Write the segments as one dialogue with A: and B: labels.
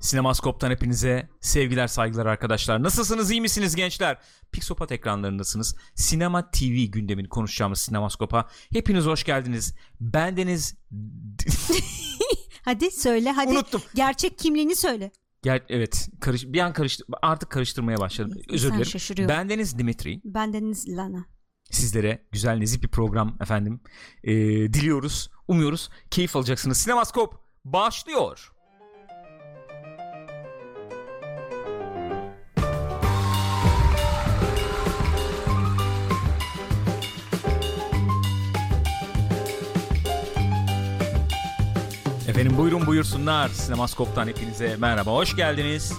A: Sinemaskop'tan hepinize sevgiler saygılar arkadaşlar. Nasılsınız iyi misiniz gençler? Pixopat ekranlarındasınız. Sinema TV gündemini konuşacağımız Sinemaskop'a. Hepiniz hoş geldiniz. Bendeniz...
B: Hadi söyle hadi.
A: Unuttum.
B: Gerçek kimliğini söyle.
A: Gel, evet karış, bir an karıştı, artık karıştırmaya başladım. Özür
B: İnsan
A: dilerim.
B: şaşırıyor.
A: Bendeniz Dimitri.
B: Bendeniz Lana.
A: Sizlere güzel nezih bir program efendim. Ee, diliyoruz, umuyoruz. Keyif alacaksınız. Sinemaskop başlıyor. Efendim buyurun buyursunlar. Sinemaskop'tan hepinize merhaba, hoş geldiniz.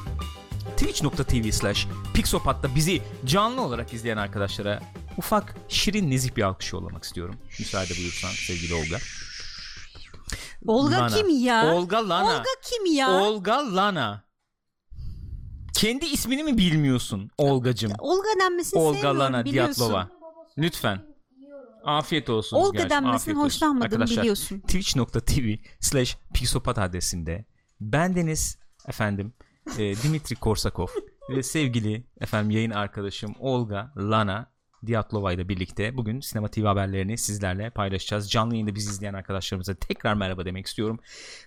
A: Twitch.tv slash Pixopat'ta bizi canlı olarak izleyen arkadaşlara ufak şirin nezih bir alkış yollamak istiyorum. Müsaade buyursan sevgili Olga.
B: Olga
A: Lana.
B: kim ya?
A: Olga Lana.
B: Olga kim ya?
A: Olga Lana. Kendi ismini mi bilmiyorsun Olgacım?
B: Olga denmesini
A: Olga
B: sevmiyorum
A: Lana
B: biliyorsun.
A: Diatlova. Lütfen. Afiyet olsun.
B: Olga
A: gerçi,
B: denmesini
A: afiyet olsun.
B: hoşlanmadığımı
A: Arkadaşlar,
B: biliyorsun.
A: Twitch.tv slash Pixopat adresinde bendeniz efendim e, Dimitri Korsakov ve sevgili efendim yayın arkadaşım Olga Lana Diatlova ile birlikte bugün sinema TV haberlerini sizlerle paylaşacağız. Canlı yayında bizi izleyen arkadaşlarımıza tekrar merhaba demek istiyorum.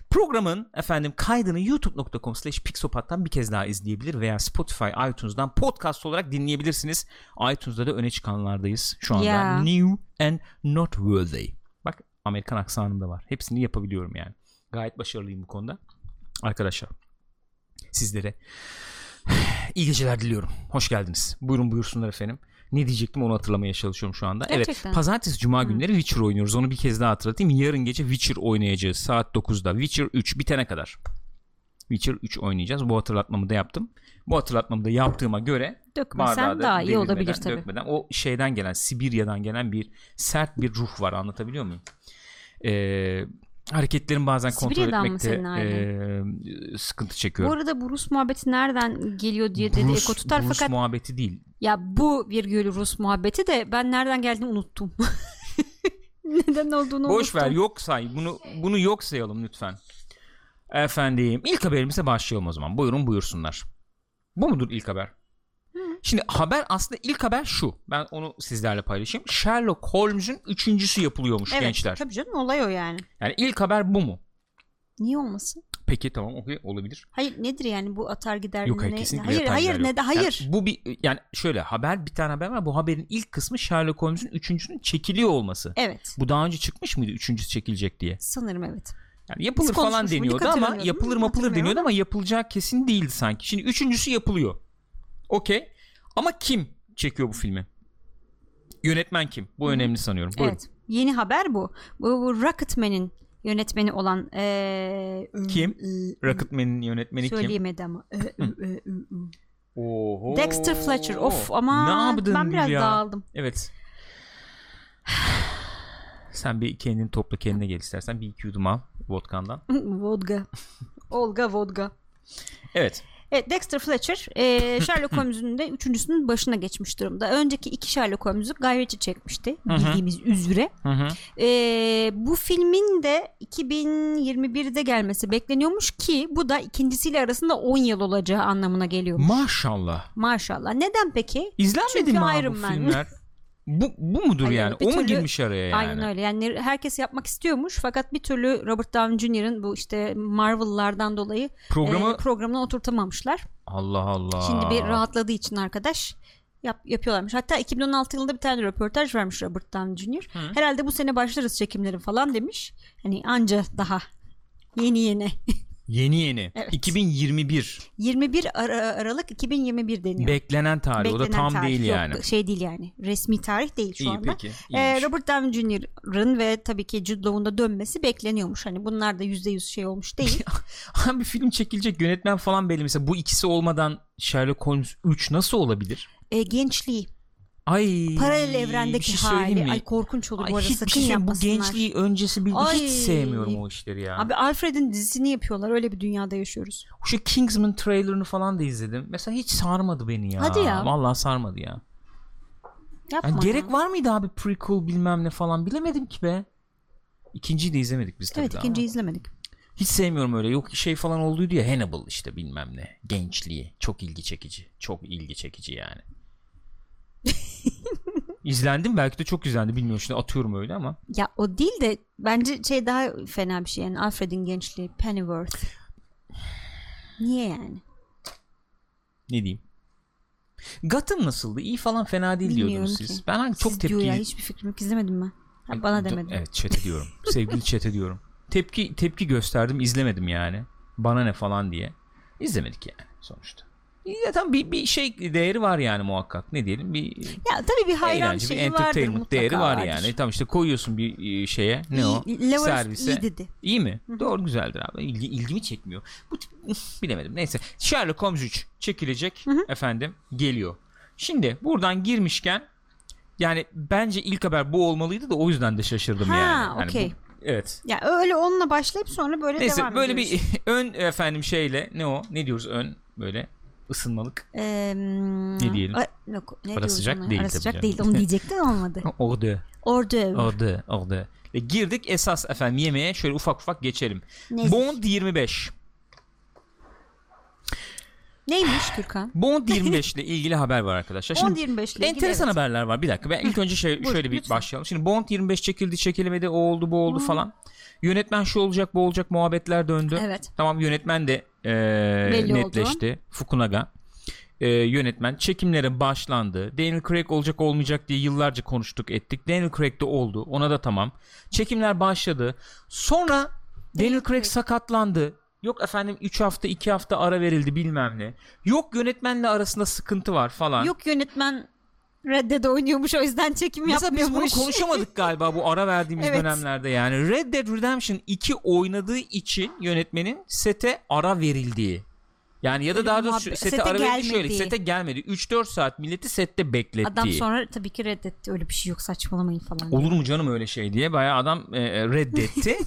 A: Programın efendim kaydını youtube.com slash pixopat'tan bir kez daha izleyebilir veya Spotify iTunes'dan podcast olarak dinleyebilirsiniz. iTunes'da da öne çıkanlardayız şu anda.
B: Ya.
A: New and noteworthy. Bak Amerikan aksanım da var. Hepsini yapabiliyorum yani. Gayet başarılıyım bu konuda. Arkadaşlar sizlere iyi geceler diliyorum. Hoş geldiniz. Buyurun buyursunlar efendim. Ne diyecektim onu hatırlamaya çalışıyorum şu anda.
B: Gerçekten.
A: Evet pazartesi cuma günleri Witcher oynuyoruz. Onu bir kez daha hatırlatayım. Yarın gece Witcher oynayacağız. Saat 9'da. Witcher 3 bitene kadar. Witcher 3 oynayacağız. Bu hatırlatmamı da yaptım. Bu hatırlatmamı da yaptığıma göre bardağı
B: Dökmesen
A: da
B: daha iyi
A: devirmeden,
B: olabilir tabii.
A: dökmeden. O şeyden gelen Sibirya'dan gelen bir sert bir ruh var anlatabiliyor muyum? Ee, hareketlerimi bazen
B: Sibirya'dan mı
A: kontrol etmekte
B: senin ailen?
A: e, sıkıntı
B: Bu
A: çekiyorum.
B: arada bu Rus muhabbeti nereden geliyor diye dedi Eko tutar
A: Rus
B: fakat
A: muhabbeti değil.
B: ya bu virgül Rus muhabbeti de ben nereden geldiğini unuttum. Neden olduğunu
A: Boş ver
B: unuttum.
A: yok say. Bunu bunu yok sayalım lütfen. Efendim ilk haberimize başlayalım o zaman. Buyurun buyursunlar. Bu mudur ilk haber? Şimdi haber aslında ilk haber şu. Ben onu sizlerle paylaşayım. Sherlock Holmes'un üçüncüsü yapılıyormuş
B: evet,
A: gençler.
B: Tabii canım olay o yani.
A: Yani ilk haber bu mu?
B: Niye olmasın?
A: Peki tamam okey olabilir.
B: Hayır nedir yani bu atar gider
A: Yok
B: ne-
A: hayır kesinlikle
B: Hayır
A: yapan yer
B: hayır
A: yok.
B: ne de hayır.
A: Yani bu bir yani şöyle haber bir tane haber var. Bu haberin ilk kısmı Sherlock Holmes'un üçüncüsünün çekiliyor olması.
B: Evet.
A: Bu daha önce çıkmış mıydı üçüncüsü çekilecek diye?
B: Sanırım evet.
A: Yani yapılır
B: Biz
A: falan
B: konuşmuş muyduk
A: deniyordu ama
B: hatırlamıyorum.
A: yapılır mapılır
B: Hatırlamıyorum
A: deniyordu
B: ama.
A: ama yapılacağı kesin değildi sanki. Şimdi üçüncüsü yapılıyor. Okey. Ama kim çekiyor bu filmi? Yönetmen kim? Bu önemli sanıyorum. Buyurun.
B: Evet. Yeni haber bu. Bu, bu Rocketman'in yönetmeni olan eee
A: Kim?
B: eee,
A: Rocketman'in yönetmeni kim?
B: Söyleyemedi ama. Eee, eee, eee, eee.
A: Oho.
B: Dexter Fletcher. Of ama
A: Ne yaptın
B: ben biraz
A: Hülya?
B: dağıldım.
A: Evet. Sen bir kendini topla kendine gel istersen. Bir iki yudum al vodkandan.
B: Vodka. Olga Vodka.
A: Evet.
B: Evet Dexter Fletcher eee, Sherlock Holmes'un de üçüncüsünün başına geçmiş durumda. Önceki iki Sherlock Holmes'u gayretçi çekmişti.
A: Hı hı.
B: Bildiğimiz üzere.
A: Hı hı.
B: Ee, bu filmin de 2021'de gelmesi bekleniyormuş ki bu da ikincisiyle arasında 10 yıl olacağı anlamına geliyor.
A: Maşallah.
B: Maşallah. Neden peki?
A: İzlenmedi
B: Çünkü
A: mi abi
B: Iron
A: bu
B: Man.
A: filmler? Bu, bu mudur
B: Hayır,
A: yani?
B: bir
A: O mu
B: türlü-
A: girmiş araya yani?
B: Aynen öyle. Yani herkes yapmak istiyormuş fakat bir türlü Robert Downey Jr.'ın bu işte Marvel'lardan dolayı
A: Programı
B: e, programına oturtamamışlar.
A: Allah Allah.
B: Şimdi bir rahatladığı için arkadaş yap, yapıyorlarmış. Hatta 2016 yılında bir tane röportaj vermiş Robert Downey Jr.
A: Hı.
B: Herhalde bu sene başlarız çekimleri falan demiş. Hani anca daha yeni yeni
A: Yeni yeni.
B: Evet.
A: 2021.
B: 21 Ara- Aralık 2021 deniyor.
A: Beklenen tarih. o da
B: Beklenen
A: tam
B: tarih
A: değil
B: yok,
A: yani.
B: Şey değil yani. Resmi tarih değil şu
A: İyi
B: anda.
A: peki.
B: Ee,
A: iyiymiş.
B: Robert Downey Jr.'ın ve tabii ki Jude Law'un da dönmesi bekleniyormuş. Hani bunlar da %100 şey olmuş değil.
A: Abi film çekilecek yönetmen falan belli. Mesela bu ikisi olmadan Sherlock Holmes 3 nasıl olabilir?
B: Ee, gençliği,
A: Ay.
B: paralel evrendeki
A: bir şey söyleyeyim
B: hali.
A: mi?
B: Ay korkunç olur
A: Ay,
B: bu arada.
A: hiç bir
B: Sakın
A: şey- bu
B: yapmasınlar.
A: gençliği öncesi bir
B: Ay.
A: hiç sevmiyorum o işleri ya.
B: Abi Alfred'in dizisini yapıyorlar. Öyle bir dünyada yaşıyoruz.
A: Şu Kingsman trailerını falan da izledim. Mesela hiç sarmadı beni ya.
B: Hadi ya.
A: Vallahi sarmadı ya.
B: Yapma.
A: Yani gerek
B: ya.
A: var mıydı abi prequel bilmem ne falan bilemedim ki be. İkinciyi de izlemedik biz tabii
B: Evet
A: daha
B: ikinciyi
A: ama.
B: izlemedik.
A: Hiç sevmiyorum öyle. Yok şey falan olduydu ya Hannibal işte bilmem ne. Gençliği. Çok ilgi çekici. Çok ilgi çekici yani. İzlendim belki de çok izlendi bilmiyorum şimdi atıyorum öyle ama
B: Ya o değil de bence şey daha fena bir şey yani Alfred'in gençliği Pennyworth. Niye yani?
A: ne diyeyim. Gotham nasıldı? İyi falan fena değil diyordunuz
B: Bilmiyorum
A: siz.
B: ki.
A: Ben hangi çok
B: Siz
A: tepkili...
B: diyor ya hiçbir fikrim yok izlemedim ben. Ha, bana
A: Do-
B: demedin.
A: Evet çete diyorum. Sevgili çete diyorum. Tepki tepki gösterdim izlemedim yani. Bana ne falan diye. İzlemedik yani sonuçta. Ya tam bir, bir şey değeri var yani muhakkak. Ne diyelim bir
B: Ya tabii bir hayran
A: eğlence, bir
B: şeyi vardır
A: entertainment
B: mutlaka
A: değeri var
B: vardır.
A: yani. Tam işte koyuyorsun bir e, şeye. Ne
B: İyi,
A: o?
B: Levarif
A: Servise.
B: iyi dedi.
A: İyi mi? Doğru güzeldir abi. İlgi, ilgimi çekmiyor. Bu tip- bilemedim. Neyse. Sherlock Holmes 3 çekilecek efendim. Geliyor. Şimdi buradan girmişken yani bence ilk haber bu olmalıydı da o yüzden de şaşırdım
B: Ha,
A: yani. Hani bu-
B: okey.
A: evet.
B: Ya öyle onunla başlayıp sonra böyle
A: Neyse
B: devam
A: böyle
B: ediyoruz.
A: bir ön efendim şeyle ne o? Ne diyoruz ön böyle ısınmalık.
B: Eee,
A: Ne diyelim?
B: a- yok, ne
A: Ara
B: diyoruz
A: sıcak
B: ona?
A: değil
B: Ara
A: tabii
B: sıcak
A: canım.
B: değil. Onu diyecektim olmadı.
A: Ordu.
B: Ordu övü.
A: Ordu. Ordu. Ve girdik esas efendim yemeğe şöyle ufak ufak geçelim.
B: Neyse.
A: Bond 25.
B: Neymiş Türkan?
A: Bond 25 ile ilgili haber var arkadaşlar. Şimdi
B: Bond 25 ile ilgili,
A: enteresan
B: evet.
A: haberler var. Bir dakika ben ilk önce şey,
B: Buyur,
A: şöyle bir
B: lütfen.
A: başlayalım. Şimdi Bond 25 çekildi, çekilmedi, o oldu, bu oldu falan. Yönetmen şu olacak, bu olacak muhabbetler döndü.
B: Evet.
A: Tamam yönetmen de e,
B: Belli oldu.
A: netleşti. Fukunaga. E, yönetmen çekimlere başlandı. Daniel Craig olacak olmayacak diye yıllarca konuştuk ettik. Daniel Craig de oldu. Ona da tamam. Çekimler başladı. Sonra Daniel Craig sakatlandı. Yok efendim 3 hafta 2 hafta ara verildi bilmem ne. Yok yönetmenle arasında sıkıntı var falan.
B: Yok yönetmen Red Dead oynuyormuş o yüzden çekim
A: Mesela biz bunu
B: yapmıyormuş.
A: konuşamadık galiba bu ara verdiğimiz
B: Evet.
A: dönemlerde yani. Red Dead Redemption 2 oynadığı için yönetmenin sete ara verildiği. Yani ya da
B: Böyle
A: daha
B: bir
A: doğrusu
B: Ee, muhabbet-
A: sete,
B: sete
A: ara verildi şöyle
B: gelmediği.
A: sete gelmedi. 3-4 saat milleti sette beklettiği.
B: Adam sonra tabii ki reddetti. Öyle bir şey yok saçmalamayın falan.
A: Olur mu canım öyle şey diye bayağı adam e, e, reddetti.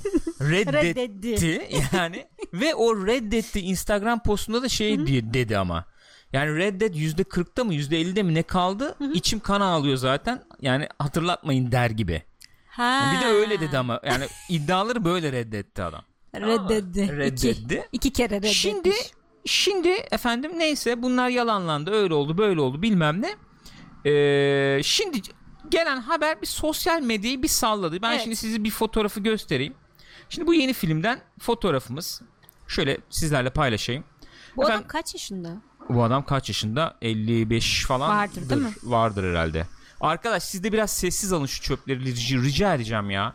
A: reddetti. yani ve o reddetti Instagram postunda da şey diye dedi ama. Yani reddet yüzde %40'da mı yüzde %50'de mi ne kaldı? İçim kan ağlıyor zaten. Yani hatırlatmayın der gibi.
B: Ha.
A: Bir de öyle dedi ama yani iddiaları böyle reddetti adam.
B: Reddetti.
A: Reddetti.
B: İki, iki kere reddetti.
A: Şimdi şimdi efendim neyse bunlar yalanlandı öyle oldu böyle oldu bilmem ne. Ee, şimdi gelen haber bir sosyal medyayı bir salladı. Ben
B: Evet.
A: şimdi size bir fotoğrafı göstereyim. Şimdi bu yeni filmden fotoğrafımız. Şöyle sizlerle paylaşayım.
B: Bu adam
A: Efendim-
B: kaç yaşında?
A: Bu adam kaç yaşında? 55 falan
B: Vardır, değil mi?
A: Vardır herhalde. Arkadaş siz de biraz sessiz alın şu çöpleri rica, rica edeceğim ya.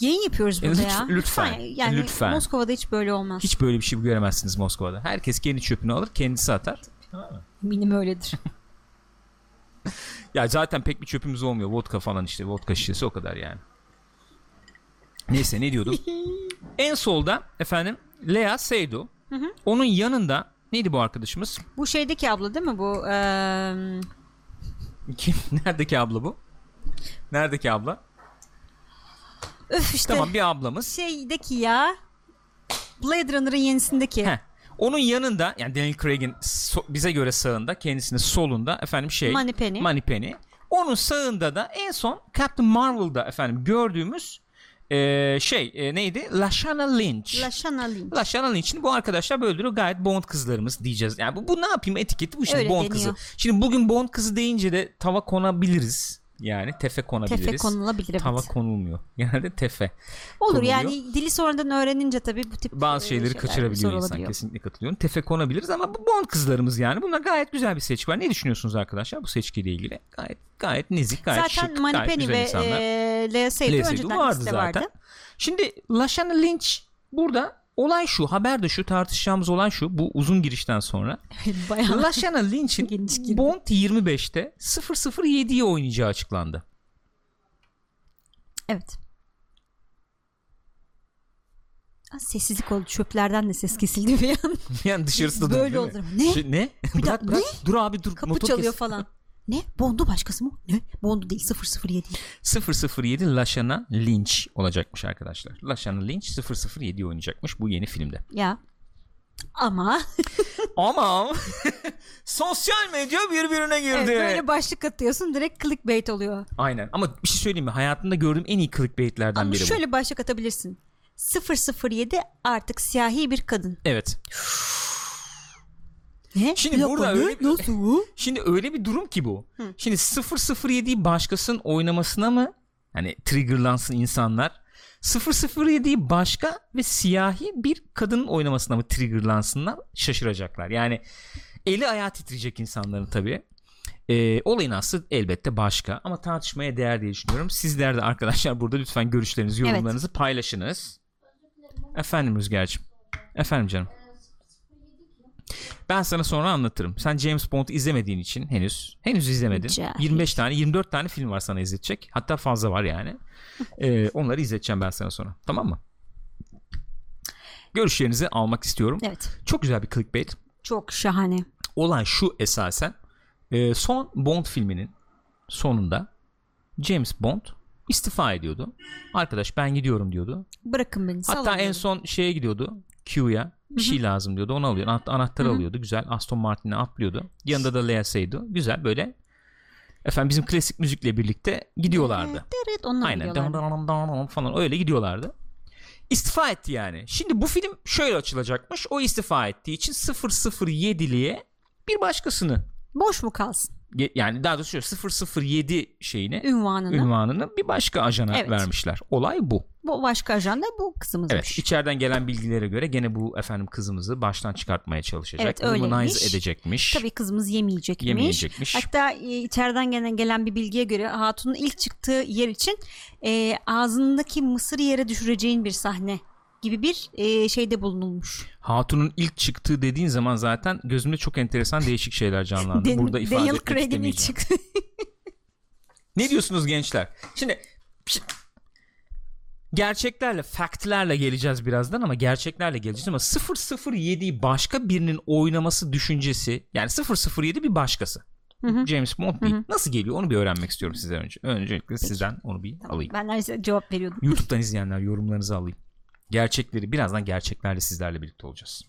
B: Yayın yapıyoruz
A: E,
B: burada
A: lütf-
B: ya.
A: lütfen.
B: Yani
A: Lütfen.
B: Moskova'da hiç böyle olmaz.
A: Hiç böyle bir şey göremezsiniz Moskova'da. Herkes kendi çöpünü alır kendisi atar.
B: Eminim öyledir.
A: Ya zaten pek bir çöpümüz olmuyor. Vodka falan işte. Vodka şişesi o kadar yani. Neyse ne diyordum? en solda efendim Lea Seydu. Onun yanında neydi bu arkadaşımız?
B: Bu şeydeki abla değil mi bu? Eee,
A: Kim? Neredeki abla bu? Neredeki abla?
B: öf işte
A: Tamam bir ablamız.
B: şeydeki ya. Blade Runner'ın yenisindeki.
A: Heh. Onun yanında yani Daniel Craig'in so- bize göre sağında kendisinin solunda efendim şey
B: Manipeni.
A: Manipeni. Onun sağında da en son Captain Marvel'da efendim gördüğümüz eee, şey eee, neydi? Lashana Lynch.
B: Laşan alayım.
A: Laşan için bu arkadaşlar böldürüyor gayet Bond kızlarımız diyeceğiz. Yani bu, bu ne yapayım etiketi bu şimdi
B: Öyle
A: Bond
B: deniyor.
A: kızı. Şimdi bugün Bond kızı deyince de tava konabiliriz. Yani tefe konabiliriz.
B: Tefe konulabilir. evet.
A: Tava konulmuyor. Genelde tefe.
B: Olur
A: konuluyor.
B: yani dili sonradan öğrenince tabii bu tip
A: Bazı
B: e,
A: şeyleri
B: şeyler
A: kaçırabiliyor
B: zor
A: insan
B: olabiliyor.
A: kesinlikle katılıyorum. Tefe konabiliriz ama bu Bond kızlarımız yani. Bunlar gayet güzel bir seçki var. Ne düşünüyorsunuz arkadaşlar bu seçkiyle ilgili? Gayet gayet nezik, gayet
B: Zaten
A: şık,
B: Mani
A: gayet
B: Penny
A: güzel
B: ve
A: insanlar.
B: e, Lea Seydoux
A: Lezzetli
B: önceden
A: vardı
B: liste
A: zaten.
B: vardı.
A: Şimdi Lashana Lynch burada olay şu haber de şu tartışacağımız olan şu bu uzun girişten sonra
B: Bayağı.
A: Lashana Lynch'in
B: Geniş girdi.
A: Bond 25'te 007'yi oynayacağı açıklandı.
B: Evet. Aa, Sessizlik oldu. Çöplerden de ses kesildi bir an.
A: Yani dışarısı da
B: Böyle
A: dönüyor, değil mi?
B: olur. Ne?
A: Şey, ne?
B: Bir
A: bırak,
B: dakika,
A: bırak. Dur abi dur.
B: Kapı
A: motor
B: çalıyor
A: kes.
B: falan. Ne? Bondu başkası mı? Ne? Bondu değil 007.
A: 007 Lashana Lynch olacakmış arkadaşlar. Lashana Lynch 007'yi oynayacakmış bu yeni filmde.
B: Ya. Ama
A: Ama sosyal medya birbirine girdi.
B: evet, böyle başlık atıyorsun direkt clickbait oluyor.
A: Aynen ama bir şey söyleyeyim mi? Hayatımda gördüğüm en iyi clickbaitlerden
B: Ama
A: biri bu.
B: şöyle başlık atabilirsin. 007 artık siyahi bir kadın.
A: Evet.
B: Ne?
A: Şimdi
B: Bir dakika,
A: burada
B: ne?
A: öyle bir-
B: Nasıl bu?
A: Şimdi öyle bir durum ki bu. Şimdi 007'yi başkasının oynamasına mı hani triggerlansın insanlar? 007'yi başka ve siyahi bir kadının oynamasına mı triggerlansınlar? Şaşıracaklar. Yani eli ayağı titreyecek insanların tabii. Ee, olayın aslı elbette başka ama tartışmaya değer diye düşünüyorum. Sizler de arkadaşlar burada lütfen görüşlerinizi,
B: Evet.
A: yorumlarınızı paylaşınız. Efendim Rüzgar'cığım. Efendim canım. Ben sana sonra anlatırım. Sen James Bond izlemediğin için henüz henüz izlemedin.
B: Cahil.
A: 25 tane 24 tane film var sana izletecek. Hatta fazla var yani. Ee, onları izleteceğim ben sana sonra. Tamam mı? Görüşlerinizi almak istiyorum.
B: Evet.
A: Çok güzel bir clickbait.
B: Çok şahane.
A: Olan şu esasen. Ee, son Bond filminin sonunda James Bond istifa ediyordu. Arkadaş ben gidiyorum diyordu.
B: Bırakın beni. salın
A: Hatta en
B: beni.
A: son şeye gidiyordu. Q'ya bir şey lazım diyordu. Onu alıyor. Anahtar, anahtarı alıyordu. Güzel. Aston Martin'e atlıyordu. Yanında da Lea Seydoux. Güzel böyle. Efendim bizim klasik müzikle birlikte gidiyorlardı.
B: Evet onlar
A: Aynen.
B: biliyorlar.
A: Dan dan dan dan dan falan öyle gidiyorlardı. İstifa etti yani. Şimdi bu film şöyle açılacakmış. O istifa ettiği için 007'liye bir başkasını
B: Boş mu kalsın
A: ge- yani daha doğrusu şöyle 007 şeyine
B: ünvanını?
A: ünvanını bir başka ajana
B: Evet.
A: vermişler. Olay bu.
B: Bu başka ajanda bu kızımızmış.
A: Evet. içeriden gelen bilgilere göre gene bu efendim kızımızı baştan çıkartmaya çalışacak.
B: Evet, öyleymiş.
A: Humanize edecekmiş.
B: Tabii kızımız yemeyecekmiş.
A: Yemeyecekmiş.
B: Hatta e, içeriden gelen gelen bir bilgiye göre Hatun'un ilk çıktığı yer için e, ağzındaki mısırı yere düşüreceğin bir sahne gibi bir e, şeyde bulunulmuş.
A: Hatun'un ilk çıktığı dediğin zaman zaten gözümde çok enteresan değişik şeyler canlandı.
B: Dan-
A: Burada ifade
B: Daniel
A: etmek
B: Craig'in ilk
A: istemeyeceğim.
B: çıktığı.
A: Ne diyorsunuz gençler? Şimdi şimdi- gerçeklerle, faktlerle geleceğiz birazdan ama gerçeklerle geleceğiz ama 007'yi başka birinin oynaması düşüncesi yani 007 bir başkası.
B: Hı hı.
A: James Bond değil. Nasıl geliyor onu bir öğrenmek istiyorum sizden önce. Öncelikle sizden onu bir alayım.
B: ben neredeyse cevap veriyordum.
A: YouTube'dan izleyenler yorumlarınızı alayım. Gerçekleri birazdan gerçeklerle sizlerle birlikte olacağız.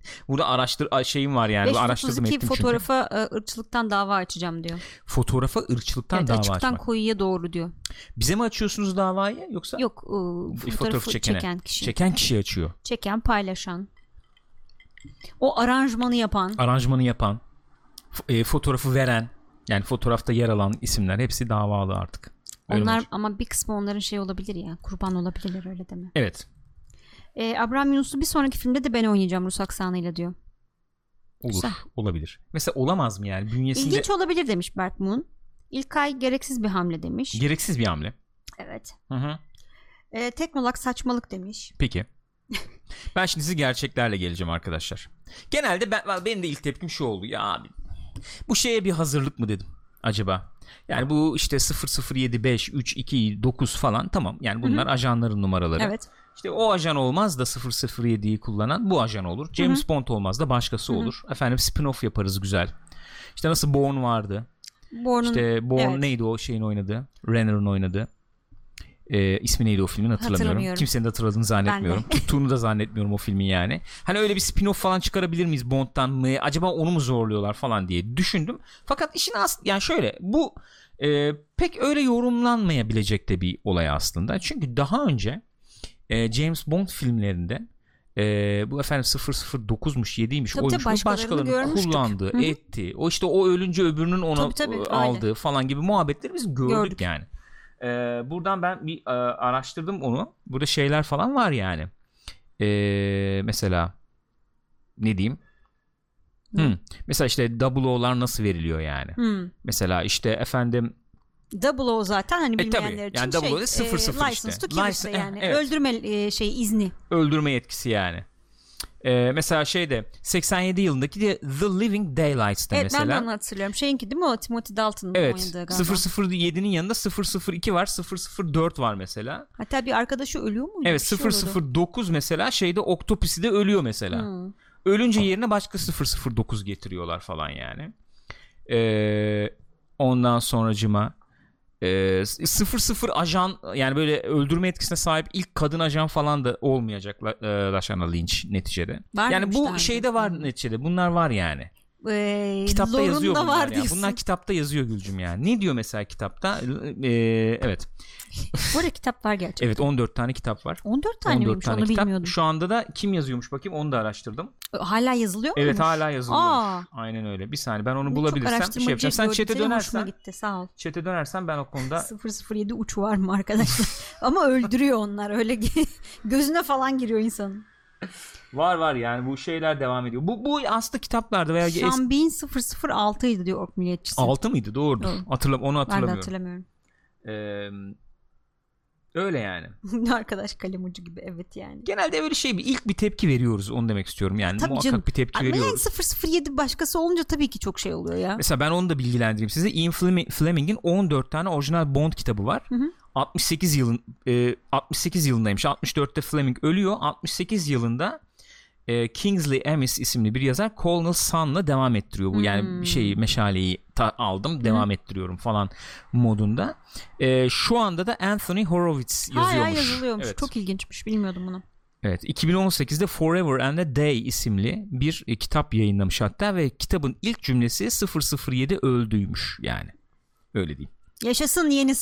A: Burada araştır a- şeyim var yani. Bu Araştırdım
B: 532
A: ettim fotoğraf...
B: fotoğrafa e, ırkçılıktan dava açacağım diyor.
A: çünkü. Fotoğrafa ırkçılıktan
B: Evet,
A: dava
B: açıktan
A: açmak.
B: koyuya doğru diyor.
A: Bize mi açıyorsunuz davayı yoksa?
B: Yok e,
A: Bir
B: fotoğrafı
A: çekene.
B: çeken kişi.
A: Çeken kişi açıyor.
B: Çeken paylaşan. O aranjmanı yapan.
A: Aranjmanı yapan, f- e, fotoğrafı veren, yani fotoğrafta yer alan isimler hepsi davalı artık. Öyle
B: onlar
A: olacak.
B: ama bir kısmı onların şey olabilir ya. Kurban olabilirler öyle deme.
A: Evet.
B: E, Abraham Yunus'u bir sonraki filmde de ben oynayacağım Rus aksanıyla diyor.
A: Olur.
B: Güzel.
A: Olabilir. Mesela olamaz mı yani? Bünyesinde
B: İlginç olabilir demiş Berk Moon. İlkay gereksiz bir hamle demiş.
A: gereksiz bir hamle.
B: evet.
A: Hı hı.
B: E, teknolak saçmalık demiş.
A: Peki. ben şimdi size gerçeklerle geleceğim arkadaşlar. Genelde ben ben- benim de ilk tepkim şu oldu ya abi. Bu şeye bir hazırlık mı dedim acaba? Yani bu işte 0075 329 falan tamam. Yani bunlar ajanların numaraları.
B: Evet.
A: İşte o ajan olmaz da 007'yi kullanan bu ajan olur. James Bond olmaz da başkası olur. Efendim spin-off yaparız güzel. İşte nasıl Bourne vardı.
B: Born'un
A: İşte Bourne
B: evet.
A: neydi o şeyin oynadı? Renner'ın oynadı. Ee, ismi neydi o filmin hatırlamıyorum.
B: Hatırlamıyorum.
A: Kimsenin de hatırladığını zannetmiyorum.
B: Ben
A: Tuttuğunu da zannetmiyorum o filmin yani. Hani öyle bir spin-off falan çıkarabilir miyiz Bond'dan mı? Acaba onu mu zorluyorlar falan diye düşündüm. Fakat işin as yani şöyle bu e, pek öyle yorumlanmayabilecek de bir olay aslında. Çünkü daha önce e, James Bond filmlerinde e, bu efendim 009'muş 7'ymiş
B: Tabii
A: oymuş
B: tabii, başkalarını
A: başkalarının
B: görmüştük.
A: kullandığı
B: Hı hı.
A: etti. O işte o ölünce öbürünün onu
B: Tabii, tabii,
A: e,
B: öyle.
A: aldığı falan gibi muhabbetleri biz gördük,
B: Gördük.
A: yani. E, buradan ben bir e, araştırdım onu. Burada şeyler falan var yani. E, mesela ne diyeyim?
B: Ne?
A: Hı. Mesela işte double O'lar nasıl veriliyor yani?
B: Hmm.
A: Mesela işte efendim
B: Double O zaten hani
A: E, tabii.
B: bilmeyenler için
A: Yani double
B: şey,
A: O da sıfır
B: e,
A: sıfır
B: license
A: işte.
B: to kill
A: License- eh,
B: işte yani.
A: evet.
B: Öldürme e, şey izni.
A: öldürme yetkisi yani. Ee, mesela şeyde 87 yılındaki de The Living Daylights'ta
B: Evet ben de
A: mesela.
B: onu hatırlıyorum. Şeyinki değil mi o Timothy Dalton'ın
A: evet.
B: oynadığı galiba.
A: 007'nin yanında 002 var, 004 var mesela.
B: Hatta bir arkadaşı ölüyor muydu?
A: Evet,
B: Bir şey oldu.
A: 009 mesela şeyde Octopussy de ölüyor mesela.
B: Hmm.
A: Ölünce yerine başka 009 getiriyorlar falan yani. Ee, ondan sonracıma e, 00 ajan yani böyle öldürme etkisine sahip ilk kadın ajan falan da olmayacak La- e, Lashana Lynch neticede.
B: Var
A: yani
B: mıymış
A: bu
B: daha önce?
A: şeyde var
B: Hmm.
A: neticede. Bunlar var yani.
B: e,
A: Kitapta
B: zorunda
A: yazıyor bunlar
B: var
A: ya.
B: diyorsun.
A: Bunlar kitapta yazıyor Gülcüm yani. Ne diyor mesela kitapta? Ee, evet.
B: Bu arada kitap var gerçekten.
A: Evet 14 tane kitap var.
B: 14 tane
A: 14
B: miymiş
A: tane
B: onu
A: kitap.
B: bilmiyordum.
A: Şu anda da kim yazıyormuş bakayım onu da araştırdım.
B: Hala yazılıyor
A: Evet
B: muymuş?
A: hala yazılıyormuş.
B: Aa.
A: Aynen öyle. Bir saniye ben
B: Bu
A: onu
B: çok
A: bulabilirsem şey
B: araştırmacı
A: yapacağım. Sen çete
B: teorisine hoşuma
A: dönersen,
B: gitti sağ ol.
A: çete dönersen ben o konuda
B: 007 uç var mı arkadaşlar? Ama öldürüyor onlar öyle gözüne falan giriyor insanın.
A: var var yani bu şeyler devam ediyor. Bu bu aslında kitaplarda veya es-
B: Şambin 006 idi diyor Ork Milliyetçisi.
A: 6 mıydı? Doğrudur.
B: Doğru.
A: Hatırlam onu
B: ben de
A: hatırlamıyorum.
B: hatırlamıyorum.
A: Ee, öyle yani.
B: Arkadaş kalem ucu gibi evet yani.
A: Genelde böyle şey bir ilk bir tepki veriyoruz onu demek istiyorum yani.
B: Tabii
A: Muhakkak
B: canım.
A: bir tepki
B: Ama yani
A: veriyoruz.
B: 007 başkası olunca tabii ki çok şey oluyor ya.
A: Mesela ben onu da bilgilendireyim size. Ian Fleming- Fleming'in 14 tane orijinal Bond kitabı var.
B: hı.
A: 68 yılın e, 68 yılındaymış. 64'te Fleming ölüyor. 68 yılında e, Kingsley Amis isimli bir yazar Colonel Sun'la devam ettiriyor bu. Yani
B: Hmm.
A: bir şeyi meşaleyi ta- aldım, devam ettiriyorum falan modunda. E, şu anda da Anthony Horowitz yazıyormuş.
B: Hala yazılıyormuş.
A: Evet.
B: Çok ilginçmiş. Bilmiyordum bunu.
A: Evet 2018'de Forever and a Day isimli bir e, kitap yayınlamış hatta ve kitabın ilk cümlesi 007 öldüymüş yani. Öyle diyeyim.
B: Yaşasın yeni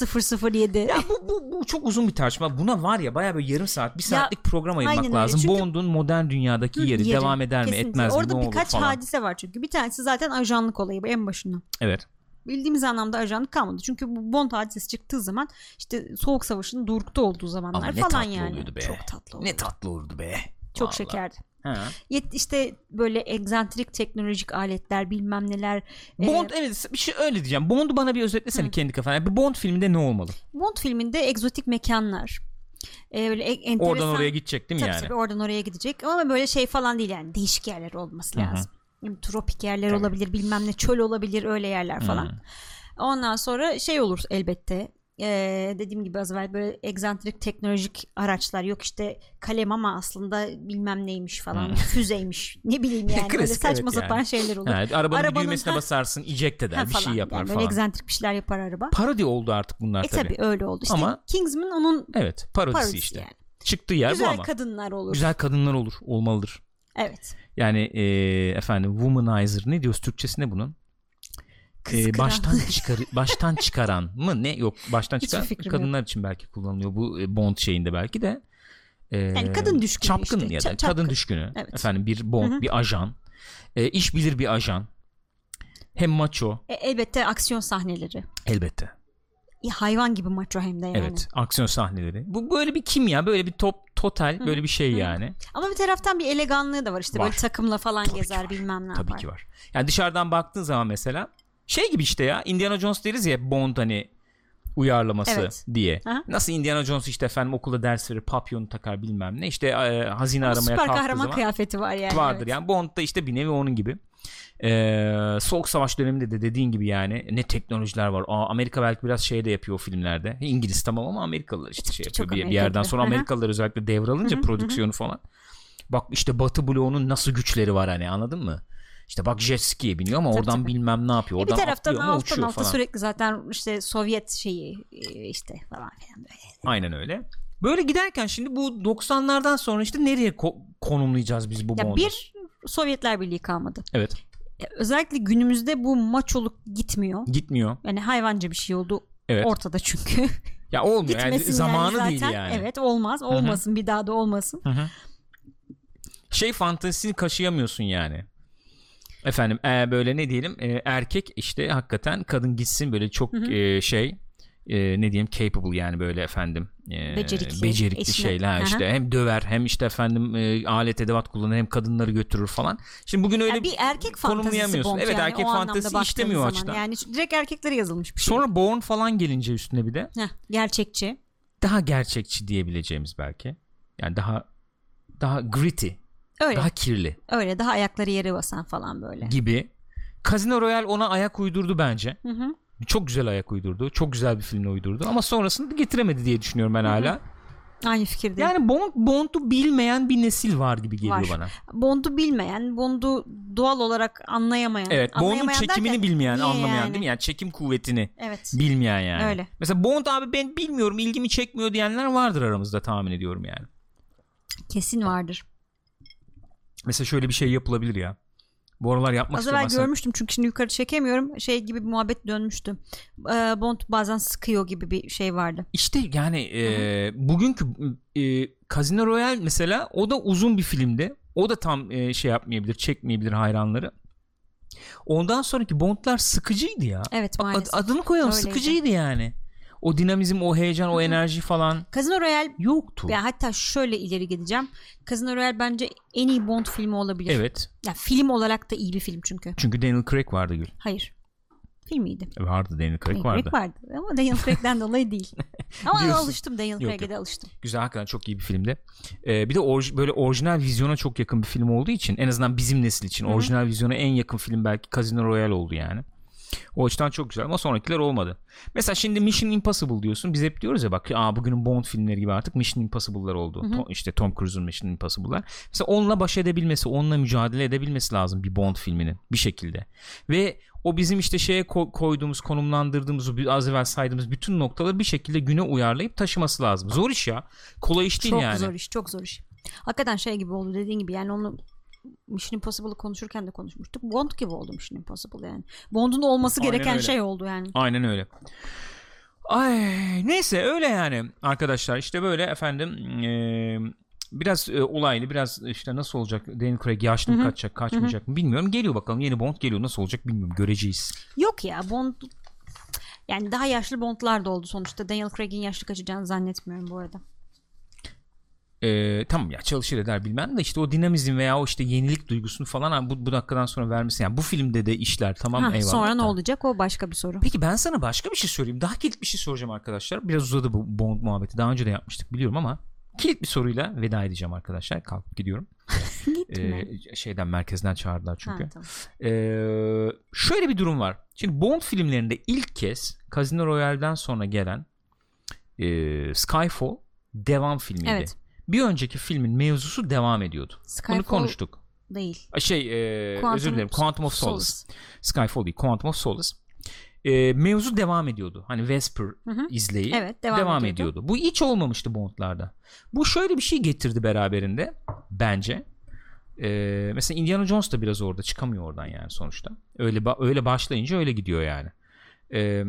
B: 007.
A: Ya bu, bu, bu çok uzun bir tartışma. Buna var ya bayağı böyle yarım saat, bir saatlik program
B: aynen
A: ayırmak
B: öyle.
A: lazım.
B: Çünkü-
A: Bond'un modern dünyadaki yeri,
B: Yeri.
A: devam eder mi,
B: Kesinlikle.
A: etmez mi,
B: Orada
A: ne olur
B: birkaç
A: falan.
B: hadise var çünkü. Bir tanesi zaten ajanlık olayı bu en başından.
A: Evet.
B: Bildiğimiz anlamda ajanlık kalmadı. Çünkü bu Bond hadisesi çıktığı zaman işte Soğuk Savaş'ın durukta olduğu zamanlar
A: Ama ne
B: falan
A: tatlı
B: yani.
A: oluyordu be.
B: Çok tatlı oluyordu.
A: Ne tatlı olurdu be.
B: Çok
A: Vallahi.
B: şekerdi.
A: Ha.
B: Yet, işte böyle egzantrik teknolojik aletler bilmem neler. Ee,
A: Bond evet bir şey öyle diyeceğim. Bond'u bana bir özetlesene kendi kafana. Bir Bond filminde ne olmalı?
B: Bond filminde egzotik mekanlar. Ee, böyle e- enteresan.
A: Oradan oraya gidecek değil mi
B: Tabii
A: yani?
B: tabii oradan oraya gidecek ama böyle şey falan değil yani değişik yerler olması
A: Hı hı.
B: lazım. Yani Tropik yerler olabilir bilmem ne çöl olabilir öyle yerler falan. Ondan sonra şey olur elbette Ee, dediğim gibi az evvel böyle egzantrik teknolojik araçlar yok işte kalem ama aslında bilmem neymiş falan
A: Hı.
B: füzeymiş ne bileyim yani böyle
A: Klasik,
B: saçma
A: evet yani.
B: sapan şeyler olur.
A: Ha, arabanın, bir
B: Arabanın-
A: düğmesine
B: ha.
A: basarsın, eject eder,
B: Ha
A: bir
B: falan.
A: şey yapar
B: Yani böyle
A: falan.
B: egzantrik bir şeyler yapar araba.
A: Parodi oldu artık bunlar
B: e
A: tabii.
B: tabii. öyle oldu. İşte
A: Ama-
B: Kingsman onun
A: Evet, parodisi,
B: parodisi
A: işte.
B: yani.
A: Çıktığı yer bu
B: Güzel
A: ama.
B: kadınlar olur.
A: Güzel kadınlar olur, olmalıdır.
B: Evet.
A: Yani e, efendim womanizer ne diyoruz Türkçesi ne bunun? E,
B: Kıskıran.
A: baştan çıkar baştan çıkaran mı ne yok baştan
B: Hiçbir
A: çıkaran
B: fikrim
A: kadınlar için belki kullanılıyor bu e, Bond şeyinde belki de. E,
B: Yani kadın düşkünü
A: çapkın
B: işte,
A: ya da
B: ça- çapkın.
A: kadın düşkünü.
B: Evet.
A: Efendim bir Bond,
B: Hı hı.
A: bir ajan. E, iş bilir bir ajan. Hem maço
B: E, elbette aksiyon sahneleri.
A: elbette.
B: Ya, hayvan gibi maço hem de yani.
A: Evet, aksiyon sahneleri. Bu böyle bir kimya, böyle bir top total böyle bir şey yani.
B: Ama bir taraftan bir eleganlığı da var işte
A: Var.
B: böyle takımla falan
A: Tabii ki
B: gezer
A: var.
B: bilmem ne
A: Tabii
B: yapar.
A: ki var. Yani dışarıdan baktığın zaman mesela şey gibi işte ya Indiana Jones deriz ya Bond hani uyarlaması
B: Evet.
A: diye.
B: Aha.
A: Nasıl Indiana Jones işte efendim okulda ders verir, papyonu takar bilmem ne. işte e, hazine aramaya
B: Süper
A: kalktığı
B: kahraman
A: zaman
B: kıyafeti var yani.
A: vardır
B: evet.
A: yani. Bond da işte bir nevi onun gibi. Ee, Soğuk Savaş döneminde de dediğin gibi yani ne teknolojiler var. Aa, Amerika belki biraz şey de yapıyor o filmlerde. İngiliz tamam ama Amerikalılar işte şey
B: Çok
A: yapıyor. Bir- bir,
B: Amerika
A: yerden
B: gibi.
A: sonra
B: Hı hı.
A: Amerikalılar özellikle devralınca prodüksiyonu falan. Bak işte Batı bloğunun nasıl güçleri var hani anladın mı? İşte bak jet ski'ye biniyor ama
B: Tabii,
A: oradan
B: tabii.
A: bilmem ne yapıyor.
B: E, bir
A: Oradan
B: taraftan
A: atlıyor ama
B: alttan
A: uçuyor
B: alta
A: falan.
B: sürekli zaten işte Sovyet şeyi e, işte falan filan böyle.
A: Aynen öyle. Böyle giderken şimdi bu 90'lardan sonra işte nereye ko- konumlayacağız biz bu
B: Ya
A: Bond'u?
B: bir Sovyetler Birliği kalmadı.
A: Evet.
B: E, özellikle günümüzde bu maçoluk gitmiyor.
A: Gitmiyor.
B: Yani hayvanca bir şey oldu
A: Evet.
B: ortada çünkü.
A: ya olmuyor. Yani
B: Gitmesin
A: zamanı
B: yani
A: değil
B: zaten.
A: yani.
B: Evet olmaz. Olmasın bir daha da olmasın.
A: şey fantezisini kaşıyamıyorsun yani. Efendim e, böyle ne diyelim e, erkek işte hakikaten kadın gitsin böyle çok e, şey e, ne diyeyim capable yani böyle efendim e,
B: Becerikli,
A: becerikli
B: eşine-
A: şeyler
B: Aha.
A: işte hem döver hem işte efendim e, alet edevat kullanır hem kadınları götürür falan. Şimdi bugün öyle
B: Yani bir erkek fantezisi
A: konumlayamıyorsun.
B: Bond
A: evet
B: yani
A: erkek
B: o anlamda
A: fantezisi
B: baktığın
A: işlemiyor o
B: zaman.
A: açıdan.
B: Yani direkt erkeklere yazılmış bir şey.
A: Sonra Bourne falan gelince üstüne bir de
B: Heh, gerçekçi.
A: daha gerçekçi diyebileceğimiz belki. Yani daha daha gritty,
B: Öyle.
A: daha kirli.
B: Öyle daha ayakları yere basan falan böyle.
A: gibi. Casino Royale ona ayak uydurdu bence.
B: Hı hı.
A: Çok güzel ayak uydurdu. Çok güzel bir filmle uydurdu. Ama sonrasını da getiremedi diye düşünüyorum ben hala.
B: Aynı fikirdeyim.
A: Yani Bond, Bond'u bilmeyen bir nesil var gibi geliyor
B: Var.
A: bana.
B: Bond'u bilmeyen, Bond'u doğal olarak anlayamayan.
A: Evet. Bond'un
B: anlayamayan
A: çekimini
B: derken,
A: bilmeyen,
B: niye
A: anlamayan
B: yani?
A: değil mi? Yani çekim kuvvetini
B: Evet.
A: bilmeyen yani.
B: Öyle.
A: Mesela Bond abi ben bilmiyorum, ilgimi çekmiyor diyenler vardır aramızda tahmin ediyorum yani.
B: Kesin vardır.
A: Mesela şöyle bir şey yapılabilir ya. Bu aralar yapmak
B: Az evvel
A: istemezsen
B: görmüştüm çünkü şimdi yukarı çekemiyorum. Şey gibi bir muhabbet dönmüştü. Ee, Bond bazen sıkıyor gibi bir şey vardı.
A: İşte yani e, bugünkü e, Casino Royale mesela o da uzun bir filmdi. O da tam e, şey yapmayabilir, çekmeyebilir hayranları. Ondan sonraki Bond'lar sıkıcıydı ya.
B: Evet
A: A- ad-
B: maalesef.
A: adını koyalım
B: Öyleydi.
A: sıkıcıydı yani. O dinamizm, o heyecan, o enerji falan
B: Casino Royale
A: yoktu.
B: ya hatta şöyle ileri gideceğim. Casino Royale bence en iyi Bond filmi olabilir.
A: Evet.
B: Ya film olarak da iyi bir film çünkü.
A: Çünkü Daniel Craig vardı Gül.
B: Hayır. Filmiydi.
A: Vardı Daniel Craig
B: Daniel
A: vardı.
B: Craig vardı. Ama Daniel Craig'den dolayı değil. Ama
A: Diyorsun.
B: alıştım Daniel
A: yok.
B: Craig'e de alıştım.
A: Güzel hakikaten çok iyi bir filmdi. Ee, bir de orj- böyle orijinal vizyona çok yakın bir film olduğu için en azından bizim nesil için orijinal vizyona en yakın film belki Casino Royale oldu yani. O açıdan çok güzel ama sonrakiler olmadı. Mesela şimdi Mission Impossible diyorsun. Biz hep diyoruz ya bak Aa, bugünün Bond filmleri gibi artık Mission Impossible'lar oldu. To- işte Tom Cruise'un Mission Impossible'lar. Mesela onunla baş edebilmesi, onunla mücadele edebilmesi lazım bir Bond filminin bir şekilde. Ve o bizim işte şeye ko- koyduğumuz, konumlandırdığımız, o bir- az evvel saydığımız bütün noktaları bir şekilde güne uyarlayıp taşıması lazım. Zor iş ya. Kolay iş değil
B: çok
A: yani.
B: zor iş çok zor iş. Hakikaten şey gibi oldu dediğin gibi yani onu Mission Impossible'ı konuşurken de konuşmuştuk. Bond gibi oldu Mission Impossible yani. Bond'un olması
A: Aynen
B: gereken
A: öyle.
B: şey oldu yani.
A: Aynen öyle. Ay neyse öyle yani arkadaşlar işte böyle efendim eee, biraz e, olaylı biraz işte nasıl olacak Daniel Craig yaşlı mı kaçacak kaçmayacak mı bilmiyorum geliyor bakalım yeni Bond geliyor nasıl olacak bilmiyorum göreceğiz.
B: Yok ya Bond yani daha yaşlı Bond'lar da oldu sonuçta. Daniel Craig'in yaşlı kaçacağını zannetmiyorum bu arada.
A: Eee, tamam ya çalışır eder bilmem de işte o dinamizm veya o işte yenilik duygusunu falan ha, bu, bu dakikadan sonra vermesi yani bu filmde de işler tamam
B: Ha,
A: eyvallah.
B: sonra ne
A: da.
B: olacak o başka bir soru.
A: Peki ben sana başka bir şey söyleyeyim. Daha kilit bir şey soracağım arkadaşlar. Biraz uzadı bu Bond muhabbeti. Daha önce de yapmıştık biliyorum ama kilit bir soruyla veda edeceğim arkadaşlar. Kalkıp gidiyorum.
B: Gitme.
A: Ee, şeyden merkezden çağırdılar
B: Ha,
A: çünkü.
B: tamam.
A: Ee, şöyle bir durum var. Şimdi Bond filmlerinde ilk kez Casino Royale'den sonra gelen e, Skyfall devam filmiydi.
B: Evet.
A: Bir önceki filmin mevzusu devam ediyordu.
B: Skyfall-
A: Bunu konuştuk.
B: Değil.
A: Şey e,
B: Quantum
A: özür dilerim Quantum of Solace. Skyfall değil Quantum of Solace. Ee, mevzu devam ediyordu. Hani Vesper
B: hı.
A: izleyi
B: Evet,
A: devam,
B: devam
A: ediyordu.
B: ediyordu.
A: Bu hiç olmamıştı Bond'larda. Bu şöyle bir şey getirdi beraberinde bence. Ee, mesela Indiana Jones da biraz orada çıkamıyor oradan yani sonuçta. Öyle ba- öyle başlayınca öyle gidiyor yani. Ee,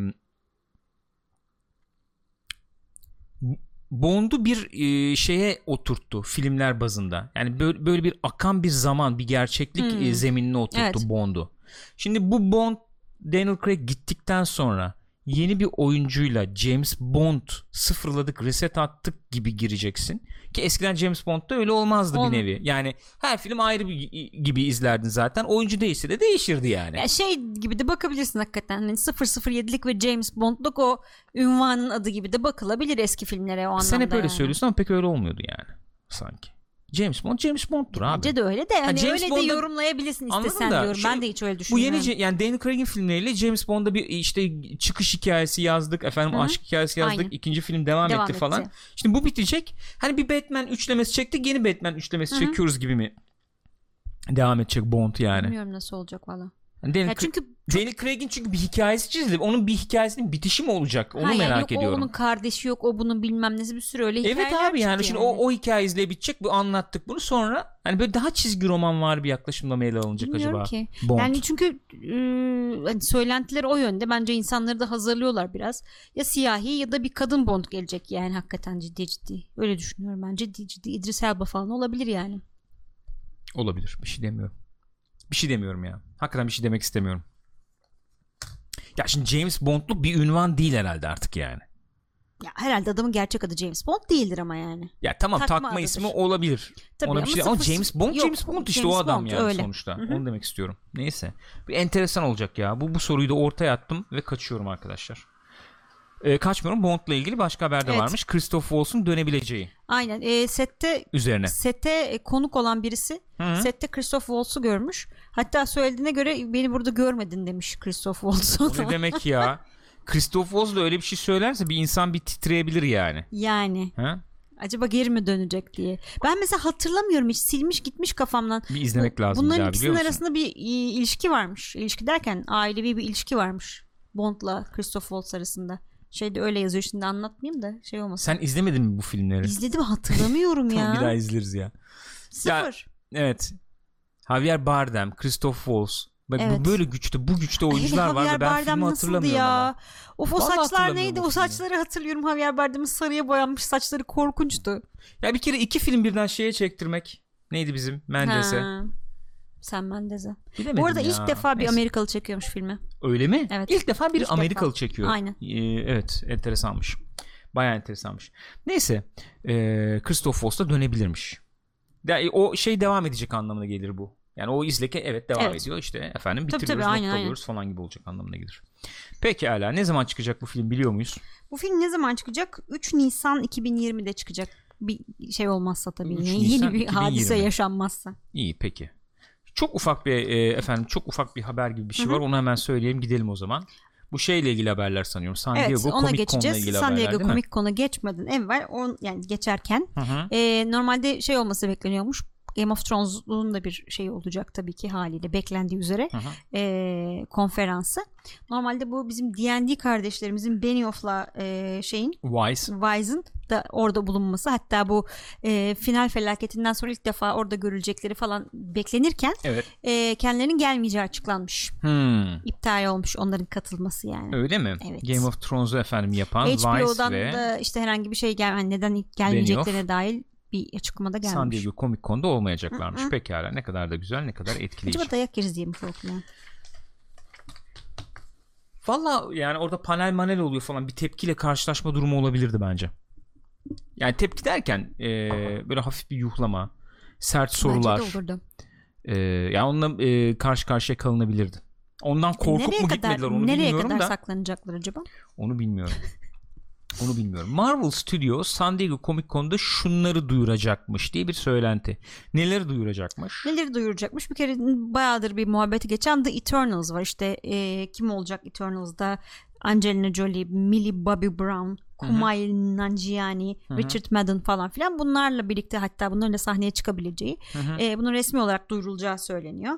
A: Bond'u bir e, şeye oturttu filmler bazında. Yani böyle, böyle bir akan bir zaman, bir gerçeklik
B: Hmm.
A: e, zeminine oturttu
B: Evet.
A: Bond'u. Şimdi bu Bond Daniel Craig gittikten sonra yeni bir oyuncuyla James Bond sıfırladık, reset attık gibi gireceksin. Ki eskiden James Bond'da öyle olmazdı
B: Olm-
A: bir nevi. Yani her film ayrı bir gibi izlerdin zaten. Oyuncu değişse de değişirdi yani.
B: Ya şey gibi de bakabilirsin hakikaten. Hani 007'lik ve James Bond'luk o ünvanın adı gibi de bakılabilir eski filmlere o anlamda.
A: Sen hep öyle
B: yani.
A: söylüyorsun ama pek öyle olmuyordu yani sanki. James Bond James Bond'dur abi.
B: Bence de öyle de hani
A: James
B: öyle
A: Bond'da-
B: de yorumlayabilirsin
A: Anladım
B: istesen
A: da
B: diyorum.
A: şey-
B: ben de hiç öyle
A: Bu
B: düşünmüyorum.
A: yeni ce- yani Daniel Craig'in filmleriyle James Bond'da bir işte çıkış hikayesi yazdık efendim
B: Hı hı.
A: aşk hikayesi yazdık
B: Aynen.
A: ikinci film devam,
B: Devam
A: etti,
B: etti.
A: falan. Şimdi bu bitecek. Hani bir Batman üçlemesi çektik yeni Batman üçlemesi çekiyoruz gibi mi? Devam edecek Bond yani.
B: Bilmiyorum nasıl olacak valla.
A: Yani Daniel,
B: Ya
A: Cra-
B: çünkü
A: Daniel Craig'in çünkü bir hikayesi çizildi. Onun bir hikayesinin bitişi mi olacak? Onu
B: Ha yani
A: merak
B: yok, O
A: ediyorum.
B: onun kardeşi yok o bunun bilmem nesi bir sürü öyle hikayeler
A: Evet abi yani
B: çıktı
A: şimdi o o hikaye izle bitecek. Bu anlattık bunu sonra. Hani böyle daha çizgi roman var bir yaklaşımla mı ele alınacak
B: Bilmiyorum
A: acaba?
B: ki.
A: Bond.
B: Yani çünkü e, hani söylentiler o yönde. Bence insanları da hazırlıyorlar biraz. Ya siyahi ya da bir kadın Bond gelecek yani hakikaten ciddi ciddi. Öyle düşünüyorum ben. Ciddi ciddi İdris Elba falan olabilir yani.
A: Olabilir. Bir şey demiyorum. Bir şey demiyorum ya. Hakikaten bir şey demek istemiyorum. Ya şimdi James Bond'luk bir ünvan değil herhalde artık yani.
B: Ya herhalde adamın gerçek adı James Bond değildir ama yani.
A: Ya tamam
B: Takma
A: takma,
B: adıdır.
A: ismi olabilir.
B: Tabii
A: Ona bir
B: ama
A: şey ama
B: sıfır-
A: James Bond
B: Yok,
A: James Bond işte
B: James
A: o adam
B: Bond,
A: yani
B: öyle.
A: sonuçta. Onu demek istiyorum. Neyse. Bir enteresan olacak ya. Bu bu soruyu da ortaya attım ve kaçıyorum arkadaşlar. Ee, kaçmıyorum. Bond'la ilgili başka haber de
B: Evet.
A: varmış. Christoph Waltz'un dönebileceği
B: Aynen. E, sette
A: üzerine.
B: sete e, konuk olan birisi
A: Hı.
B: sette Christoph Waltz'u görmüş. Hatta söylediğine göre beni burada görmedin demiş Christoph
A: O ne
B: Waltz'u.
A: demek ya? Christoph Waltz da öyle bir şey söylerse bir insan bir titreyebilir yani.
B: yani
A: Ha?
B: acaba geri mi dönecek diye. Ben mesela hatırlamıyorum hiç silmiş gitmiş kafamdan.
A: Bir izlemek lazım
B: Bunların
A: ya, biliyor
B: ikisinin
A: musun?
B: arasında bir i- ilişki varmış. İlişki derken ailevi bir ilişki varmış. Bond'la Christoph Waltz arasında. Şeyde öyle yazıyor şimdi anlatmayayım da şey olmasın.
A: Sen izlemedin mi bu filmleri?
B: İzledim hatırlamıyorum
A: Tamam,
B: ya.
A: bir daha izleriz ya.
B: Sıfır.
A: Evet. Javier Bardem, Christoph Waltz. Bak bu-
B: Evet.
A: böyle güçte bu güçte oyuncular
B: Javier
A: vardı. Ben
B: Bardem
A: filmi
B: nasıldı
A: hatırlamıyorum
B: ya?
A: ama.
B: Of o
A: Vallahi
B: saçlar
A: hatırlamıyorum
B: neydi?
A: o
B: O
A: filmi.
B: saçları hatırlıyorum. Javier Bardem'in sarıya boyanmış saçları korkunçtu.
A: Ya bir kere iki film birden şeye çektirmek. Neydi bizim? Mendes'e.
B: Ha. Sen Mendes'e.
A: Bilemedim
B: Bu arada
A: ya.
B: ilk defa bir
A: Neyse.
B: Amerikalı çekiyormuş filmi.
A: Öyle mi?
B: Evet.
A: İlk defa bir
B: İlk
A: Amerikalı
B: defa.
A: çekiyor.
B: Aynen.
A: Ee, evet enteresanmış. Bayağı enteresanmış. Neyse. ee, Christoph Waltz da dönebilirmiş. Ya, e, o şey devam edecek anlamına gelir bu. Yani o izleke evet devam
B: Evet.
A: ediyor işte efendim
B: Tabii,
A: bitiriyoruz
B: tabii, aynen,
A: noktalıyoruz falan gibi olacak anlamına gelir. Peki hala ne zaman çıkacak bu film biliyor muyuz?
B: Bu film ne zaman çıkacak? 3 Nisan 2020'de çıkacak. Bir şey olmazsa tabii.
A: 3
B: Yeni
A: Nisan
B: bir hadise
A: 2020.
B: yaşanmazsa.
A: İyi peki. Çok ufak bir e, efendim çok ufak bir haber gibi bir şey var. Onu hemen söyleyeyim gidelim o zaman. Bu şeyle ilgili haberler sanıyorum. San Diego
B: evet ona
A: Comic Con'la
B: geçeceğiz.
A: ilgili
B: San
A: haberler
B: Diego
A: değil mi?
B: Comic Con'a geçmeden evvel on, yani geçerken
A: Hı hı.
B: e, normalde şey olması bekleniyormuş. Game of Thrones'un da bir şey olacak tabii ki haliyle beklendiği üzere
A: Hı hı.
B: e, konferansı. Normalde bu bizim D&D kardeşlerimizin Benioff'la e, şeyin
A: Wise.
B: Wise'ın da orada bulunması hatta bu e, final felaketinden sonra ilk defa orada görülecekleri falan beklenirken
A: Evet.
B: e, kendilerinin gelmeyeceği açıklanmış.
A: Hmm.
B: İptal olmuş onların katılması yani.
A: Öyle mi?
B: Evet.
A: Game of Thrones'u efendim yapan Vice
B: HBO'dan
A: ve
B: da işte herhangi bir şey gel yani neden ilk gelmeyeceklerine
A: Benioff.
B: dair bir açıklamada
A: San
B: gelmiş.
A: Diego Comic Con'da olmayacaklarmış. Pekala ne kadar da güzel ne kadar etkileyici.
B: Acaba dayak yeriz diye mi korkuyor?
A: Valla yani orada panel manel oluyor falan bir tepkiyle karşılaşma durumu olabilirdi bence. Yani tepki derken e, böyle hafif bir yuhlama, sert sorular.
B: Bence de olurdu.
A: e, yani onunla e, karşı karşıya kalınabilirdi. Ondan korkup
B: nereye
A: mu
B: kadar,
A: gitmediler onu
B: nereye
A: bilmiyorum
B: kadar
A: da.
B: saklanacaklar acaba?
A: Onu bilmiyorum. Onu bilmiyorum. Marvel Studios San Diego Comic Con'da şunları duyuracakmış diye bir söylenti. Neleri duyuracakmış?
B: Neleri duyuracakmış? Bir kere bayağıdır bir muhabbeti geçen The Eternals var. İşte e, kim olacak Eternals'da? Angelina Jolie, Millie Bobby Brown, Kumail Nanjiani, Richard Madden falan filan. Bunlarla birlikte hatta bunların da sahneye çıkabileceği, e, bunun resmi olarak duyurulacağı söyleniyor.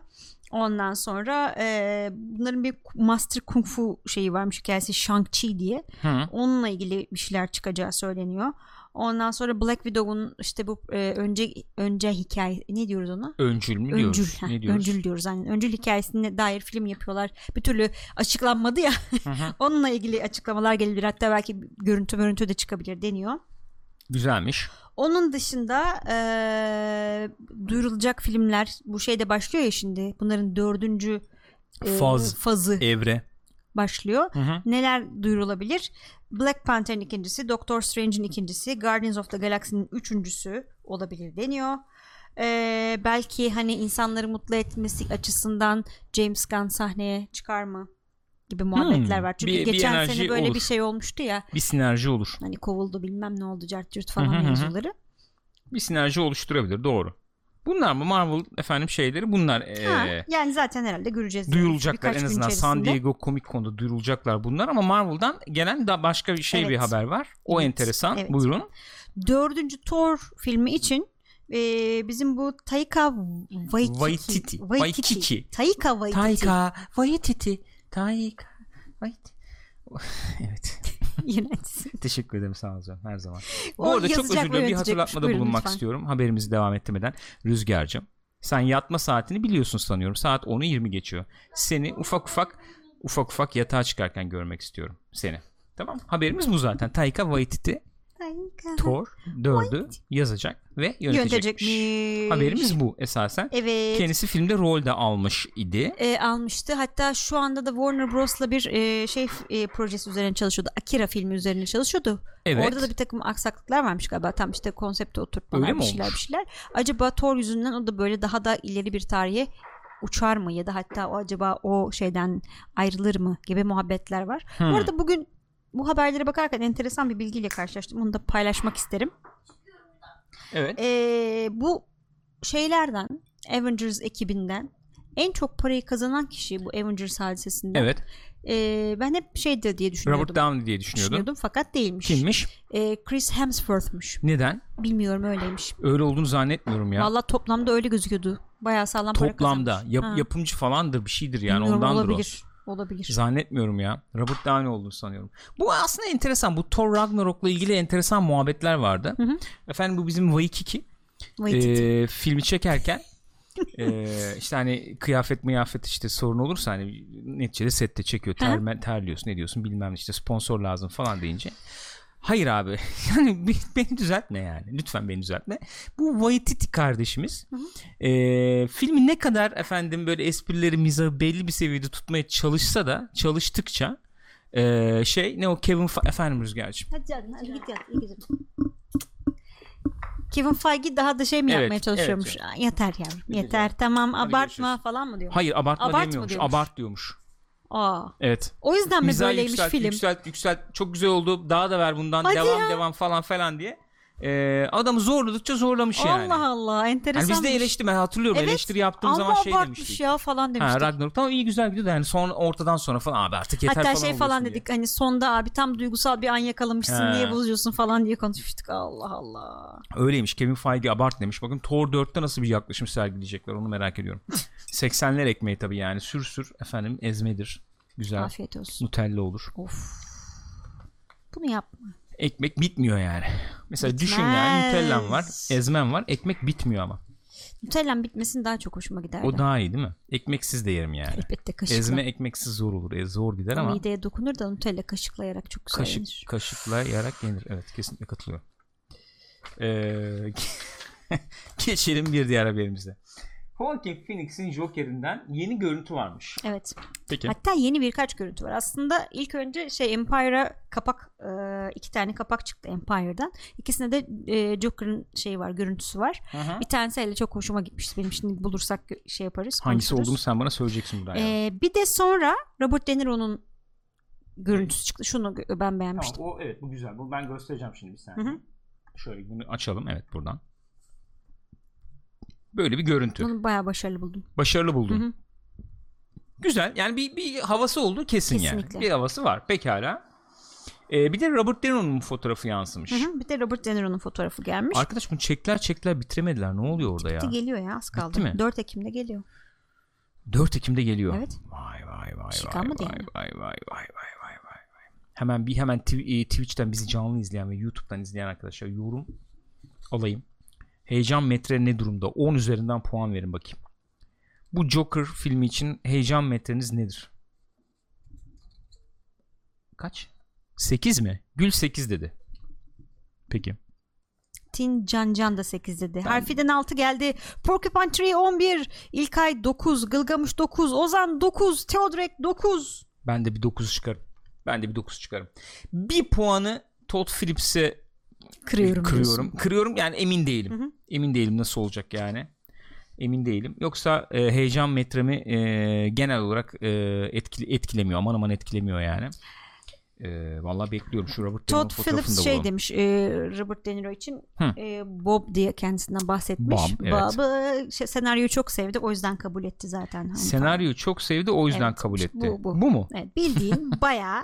B: Ondan sonra e, bunların bir Master Kung Fu şeyi varmış hikayesi Shang-Chi diye.
A: Hı.
B: Onunla ilgili bir şeyler çıkacağı söyleniyor. Ondan sonra Black Widow'un işte bu e, önce önce hikaye ne diyoruz ona?
A: Öncül mü diyoruz?
B: Öncül. ha,
A: Ne diyoruz?
B: Öncül diyoruz. Yani öncül hikayesine dair film yapıyorlar. Bir türlü açıklanmadı ya.
A: hı.
B: Onunla ilgili açıklamalar gelebilir. Hatta belki görüntü görüntü de çıkabilir deniyor.
A: Güzelmiş.
B: Onun dışında eee, duyurulacak filmler bu şeyde başlıyor ya şimdi. Bunların dördüncü eee,
A: Faz.
B: fazı
A: Evre.
B: başlıyor.
A: Hı hı.
B: Neler duyurulabilir? Black Panther'in ikincisi, Doctor Strange'in ikincisi, Guardians of the Galaxy'nin üçüncüsü olabilir deniyor. Ee, belki hani insanları mutlu etmesi açısından James Gunn sahneye çıkar mı gibi muhabbetler
A: Hmm,
B: var. Çünkü
A: bir- bir
B: geçen
A: enerji
B: sene böyle
A: olur.
B: bir şey olmuştu ya.
A: Bir sinerji olur.
B: Hani kovuldu bilmem ne oldu cart cürt
A: Hı hı
B: falan
A: hı hı.
B: mevzuları.
A: Bir sinerji oluşturabilir. Doğru. Bunlar mı Marvel efendim şeyleri? Bunlar
B: Ha,
A: ee,
B: yani zaten herhalde göreceğiz.
A: duyurulacaklar
B: Birkaç
A: en
B: gün
A: azından San
B: içerisinde.
A: Diego Comic Con'da duyurulacaklar bunlar ama Marvel'dan gelen daha başka bir şey bir
B: Evet.
A: haber var. O
B: Evet,
A: enteresan.
B: evet.
A: Buyurun.
B: Dördüncü Thor filmi için eee, bizim bu Taika Waititi.
A: Waititi. Waititi.
B: Taika Waititi.
A: Taika Waititi. Taika Waititi. evet.
B: İğrenç.
A: Teşekkür ederim sağ olun canım, her zaman.
B: O
A: Bu arada çok
B: yazacak
A: özür
B: ve
A: diliyorum bir
B: yönetecekmiş.
A: hatırlatmada
B: Buyurun
A: bulunmak
B: lütfen.
A: istiyorum haberimizi devam ettirmeden. Rüzgar'cığım sen yatma saatini biliyorsun sanıyorum saat 10'u 20 geçiyor. Seni ufak ufak ufak ufak yatağa çıkarken görmek istiyorum seni. Tamam haberimiz bu zaten. Taika Waititi
B: Taika.
A: Thor 4'ü yazacak ve yönetecekmiş.
B: Yönetecekmiş.
A: Haberimiz bu esasen.
B: Evet.
A: Kendisi filmde rol de almış idi.
B: e, almıştı. Hatta şu anda da Warner Bros'la bir e, şey e, projesi üzerine çalışıyordu. Akira filmi üzerine çalışıyordu.
A: Evet.
B: Orada da bir takım aksaklıklar varmış galiba. Tam işte konsepte oturtmalar
A: Öyle
B: bir
A: mi
B: şeyler
A: olmuş?
B: bir şeyler. Acaba Thor yüzünden o da böyle daha da ileri bir tarihe uçar mı ya da hatta o acaba o şeyden ayrılır mı gibi muhabbetler var.
A: Hmm.
B: Bu arada bugün bu haberlere bakarken enteresan bir bilgiyle karşılaştım. Onu da paylaşmak isterim.
A: Evet.
B: Ee, bu şeylerden Avengers ekibinden en çok parayı kazanan kişi bu Avengers hadisesinden.
A: Evet.
B: Ee, ben hep şeydi diye düşünüyordum.
A: Robert Downey diye düşünüyordun.
B: düşünüyordum fakat değilmiş.
A: Kimmiş?
B: Ee, Chris Hemsworth'muş.
A: Neden?
B: Bilmiyorum öyleymiş.
A: Öyle olduğunu zannetmiyorum ya.
B: Valla toplamda öyle gözüküyordu. Bayağı sağlam para
A: Toplamda
B: kazanmış.
A: yap-
B: Ha,
A: yapımcı falandır bir şeydir yani
B: bilmiyorum,
A: ondandır
B: olabilir. Olabilir.
A: o. Zannetmiyorum ya. Robert Downey olduğunu sanıyorum. Bu aslında enteresan. Bu Thor Ragnarok'la ilgili enteresan muhabbetler vardı. Efendim bu bizim Waikiki
B: Waititi.
A: eee, filmi çekerken Ee, işte hani kıyafet mıyafet işte sorun olursa hani neticede sette çekiyor. Terme, terliyorsun ne diyorsun bilmem ne işte sponsor lazım falan deyince. Hayır abi yani be- beni düzeltme yani lütfen beni düzeltme. Bu Waititi kardeşimiz ee, filmi ne kadar efendim böyle esprileri mizahı belli bir seviyede tutmaya çalışsa da çalıştıkça ee, şey ne o Kevin Fe- efendim Rüzgar'cığım.
B: Hadi canım hadi git yat. iyi geceler. Kevin Feige daha da şey mi
A: Evet,
B: yapmaya çalışıyormuş?
A: evet
B: Aa, Yeter yavrum yeter tamam abartma
A: görüşürüz.
B: falan mı diyor?
A: Hayır abartma
B: Abart mı
A: demiyormuş
B: diyormuş?
A: abart diyormuş.
B: Aa,
A: Evet.
B: o yüzden mi
A: Mizahı
B: böyleymiş
A: yükselt,
B: film?
A: Yükselt, yükselt. Çok güzel oldu. Daha da ver bundan.
B: Hadi
A: devam,
B: ya.
A: devam falan falan diye. Ee, adamı zorladıkça zorlamış şey yani.
B: Allah Allah
A: Yani
B: enteresan.
A: biz de eleştirme hatırlıyorum
B: Evet,
A: eleştiri yaptığım
B: Ama
A: zaman şey
B: abartmış
A: demiştik.
B: ya falan
A: Ha,
B: demiştik.
A: Ragnarok tamam iyi güzel gidiyordu yani son ortadan sonra falan abi artık yeter
B: Hatta
A: falan
B: şey falan
A: olursun diye.
B: dedik hani sonda abi tam duygusal bir an yakalamışsın
A: He.
B: diye bozuyorsun falan diye konuşmuştuk. Allah Allah.
A: Öyleymiş Kevin Feige abart demiş. Bakın Thor 4'te nasıl bir yaklaşım sergileyecekler onu merak ediyorum. 80'ler ekmeği tabii yani sür sür efendim ezmedir. Güzel.
B: Afiyet olsun.
A: Nutella olur.
B: Of. Bunu yapma.
A: Ekmek bitmiyor yani. Mesela düşün yani
B: Bitmez.
A: Nutella'm var, ezmem var. Ekmek bitmiyor ama.
B: Nutellam bitmesin daha çok hoşuma giderdi.
A: O daha iyi değil mi? Ekmeksiz de yerim yani.
B: Elbette kaşıkla.
A: Ezme ekmeksiz zor olur. E, zor gider ama
B: Mideye dokunur da Nutella kaşıklayarak çok güzel
A: kaşık
B: yenir.
A: kaşıkla yarak yenir. Evet kesinlikle katılıyorum. Ee, geçelim bir diğer haberimize. Joaquin Phoenix'in Joker'inden yeni görüntü varmış.
B: Evet.
A: Peki.
B: Hatta yeni birkaç görüntü var. Aslında ilk önce şey Empire'a kapak e, iki tane kapak çıktı Empire'dan. İkisinde de e, Joker'ın şeyi var, görüntüsü var.
A: Hı hı.
B: Bir tanesi hele çok hoşuma gitmişti. Benim şimdi bulursak şey yaparız.
A: Hangisi
B: konuşuruz.
A: olduğunu sen bana söyleyeceksin buradan. yani.
B: Ee, bir de sonra Robert De Niro'nun görüntüsü çıktı. Şunu gö- ben beğenmiştim.
A: o evet bu güzel. Bu ben göstereceğim şimdi bir saniye.
B: Hı hı.
A: Şöyle bunu açalım evet buradan. Böyle bir görüntü.
B: Bunu bayağı başarılı buldum.
A: Başarılı buldun.
B: Hı hı.
A: Güzel. Yani bir, bir havası oldu kesin
B: Kesinlikle.
A: yani. Bir havası var. Pekala. Ee, bir de Robert De Niro'nun fotoğrafı yansımış.
B: Hı hı. Bir de Robert De Niro'nun fotoğrafı gelmiş.
A: Arkadaş bunu çekler çekler bitiremediler. Ne oluyor orada ya?
B: Bitti, geliyor ya az kaldı.
A: Bitti mi?
B: 4 Ekim'de geliyor.
A: 4 Ekim'de geliyor.
B: Evet.
A: Vay vay vay
B: şey
A: vay
B: kalmadı
A: vay,
B: yani.
A: vay vay vay vay vay vay. Hemen bir hemen tw- e, Twitch'ten bizi canlı izleyen ve YouTube'dan izleyen arkadaşlar yorum alayım. Heyecan metre ne durumda? 10 üzerinden puan verin bakayım. Bu Joker filmi için heyecan metreniz nedir? Kaç? 8 mi? Gül 8 dedi. Peki.
B: Tin Can Can da 8 dedi. Harfiden 6 geldi. Porcupine Tree 11. İlkay 9. Gılgamış 9. Ozan 9. Teodrek 9.
A: Ben de bir 9 çıkarım. Ben de bir 9 çıkarım. Bir puanı Todd Phillips'e
B: Kırıyorum.
A: kırıyorum.
B: diyorsun.
A: Kırıyorum yani emin değilim. Emin değilim nasıl olacak yani. Emin değilim. Yoksa e, heyecan metremi e, genel olarak e, etkile, etkilemiyor. Aman aman etkilemiyor yani. E, vallahi bekliyorum şu Robert De Niro'nun
B: Todd
A: fotoğrafını
B: Phillips
A: da
B: şey
A: bulalım.
B: demiş e, Robert De Niro için
A: Hı.
B: e, Bob diye kendisinden bahsetmiş.
A: Bob, evet.
B: Bob'ı şey, senaryoyu çok sevdi o yüzden kabul etti zaten. Hani
A: Senaryoyu çok sevdi o yüzden
B: Evet,
A: kabul etti.
B: bu- bu.
A: mu?
B: falan. Evet, bildiğin bayağı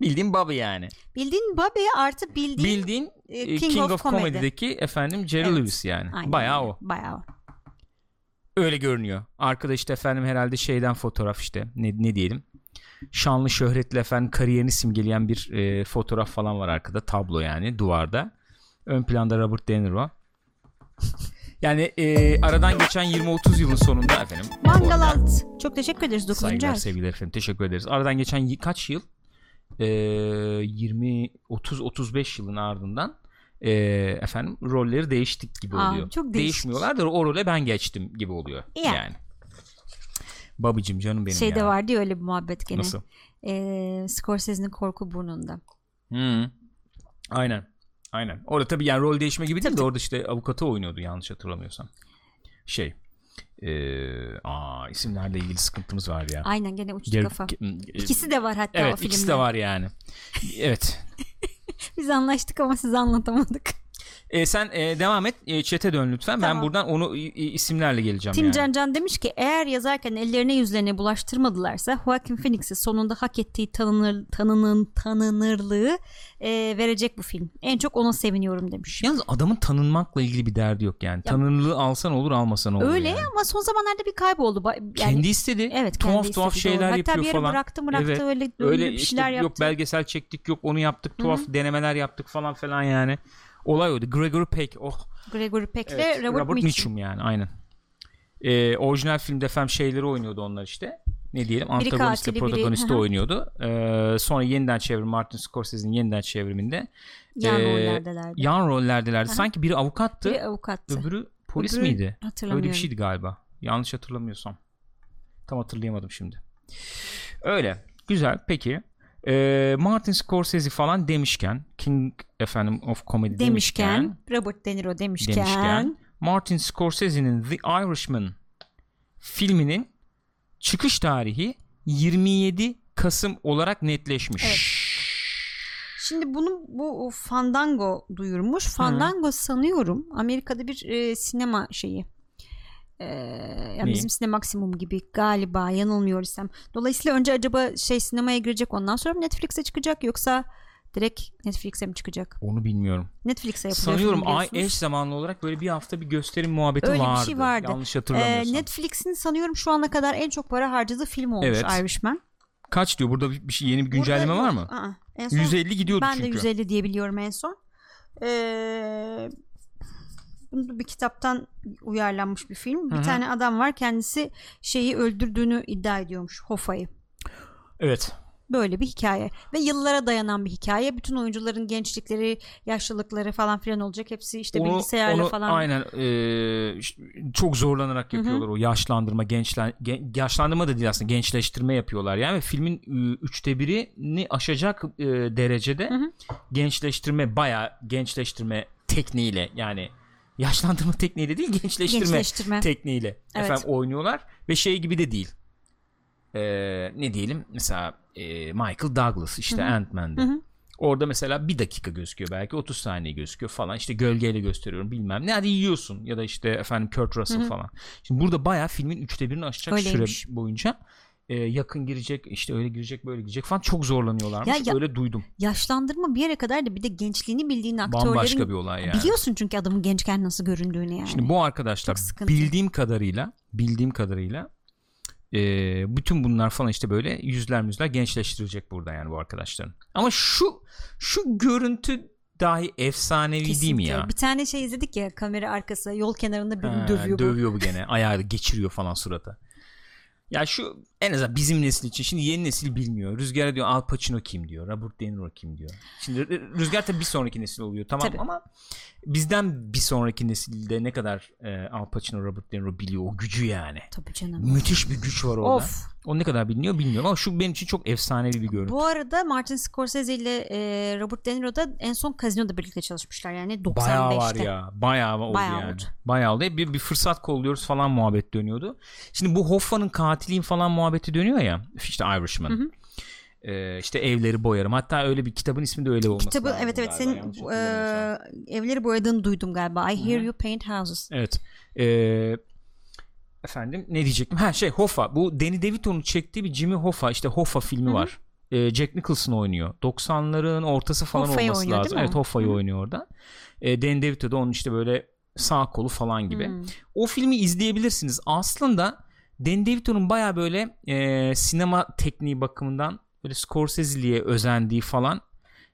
A: Bildiğin Bobby yani.
B: bildiğin Bobby artı bildiğin,
A: Bildiğin
B: e,
A: e, King, of, Comedy'deki efendim Jerry
B: Evet,
A: Lewis yani.
B: Aynen
A: Bayağı
B: öyle,
A: o.
B: Bayağı o.
A: Öyle görünüyor. Arkada işte efendim herhalde şeyden fotoğraf işte ne, ne diyelim. Şanlı şöhretli efendim kariyerini simgeleyen bir e, fotoğraf falan var arkada. Tablo yani duvarda. Ön planda Robert De Niro. Yani e, aradan geçen 20-30 yılın sonunda efendim. bu
B: Mangal
A: arada
B: Alt. Çok teşekkür ederiz 9.
A: Saygılar
B: ay.
A: sevgiler efendim. Teşekkür ederiz. Aradan geçen y- kaç yıl? E, 20-30-35 yılın ardından e, efendim rolleri değiştik gibi
B: Aa,
A: oluyor.
B: çok değişik.
A: Değişmiyorlar da o role ben geçtim gibi oluyor.
B: Yani.
A: Yani. Babacım canım benim
B: Şeyde
A: ya.
B: Şey vardı ya öyle bir muhabbet gene.
A: Nasıl?
B: E, Scorsese'nin korku burnunda.
A: Hı. Hmm. Aynen. Aynen. Orada tabii yani rol değişme gibi değil de orada işte avukatı oynuyordu yanlış hatırlamıyorsam. Şey. eee aa isimlerle ilgili sıkıntımız var ya.
B: Aynen gene uçtu
A: Ger-
B: kafa.
A: ge-
B: İkisi de var hatta o
A: evet
B: filmde.
A: ikisi de var yani. Evet.
B: Biz anlaştık ama size anlatamadık.
A: E, sen e, devam et. E, çete dön lütfen. Ben
B: Tamam.
A: buradan onu i- i- isimlerle geleceğim
B: Tim
A: yani.
B: Can Can demiş ki eğer yazarken ellerine yüzlerine bulaştırmadılarsa Joaquin Phoenix'e sonunda hak ettiği tanınır, tanının, tanınırlığı e, verecek bu film. En çok ona seviniyorum demiş.
A: Yalnız adamın tanınmakla ilgili bir derdi yok yani. Tanınırlığı alsan olur almasan olur.
B: Öyle
A: yani.
B: ama son zamanlarda bir kayboldu. Ba- Yani,
A: kendi istedi.
B: evet,
A: tuhaf
B: kendi
A: tuhaf
B: istediği doğru.
A: şeyler
B: Hatta
A: yapıyor
B: bir yere
A: falan.
B: bıraktı bıraktı
A: Evet.
B: öyle,
A: Öyle
B: öyle bir
A: işte
B: şeyler yaptı.
A: Yok belgesel çektik yok onu yaptık tuhaf denemeler yaptık falan filan yani. Olay oydu. Gregory Peck oh.
B: Gregory Peck
A: Evet,
B: ve Robert, Mitchum.
A: yani aynen. E, orijinal filmde efendim şeyleri oynuyordu onlar işte. Ne diyelim antagonisti,
B: katili, biri-
A: protagonisti
B: Hı hı.
A: oynuyordu. E, sonra yeniden çevrim Martin Scorsese'nin yeniden çevriminde
B: Yan
A: Ee,
B: rollerdelerdi.
A: yan rollerdelerdi.
B: Hı hı.
A: Sanki biri avukattı,
B: Biri avukattı.
A: öbürü polis
B: Öbürü-
A: miydi?
B: Hatırlamıyorum.
A: Öyle bir şeydi galiba. Yanlış hatırlamıyorsam. Tam hatırlayamadım şimdi. Öyle. Güzel. Peki. Ee, Martin Scorsese falan demişken King efendim of Comedy
B: Demişken,
A: demişken
B: Robert De Niro demişken,
A: demişken Martin Scorsese'nin The Irishman filminin çıkış tarihi 27 Kasım olarak netleşmiş.
B: Şimdi bunu bu Fandango duyurmuş. Fandango sanıyorum Amerika'da bir e, sinema şeyi. E, yani
A: Neyi?
B: bizim sinema maksimum gibi galiba yanılmıyorsam. Dolayısıyla önce acaba şey sinemaya girecek ondan sonra mı Netflix'e çıkacak yoksa direkt Netflix'e mi çıkacak?
A: Onu bilmiyorum.
B: Netflix'e yapılıyor.
A: Sanıyorum E ay
B: biliyorsunuz.
A: eş zamanlı olarak böyle bir hafta bir gösterim muhabbeti
B: Öyle bir
A: vardı.
B: şey vardı.
A: Yanlış
B: Ee,
A: hatırlamıyorsam.
B: Netflix'in sanıyorum şu ana kadar en çok para harcadığı film olmuş
A: Evet.
B: Irishman.
A: Kaç diyor? Burada bir bir şey yeni bir güncelleme
B: Burada-
A: var mı?
B: Aa, en son
A: 150 gidiyordu
B: ben de
A: çünkü.
B: 150 diyebiliyorum en son. Ee, bunu da bir kitaptan uyarlanmış bir film. Bir
A: Hı hı.
B: tane adam var kendisi şeyi öldürdüğünü iddia ediyormuş Hofa'yı.
A: Evet.
B: Böyle bir hikaye ve yıllara dayanan bir hikaye. Bütün oyuncuların gençlikleri, yaşlılıkları falan filan olacak. Hepsi işte
A: Onu-
B: bilgisayarla
A: onu
B: falan.
A: Aynen. e, ş- çok zorlanarak yapıyorlar o yaşlandırma, gençlen, gen- yaşlandırma da değil aslında gençleştirme yapıyorlar. Yani filmin e, üçte birini aşacak e, derecede
B: Hı hı.
A: gençleştirme bayağı gençleştirme tekniğiyle yani yaşlandırma tekniğiyle değil gençleştirme
B: Gençleştirme.
A: tekniğiyle
B: Evet.
A: efendim oynuyorlar ve şey gibi de değil. Ee, ne diyelim mesela e, Michael Douglas işte Ant-Man'de.
B: Hı hı.
A: Orada mesela bir dakika gözüküyor belki 30 saniye gözüküyor falan işte gölgeyle gösteriyorum bilmem ne hadi yiyorsun ya da işte efendim Kurt Russell falan. Şimdi burada bayağı filmin üçte birini aşacak
B: Öyleymiş.
A: süre boyunca e, yakın girecek işte öyle girecek böyle girecek falan çok zorlanıyorlarmış
B: Ya- ya-
A: öyle duydum.
B: Yaşlandırma bir yere kadar da bir de gençliğini bildiğin aktörlerin
A: Bambaşka bir olay yani.
B: biliyorsun çünkü adamın gençken nasıl göründüğünü yani.
A: Şimdi bu arkadaşlar
B: Çok sıkıntı.
A: bildiğim kadarıyla bildiğim kadarıyla e, bütün bunlar falan işte böyle yüzler müzler gençleştirecek burada yani bu arkadaşların. Ama şu şu görüntü dahi efsanevi değil mi
B: Kesinlikle.
A: ya?
B: Bir tane şey izledik ya kamera arkası yol kenarında birini
A: Ha,
B: dövüyor. bu.
A: bu gene. Ayağı geçiriyor falan surata. Ya şu en azından bizim nesil için şimdi yeni nesil bilmiyor. Rüzgar diyor Al Pacino kim diyor. Robert De Niro kim diyor. Şimdi Rü- Rüzgar tabii bir sonraki nesil oluyor tamam
B: Tabii.
A: ama bizden bir sonraki nesilde ne kadar e, Al Pacino Robert De Niro biliyor o gücü yani.
B: Tabii canım.
A: Müthiş bir güç var orada.
B: Of.
A: O ne kadar biliniyor bilmiyorum ama şu benim için çok efsanevi bir görüntü.
B: Bu arada Martin Scorsese ile e, Robert De Niro da en son kazinoda birlikte çalışmışlar yani 95'te.
A: Bayağı var ya. Bayağı oldu
B: Bayağı
A: yani.
B: oldu.
A: Bayağı oldu. Hep Bir, bir fırsat kolluyoruz falan muhabbet dönüyordu. Şimdi bu Hoffa'nın katiliyim falan muhabbeti dönüyor ya. İşte Irishman. Ee, işte evleri boyarım. Hatta öyle bir kitabın ismi de öyle olması
B: Kitabı
A: lazım
B: E, evet evet
A: galiba.
B: senin
A: Yanlış
B: e,
A: hatırlamıyorsam.
B: evleri boyadığını duydum galiba. I hear you paint houses.
A: Evet. Ee, efendim ne diyecektim? Ha şey Hoffa. Bu Danny DeVito'nun çektiği bir Jimmy Hoffa işte Hoffa filmi var. Ee, Jack Nicholson oynuyor. 90'ların ortası falan
B: Hoffa'yı
A: olması
B: oynuyor,
A: lazım.
B: değil mi?
A: Evet Hoffa'yı oynuyor orada. Ee, Danny DeVito da onun işte böyle sağ kolu falan gibi.
B: Hmm.
A: O filmi izleyebilirsiniz. Aslında Danny DeVito'nun baya böyle e, sinema tekniği bakımından böyle Scorsese'liye özendiği falan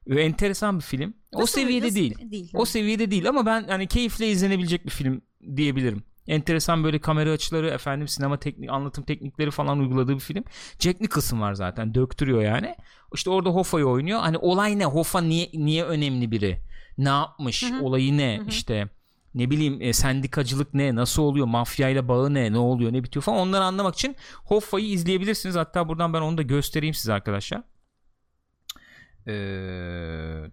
A: ve enteresan bir film. o
B: Nasıl-
A: seviyede
B: nasıl-
A: değil. O seviyede değil ama ben hani keyifle izlenebilecek bir film diyebilirim. Enteresan böyle kamera açıları, efendim sinema teknik, anlatım teknikleri falan uyguladığı bir film. Jack Nicholson var zaten. Döktürüyor yani. İşte orada Hoffa'yı oynuyor. Hani olay ne? Hoffa niye niye önemli biri? Ne yapmış?
B: Hı hı.
A: Olayı ne?
B: Hı hı.
A: İşte ne bileyim e, sendikacılık ne? Nasıl oluyor? Mafyayla bağı ne? Ne oluyor? Ne bitiyor falan. Onları anlamak için Hoffa'yı izleyebilirsiniz. Hatta buradan ben onu da göstereyim size arkadaşlar. Ee,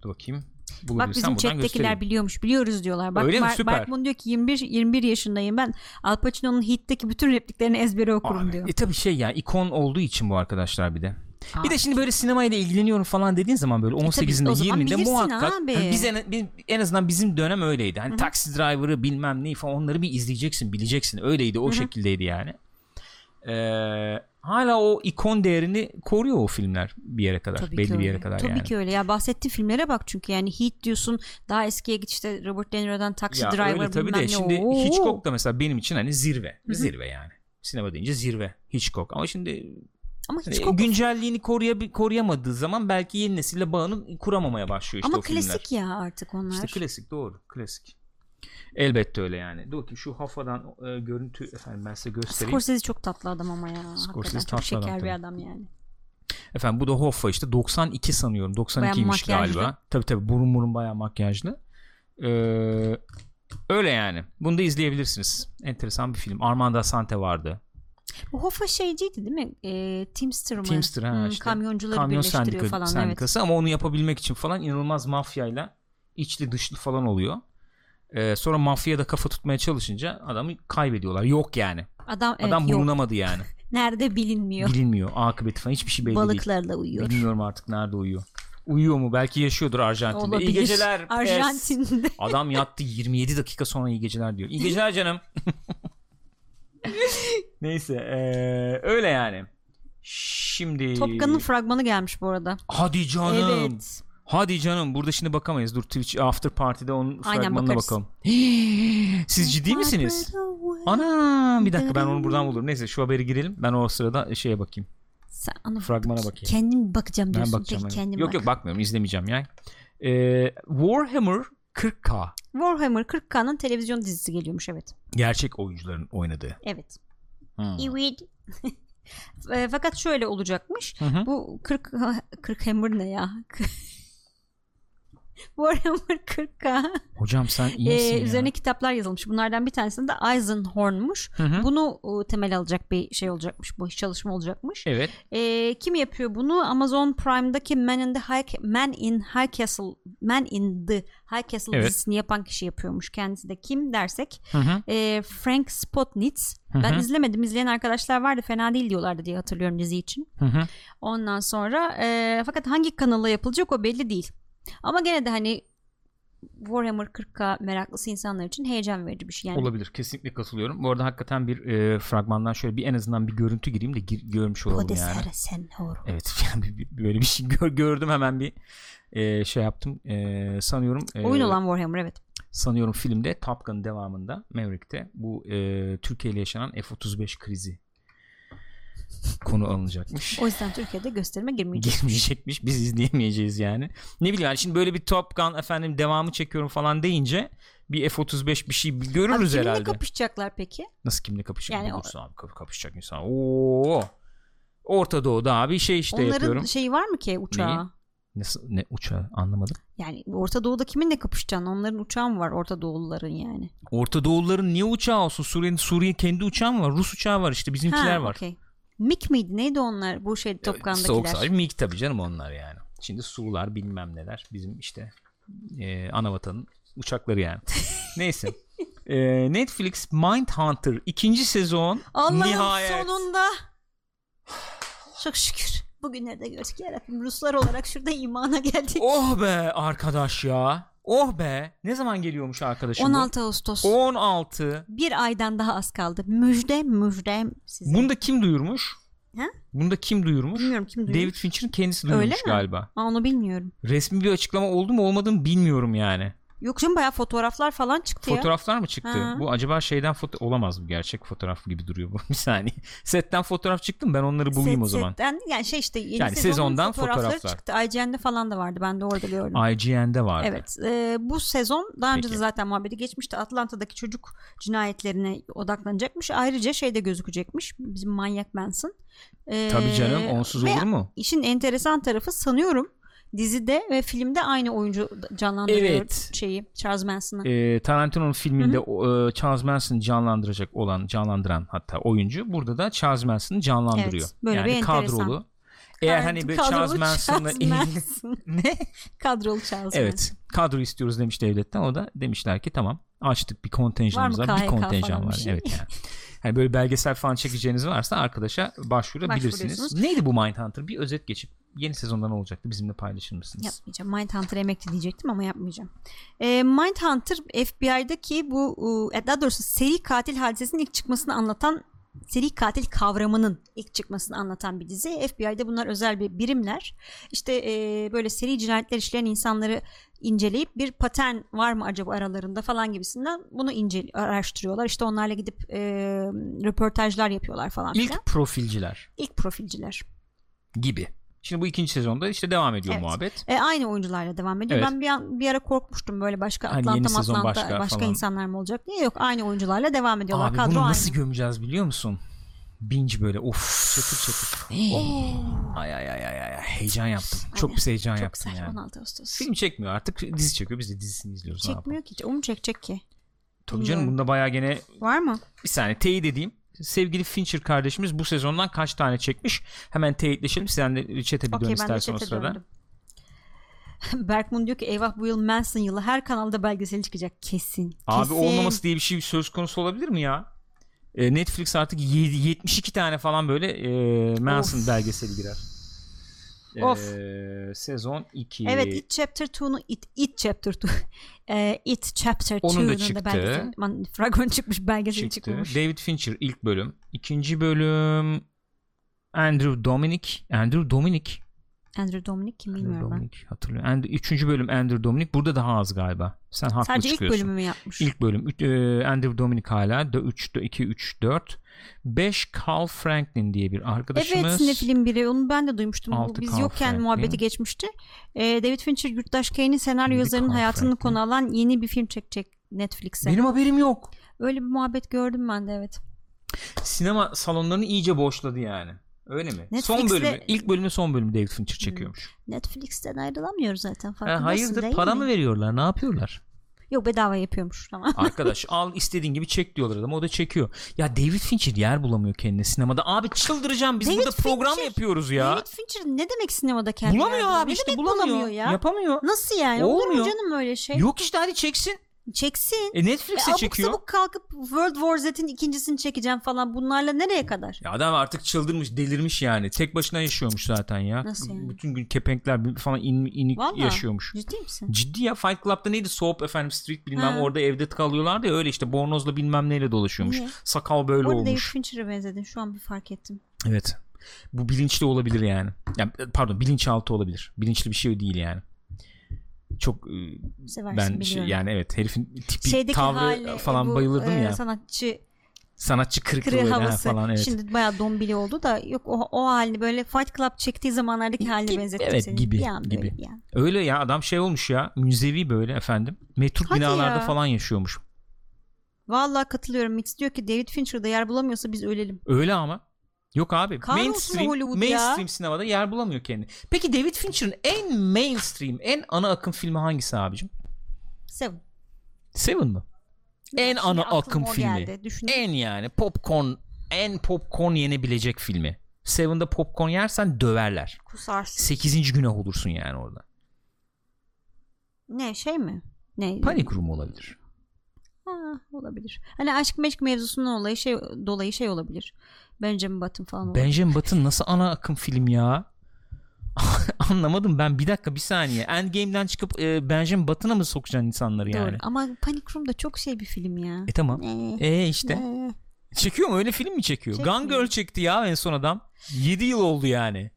A: dur bakayım.
B: Bak
A: Bulabilirsem
B: bizim
A: buradan göstereyim.
B: chat'tekiler biliyormuş. Biliyoruz diyorlar. Bak
A: Öyle mi?
B: Mar-
A: Süper.
B: Mark Moon diyor ki 21 21 yaşındayım ben. Al Pacino'nun Heat'teki bütün repliklerini ezbere okurum
A: Abi,
B: diyor.
A: E tabii şey ya ikon olduğu için bu arkadaşlar bir de.
B: Aa. E,
A: Bir de şimdi böyle sinemayla ilgileniyorum falan dediğin zaman böyle 18'inde
B: o zaman
A: 20'inde
B: bilirsin
A: muhakkak
B: abi.
A: Hani biz en, biz- en azından bizim dönem öyleydi. Hani taksi driver'ı bilmem neyi falan onları bir izleyeceksin bileceksin. Öyleydi o şekildeydi yani. Ee, hala o ikon değerini koruyor o filmler bir yere kadar.
B: Tabii
A: belli
B: ki
A: bir yere
B: öyle.
A: kadar
B: Tabii
A: yani.
B: ki öyle. Ya bahsettiğin filmlere bak çünkü yani Heat diyorsun daha eskiye git işte Robert De Niro'dan Taxi
A: Ya
B: Driver
A: öyle tabii
B: bilmem
A: de
B: ne.
A: şimdi
B: Oo.
A: Hitchcock da mesela benim için hani zirve. Zirve yani. Sinema deyince zirve Hitchcock. Ama şimdi
B: Ama
A: Hani
B: Hitchcock
A: güncelliğini koruya, koruyamadığı zaman belki yeni nesille bağını kuramamaya başlıyor işte
B: ama
A: o filmler.
B: klasik ya artık onlar.
A: İşte klasik doğru klasik. Elbette öyle yani. Dur ki şu hafadan e, görüntü efendim ben size göstereyim.
B: Scorsese çok tatlı adam ama ya. Scorsese
A: Scorsese
B: çok
A: tatlı adam
B: şeker bir
A: tabii.
B: adam yani.
A: Efendim bu da Hoffa işte 92 sanıyorum. 92'ymiş
B: Bayağı makyajlı.
A: galiba. Tabii tabii burun burun bayağı makyajlı. Ee, öyle yani. Bunu da izleyebilirsiniz. Enteresan bir film. Armando Sante vardı.
B: Bu Hoffa şeyciydi değil mi? E, Teamster mı? Hmm,
A: Teamster, ha işte.
B: Kamyoncuları
A: Kamyon
B: birleştiriyor
A: sendika,
B: falan. Evet.
A: sendikası ama onu yapabilmek için falan inanılmaz mafyayla içli dışlı falan oluyor. Ee, sonra mafya da kafa tutmaya çalışınca adamı kaybediyorlar. Yok yani.
B: Adam, evet,
A: Adam
B: yok.
A: bulunamadı yani.
B: Nerede bilinmiyor.
A: Bilinmiyor. Akıbeti falan hiçbir şey belli değil.
B: Balıklarla uyuyor.
A: Bilmiyorum artık nerede uyuyor. Uyuyor mu? Belki yaşıyordur Arjantin'de.
B: Olabilir.
A: İyi geceler. pes.
B: Arjantin'de.
A: Adam yattı 27 dakika sonra iyi geceler diyor. İyi geceler canım. Neyse eee, öyle yani. Şimdi
B: Top Gun'ın fragmanı gelmiş bu arada.
A: Hadi canım.
B: Evet.
A: Hadi canım. Burada şimdi bakamayız. Dur Twitch after party'de onun
B: Aynen,
A: fragmanına
B: bakarız.
A: bakalım. Siz ciddi misiniz? Ana bir dakika ben onu buradan bulurum. Neyse şu haberi girelim. Ben o sırada şeye bakayım.
B: Sen ona
A: Fragmana bakayım.
B: Kendim bakacağım
A: Ben
B: diyorsun.
A: bakacağım.
B: Peki
A: hani.
B: kendin
A: yok
B: bak.
A: yok bakmıyorum. izlemeyeceğim ya. Eee, Warhammer 40K.
B: Warhammer 40K'nın televizyon dizisi geliyormuş evet.
A: Gerçek oyuncuların oynadığı.
B: Evet.
A: Hmm.
B: Evet. E, Fakat şöyle olacakmış.
A: Hı hı.
B: Bu 40 Warhammer ne ya? Warhammer 40K.
A: Hocam sen iyi
B: Ee,
A: misin ya?
B: üzerine kitaplar yazılmış. Bunlardan bir tanesinde de Eisenhorn'muş.
A: Hı hı.
B: Bunu e, temel alacak bir şey olacakmış. Bu çalışma olacakmış.
A: Evet.
B: Ee, kim yapıyor bunu? Amazon Prime'daki Man in the High Man in High Castle Man in the High Castle
A: Evet.
B: dizisini yapan kişi yapıyormuş. Kendisi de kim dersek
A: Hı hı.
B: ee, Frank Spotnitz.
A: Hı
B: Ben
A: hı.
B: izlemedim. İzleyen arkadaşlar vardı. Fena değil diyorlardı diye hatırlıyorum dizi için.
A: Hı hı.
B: Ondan sonra ee, fakat hangi kanala yapılacak o belli değil. Ama gene de hani Warhammer 40K meraklısı insanlar için heyecan verici bir şey yani.
A: Olabilir. Kesinlikle katılıyorum. Bu arada hakikaten bir e, fragmandan şöyle bir en azından bir görüntü gireyim de gir- görmüş olalım yani.
B: Podesere Senhor.
A: Evet. Yani bir- bir- böyle bir şey gör- gördüm hemen bir e, şey yaptım. E, sanıyorum e,
B: Oyun olan Warhammer evet.
A: sanıyorum filmde Top Gun devamında Maverick'te bu e, Türkiye ile yaşanan F-35 krizi konu alınacakmış.
B: O yüzden Türkiye'de gösterime girmeyecek.
A: girmeyecekmiş. Biz izleyemeyeceğiz yani. Ne bileyim yani şimdi böyle bir Top Gun efendim devamı çekiyorum falan deyince bir F-35 bir şey bir
B: Abi
A: görürüz
B: kiminle
A: herhalde.
B: kapışacaklar peki?
A: Nasıl kimle kapışacak?
B: Yani
A: Yani
B: o-
A: abi kap- kapışacak insan. Oo. Orta Doğu'da abi şey işte
B: Onların
A: yapıyorum.
B: şeyi var mı ki uçağı?
A: Neyi? Nasıl ne uçağı anlamadım.
B: Yani Orta Doğu'da kiminle kapışacaksın? Onların uçağı mı var Orta Doğuluların yani?
A: Orta Doğulların niye uçağı olsun? Suriye'nin Suriye kendi uçağı mı var? Rus uçağı var işte bizimkiler var. Ee,
B: okey. Mik miydi? Neydi onlar? Bu şey Top
A: Soğuk
B: Gun'dakiler.
A: savaş MiG tabii canım onlar yani. Şimdi Surlar bilmem neler bizim işte e, ana vatanın uçakları yani. Neyse. E, Netflix Mindhunter ikinci sezon
B: Allah'ım
A: nihayet.
B: sonunda. Çok şükür. Bugünlerde gördük ya Rabbim. Ruslar olarak şurada imana geldik.
A: Oh be arkadaş ya. Oh be. Ne zaman geliyormuş arkadaşım? bu?
B: 16 Ağustos.
A: 16.
B: Bir aydan daha az kaldı. Müjde müjde size.
A: Bunu da kim duyurmuş?
B: Ha?
A: Bunu da kim duyurmuş?
B: Bilmiyorum kim duyuyor.
A: David Fincher'ın kendisi
B: Öyle
A: duyurmuş
B: mi?
A: galiba.
B: Aa, onu bilmiyorum.
A: Resmi bir açıklama oldu mu olmadı mı bilmiyorum yani.
B: Yok canım bayağı fotoğraflar falan çıktı ya.
A: Fotoğraflar mı çıktı?
B: Ha.
A: Bu acaba şeyden foto olamaz mı? Gerçek fotoğraf gibi duruyor bu. bir saniye. Setten fotoğraf çıktı mı? Ben onları bulayım
B: Set-
A: o zaman.
B: setten- yani şey işte yeni
A: Yani
B: sezonun
A: sezondan
B: fotoğrafları
A: fotoğraflar.
B: çıktı. IGN'de falan da vardı. Ben de orada gördüm.
A: IGN'de vardı.
B: Evet. e, bu sezon daha önce de
A: Peki.
B: zaten muhabbeti geçmişti. Atlanta'daki çocuk cinayetlerine odaklanacakmış. Ayrıca şey de gözükecekmiş. Bizim manyak Manson. E,
A: Tabii canım onsuz
B: ve
A: olur mu?
B: İşin enteresan tarafı sanıyorum dizide ve filmde aynı oyuncu canlandırıyor
A: Evet.
B: şeyi Charles Manson'ı.
A: Ee, Tarantino'nun filminde o, e, Charles Manson canlandıracak olan canlandıran hatta oyuncu burada da Charles Manson'ı canlandırıyor.
B: Evet, böyle
A: yani
B: bir enteresan.
A: kadrolu. Eğer hani
B: Kadrolu
A: böyle Charles Manson'la
B: Charles Manson.
A: ne?
B: Kadrolu Charles
A: Evet. Kadro istiyoruz demiş devletten. O da demişler ki tamam açtık bir kontenjanımız
B: Var
A: var.
B: mı
A: Bir
B: KHK
A: kontenjan
B: falan bir
A: var.
B: şey?
A: Evet yani. Hani böyle belgesel falan çekeceğiniz varsa arkadaşa başvurabilirsiniz.
B: Başvuruyorsunuz.
A: Neydi bu Mindhunter? Bir özet geçip yeni sezonda ne olacaktı bizimle paylaşır mısınız?
B: Yapmayacağım. Mindhunter emekli diyecektim ama yapmayacağım. E, Mindhunter FBI'daki bu e, daha doğrusu seri katil hadisesinin ilk çıkmasını anlatan seri katil kavramının ilk çıkmasını anlatan bir dizi. FBI'de bunlar özel bir birimler. İşte e, böyle seri cinayetler işleyen insanları inceleyip bir patern var mı acaba aralarında falan gibisinden bunu ince araştırıyorlar. İşte onlarla gidip e, röportajlar yapıyorlar falan filan.
A: İlk profilciler
B: İlk profilciler.
A: gibi. Şimdi bu ikinci sezonda işte devam ediyor
B: Evet.
A: muhabbet.
B: E, aynı oyuncularla devam ediyor.
A: Evet.
B: Ben bir, an, bir ara korkmuştum böyle başka
A: Hani
B: Atlanta
A: yeni sezon
B: Atlanta
A: başka
B: başka,
A: falan.
B: insanlar mı olacak diye yok aynı oyuncularla devam ediyorlar.
A: Abi
B: Kadro
A: bunu
B: aynı.
A: nasıl gömeceğiz biliyor musun? Binge böyle of çatır çatır. ay ay ay ay ay heyecan yaptım. Çok pis heyecan
B: Ee. Çok
A: yaptım
B: güzel
A: yani.
B: 16 Ağustos.
A: Film çekmiyor artık dizi çekiyor biz de dizisini izliyoruz. ne yapalım.
B: Çekmiyor ki. Onu çekecek ki.
A: Tabii canım
B: Bilmiyorum.
A: bunda bayağı gene
B: Var mı?
A: bir saniye teyit edeyim. Sevgili Fincher kardeşimiz bu sezondan kaç tane çekmiş? Hemen teyitleşelim. Sen de çete bir dön
B: Okey ben de
A: istersen o
B: chat'e
A: sırada.
B: döndüm. Berkman diyor ki eyvah bu yıl Manson yılı her kanalda belgeseli çıkacak kesin.
A: Abi
B: kesin.
A: olmaması diye bir şey söz konusu olabilir mi ya? E, Netflix artık yedi- 72 tane falan böyle e, Manson
B: Of.
A: belgeseli girer. E,
B: Of.
A: sezon 2.
B: Evet It Chapter 2'nun It, It Chapter 2 Eee It Chapter
A: Onun da
B: 2'nun
A: çıktı.
B: da belgeseli. Aman, Fragman çıkmış belgeseli
A: çıktı.
B: çıkmamış.
A: David Fincher ilk bölüm. İkinci bölüm Andrew Dominic. Andrew Dominic.
B: Andrew Dominic kim
A: Andrew
B: bilmiyorum ben.
A: Dominic hatırlıyorum. And- üçüncü bölüm Andrew Dominic. Burada daha az galiba. Sen haklı
B: Sadece ilk
A: çıkıyorsun.
B: bölümü mü yapmış?
A: İlk bölüm. Üç- e, Andrew Dominic hala. 3, 2, 3, 4. 5 Carl Franklin diye bir
B: Evet
A: arkadaşımız.
B: sinefilin biri onu ben de duymuştum. Bu
A: Altı
B: Biz
A: Carl
B: yokken
A: Franklin.
B: muhabbeti geçmişti. Ee, David Fincher Yurttaş Kane'in senaryo
A: Yedi
B: yazarının
A: Carl
B: hayatını
A: Franklin.
B: konu alan yeni bir film çekecek Netflix'e.
A: Benim haberim yok.
B: Öyle bir muhabbet gördüm ben de evet.
A: Sinema salonlarını iyice boşladı yani. Öyle mi?
B: Netflix'le-
A: Son bölümü, ilk bölümü son bölümü David Fincher çekiyormuş.
B: Netflix'ten ayrılamıyoruz zaten
A: Ha,
B: farkındasın
A: hayırdır
B: Hmm. değil
A: para
B: mi?
A: mı veriyorlar? Ne yapıyorlar?
B: Yok bedava yapıyormuş tamam.
A: Arkadaş al istediğin gibi çek diyorlar adam o da çekiyor. Ya David Fincher yer bulamıyor kendine sinemada. Abi çıldıracağım biz
B: David
A: burada program
B: Fincher-
A: yapıyoruz ya.
B: David Fincher ne demek sinemada kendi
A: bulamıyor
B: yardımı?
A: abi
B: Ne
A: işte
B: demek
A: bulamıyor.
B: ya.
A: Yapamıyor.
B: Nasıl yani? Olur
A: Olmuyor.
B: mu canım öyle şey?
A: Yok işte hadi çeksin.
B: Çeksin.
A: E
B: E,
A: Netflix'e
B: abuk
A: çekiyor.
B: sabuk kalkıp World War Z'in ikincisini çekeceğim falan bunlarla nereye kadar?
A: Ya adam artık çıldırmış, delirmiş yani. Tek başına yaşıyormuş zaten ya.
B: Nasıl yani?
A: Bütün gün kepenkler falan in, inik
B: Vallahi.
A: yaşıyormuş.
B: Ciddi misin?
A: Ciddi ya Fight Club'da neydi? Soap efendim Street bilmem
B: Ha.
A: orada evde kalıyorlardı ya öyle işte bornozla bilmem neyle dolaşıyormuş.
B: Niye?
A: Sakal böyle
B: Orada David
A: olmuş.
B: Fincher'e benzedin şu an bir fark ettim.
A: Evet. Bu bilinçli olabilir yani. Ya, pardon bilinçaltı olabilir. Bilinçli bir şey değil yani. Çok e,
B: Seversin
A: ben şey,
B: biliyorum.
A: yani evet herifin tipi
B: Şeydeki
A: tavrı
B: hali,
A: falan
B: bu,
A: bayılırdım
B: e,
A: ya.
B: Sanatçı
A: Sanatçı kırıklığı
B: kırı
A: böyle, ha,
B: havası.
A: falan evet.
B: Şimdi bayağı dombili oldu da yok o, o halini böyle Fight Club çektiği zamanlardaki haline
A: Gibi,
B: benzettim
A: evet,
B: seni.
A: gibi,
B: Bir an böyle,
A: gibi.
B: bir an.
A: Öyle ya adam şey olmuş ya müzevi böyle efendim. Metruk
B: Hadi
A: binalarda
B: ya.
A: falan yaşıyormuş.
B: Vallahi katılıyorum. Mix diyor ki David Fincher'da yer bulamıyorsa biz ölelim.
A: Öyle ama. Yok abi.
B: Kahrolsun
A: mainstream,
B: Hollywood ya.
A: mainstream sinemada yer bulamıyor kendini. Peki David Fincher'ın en mainstream, en ana akım filmi hangisi abicim?
B: Seven.
A: Seven mı? En
B: Şimdi
A: ana
B: aklıma
A: akım
B: o
A: filmi.
B: geldi. Düşünün.
A: En yani popcorn, en popcorn yenebilecek filmi. Seven'da popcorn yersen döverler.
B: Kusarsın.
A: 8. günah olursun yani orada.
B: Ne şey mi? Ne?
A: Panik rumu olabilir.
B: Ha, olabilir. Hani aşk meşk mevzusundan olayı şey dolayı şey olabilir. Benjamin Button falan olabilir.
A: Benjamin Button nasıl ana akım film ya? Anlamadım ben bir dakika bir saniye. Endgame'den çıkıp e, Benjamin Button'a mı sokacaksın insanları yani?
B: Doğru. Ama Panic Room da çok şey bir film ya.
A: E tamam.
B: Ne?
A: E işte.
B: Ne?
A: Çekiyor mu öyle film mi çekiyor?
B: Çekmiyor.
A: Gun Girl çekti ya en son adam. 7 yıl oldu yani.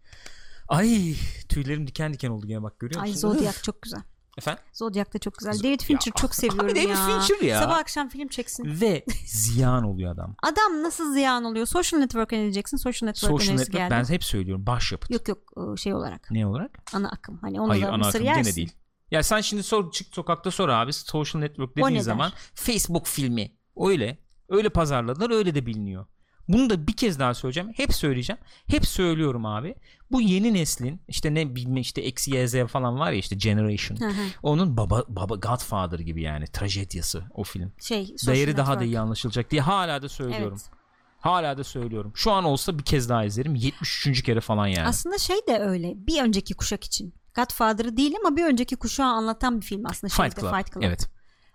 A: Ay tüylerim diken diken oldu gene bak görüyor
B: Ay
A: musun?
B: Zodiac çok güzel.
A: Efendim?
B: Zodiac da çok güzel.
A: Z-
B: David Fincher
A: Ya.
B: çok seviyorum
A: Abi David
B: ya.
A: Fincher ya.
B: Sabah akşam film çeksin.
A: Ve ziyan oluyor adam.
B: Adam nasıl ziyan oluyor? Social Network önereceksin. Social Network
A: Social
B: önerisi
A: Network
B: geldi.
A: ben hep söylüyorum başyapıt.
B: Yok yok e, şey olarak.
A: Ne olarak?
B: Ana akım. Hani onu
A: Hayır
B: da
A: ana
B: mısır
A: akım
B: yersin.
A: gene değil. Ya sen şimdi sor çık sokakta sor abi Social Network
B: ne
A: dediğin
B: der?
A: zaman Facebook filmi öyle öyle pazarladılar öyle de biliniyor. Bunu da bir kez daha söyleyeceğim. Hep söyleyeceğim. Hep söylüyorum abi. Bu yeni neslin işte ne bilme işte eksi YZ falan var ya işte Generation.
B: Hı hı.
A: Onun baba baba Godfather gibi yani trajedyası o film.
B: Şey, Social
A: Değeri daha da
B: Network.
A: iyi anlaşılacak diye hala da söylüyorum.
B: Evet.
A: Hala da söylüyorum. Şu an olsa bir kez daha izlerim. 73. kere falan yani.
B: Aslında şey de öyle. Bir önceki kuşak için. Godfather'ı değil ama bir önceki kuşağı anlatan bir film aslında.
A: Fight
B: şeyde,
A: Club.
B: Fight Club.
A: Evet.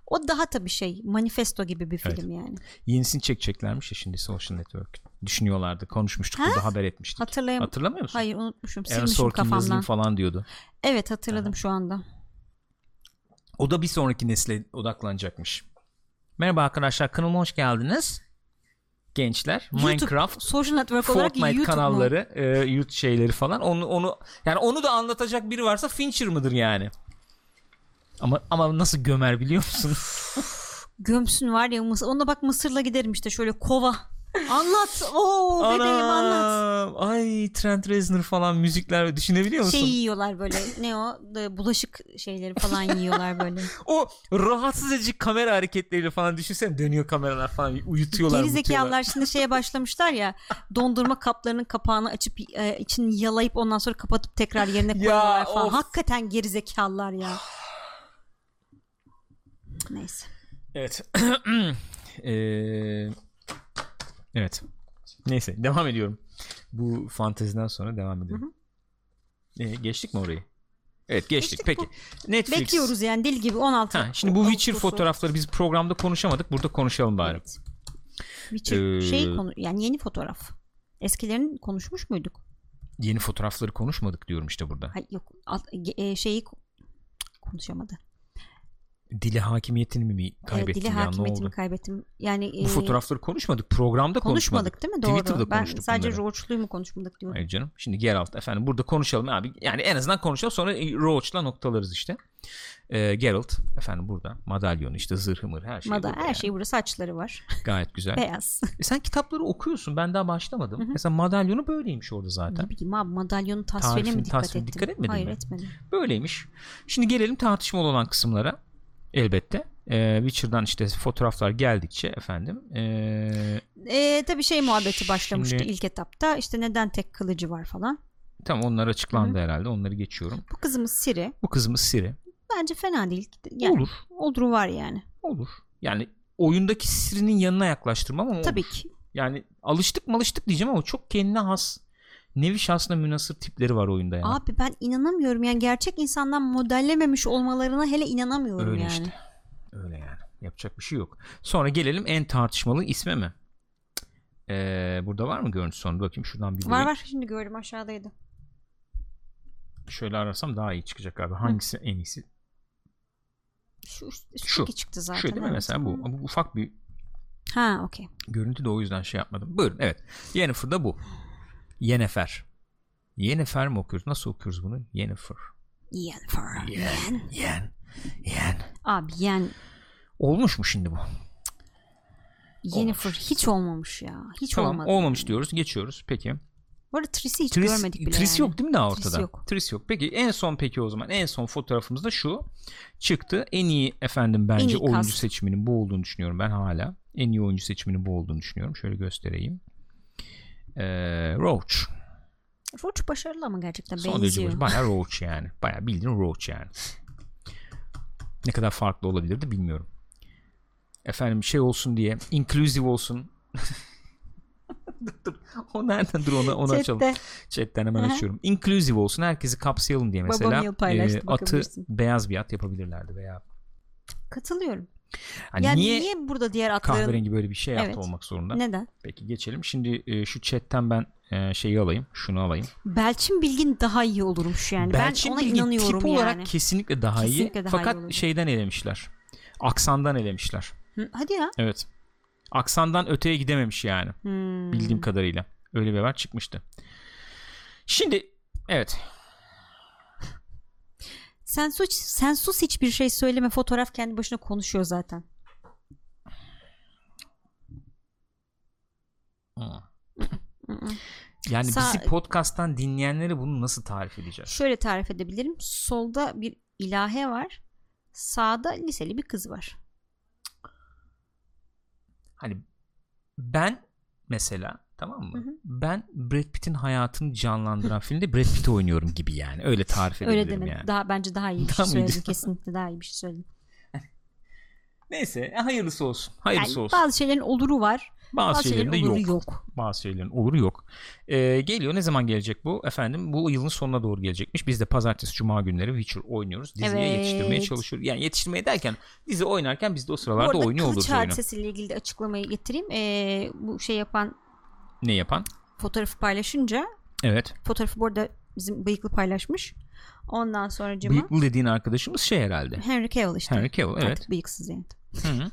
B: O daha tabii şey. Manifesto gibi bir
A: Evet.
B: film yani.
A: Yenisini çekeceklermiş ya şimdi Social Network. Düşünüyorlardı. Konuşmuştuk. Burada haber etmiştik.
B: Hatırlayam-
A: Hatırlamıyor musun?
B: Hayır unutmuşum.
A: Aaron
B: Silmişim
A: Sorkin yazayım
B: kafamdan.
A: falan diyordu.
B: Evet hatırladım şu anda.
A: O da bir sonraki nesle odaklanacakmış. Merhaba arkadaşlar. Kanalıma hoş geldiniz. Gençler. Minecraft.
B: YouTube, Social Network olarak
A: Fortnite
B: YouTube mu?
A: kanalları, e, YouTube şeyleri falan. Onu onu yani onu da anlatacak biri varsa Fincher mıdır yani? Ama ama nasıl gömer biliyor musun?
B: Gömsün var ya Mısır. Onunla bak Mısır'la giderim işte şöyle kova. anlat. Oo bebeğim anlat.
A: ya ay Trent Reznor falan müzikler düşünebiliyor musun?
B: Şey yiyorlar böyle ne o da bulaşık şeyleri falan yiyorlar böyle.
A: O rahatsız edici kamera hareketleriyle falan düşünsen dönüyor kameralar falan uyutuyorlar.
B: Geri
A: mutuyorlar.
B: zekalılar şimdi şeye başlamışlar ya dondurma kaplarının kapağını açıp e, içini yalayıp ondan sonra kapatıp tekrar yerine
A: Ya,
B: koyuyorlar falan.
A: of.
B: Hakikaten geri zekalılar ya. Neyse.
A: Evet. Ee, evet. Neyse devam ediyorum. Bu fanteziden sonra devam ediyorum. Ee, geçtik mi orayı? Evet geçtik.
B: Geçtik,
A: Peki. Netflix.
B: Bekliyoruz yani deli gibi 16.
A: Ha, şimdi bu Witcher
B: Ağustos'u.
A: fotoğrafları biz programda konuşamadık. Burada konuşalım bari.
B: Evet. Witcher
A: Ee,
B: şey konu yani yeni fotoğraf. Eskilerini konuşmuş muyduk?
A: Yeni fotoğrafları konuşmadık diyorum işte burada.
B: Hayır yok alt- ge- e, şeyi ko- konuşamadı.
A: Dili hakimiyetini mi
B: Evet,
A: kaybettim
B: dili
A: ya ne
B: hakimiyetimi
A: oldu?
B: kaybettim. Yani e,
A: Bu fotoğrafları konuşmadık. Programda konuşmadık.
B: konuşmadık değil mi? Doğru.
A: Twitter'da
B: ben
A: konuştuk
B: sadece
A: bunları.
B: Roach'luyu mu konuşmadık diyorum.
A: Hayır canım. Şimdi Geralt efendim burada konuşalım abi. Yani en azından konuşalım sonra e, Roach'la noktalarız işte. Ee, Geralt efendim burada. Madalyon işte zırhı mır her şey.
B: Mada
A: burada
B: her
A: yani.
B: şey burada saçları var.
A: Gayet güzel.
B: Beyaz.
A: E sen kitapları okuyorsun. Ben daha başlamadım. Mesela madalyonu böyleymiş orada zaten.
B: Ne bileyim abi madalyonun tasvirine
A: Tarifini,
B: mi dikkat
A: tasvirine
B: ettin?
A: dikkat etmedin
B: Hayır
A: mi?
B: etmedim.
A: Böyleymiş. Şimdi gelelim tartışmalı olan kısımlara. Elbette. Ee, Witcher'dan işte fotoğraflar geldikçe efendim. ee,
B: Ee, tabii şey muhabbeti başlamıştı
A: Şimdi-
B: ilk etapta. İşte neden tek kılıcı var falan.
A: tamam onlar açıklandı herhalde. Onları geçiyorum.
B: Bu kızımız Siri.
A: Bu kızımız Siri.
B: Bence fena değil. Yani
A: Olur.
B: oluru var yani.
A: Olur. Yani oyundaki Siri'nin yanına yaklaştırmam ama
B: Tabii ki.
A: Yani alıştık mı alıştık diyeceğim ama çok kendine has nevi şahsına münasır tipleri var oyunda yani.
B: Abi ben inanamıyorum yani gerçek insandan modellememiş olmalarına hele inanamıyorum
A: Öyle
B: yani.
A: işte. Öyle yani. Yapacak bir şey yok. Sonra gelelim en tartışmalı isme mi? Ee, burada var mı görüntü sonra bakayım şuradan bir
B: Var var şimdi gördüm aşağıdaydı.
A: şöyle ararsam daha iyi çıkacak abi. Hangisi en iyisi?
B: Şu, şu,
A: Şu.
B: iki çıktı zaten.
A: Şu değil mi
B: evet.
A: mesela bu. bu ufak bir
B: Ha okey.
A: görüntü de o yüzden şey yapmadım. Buyurun evet. Yennefer da bu. Yennefer. Yennefer mi okuyoruz? Nasıl okuyoruz bunu? Yennefer.
B: Yen for. Yen.
A: Yen. Yen.
B: Abi yen.
A: Olmuş mu şimdi bu?
B: Yennefer hiç olmamış ya. Hiç
A: tamam
B: olmadı.
A: olmamış diyoruz. Geçiyoruz. Peki.
B: Bu arada Tris'i hiç
A: Tris,
B: görmedik bile
A: Tris
B: yani.
A: yok değil mi daha
B: Tris
A: ortada? Tris yok.
B: yok.
A: Peki en son peki o zaman en son fotoğrafımız da şu çıktı. En iyi efendim bence
B: En iyi
A: oyuncu
B: kast.
A: seçiminin bu olduğunu düşünüyorum ben hala. En iyi oyuncu seçiminin bu olduğunu düşünüyorum. Şöyle göstereyim. Ee, Roach.
B: Roach başarılı ama gerçekten
A: Son derece
B: benziyor.
A: başarılı. Bayağı Roach yani. Bayağı bildiğin Roach yani. Ne kadar farklı olabilirdi bilmiyorum. Efendim şey olsun diye inclusive olsun. dur dur. O nereden dur ona, onu açalım.
B: Chatte.
A: Chatten hemen
B: Aha.
A: açıyorum. Inclusive olsun. Herkesi kapsayalım diye
B: Babam
A: mesela
B: yıl paylaştı,
A: e, atı
B: bakabilirsin.
A: beyaz bir at yapabilirlerdi veya
B: Katılıyorum.
A: hani
B: yani
A: niye,
B: niye, burada diğer atların
A: kahverengi böyle bir şey
B: Evet.
A: yaptı olmak zorunda.
B: neden?
A: Peki geçelim. Şimdi e, şu chatten ben e, şeyi alayım. Şunu alayım.
B: Belçin Bilgin daha iyi olurmuş yani. ben ona
A: Bilgin
B: inanıyorum
A: tip
B: yani.
A: olarak kesinlikle daha
B: Kesinlikle
A: iyi.
B: daha iyi
A: Fakat
B: olurdu.
A: şeyden elemişler. Aksandan elemişler.
B: Hı, Hadi ya.
A: Evet. Aksandan öteye gidememiş yani.
B: Hmm.
A: Bildiğim kadarıyla. Öyle bir haber çıkmıştı. Şimdi evet.
B: Sen sus, sen sus hiçbir şey söyleme. Fotoğraf kendi başına konuşuyor zaten.
A: Hı.
B: Hı-hı.
A: Yani
B: Sa-
A: bizi podcast'tan dinleyenlere bunu nasıl tarif edeceğiz?
B: Şöyle tarif edebilirim. Solda bir ilahe var. Sağda liseli bir kız var.
A: Hani ben mesela tamam mı?
B: Hı hı.
A: Ben Brad Pitt'in hayatını canlandıran filmde Brad Pitt'i oynuyorum gibi yani. Öyle tarif
B: Öyle
A: edebilirim
B: demedim.
A: yani.
B: Daha bence daha iyi bir
A: Daha
B: şey
A: mıydı?
B: söyledin. Kesinlikle daha iyi bir şey söyledin.
A: Neyse e, hayırlısı olsun.
B: Yani
A: Hayırlısı olsun.
B: bazı şeylerin oluru var.
A: Bazı,
B: Bazı
A: şeylerin de
B: şeylerin oluru
A: yok.
B: yok.
A: Bazı şeylerin olur yok. Ee, geliyor ne zaman gelecek bu? Efendim bu yılın sonuna doğru gelecekmiş. Biz de pazartesi cuma günleri Witcher oynuyoruz. Diziye
B: Evet.
A: yetiştirmeye çalışıyoruz. Yani yetiştirmeye derken dizi oynarken biz de o
B: Bu
A: sıralarda
B: arada
A: oynuyor
B: kılıç
A: oluruz oyunu.
B: hadisesiyle ilgili de açıklamayı getireyim. Ee, bu şey yapan
A: Ne yapan?
B: fotoğrafı paylaşınca
A: Evet.
B: fotoğrafı bu arada bizim bıyıklı paylaşmış. Ondan sonra Cima
A: Bıyıklı dediğin arkadaşımız şey herhalde.
B: Henry Cavill işte.
A: Henry Cavill evet.
B: Artık bıyıksız yani.
A: Hı hı.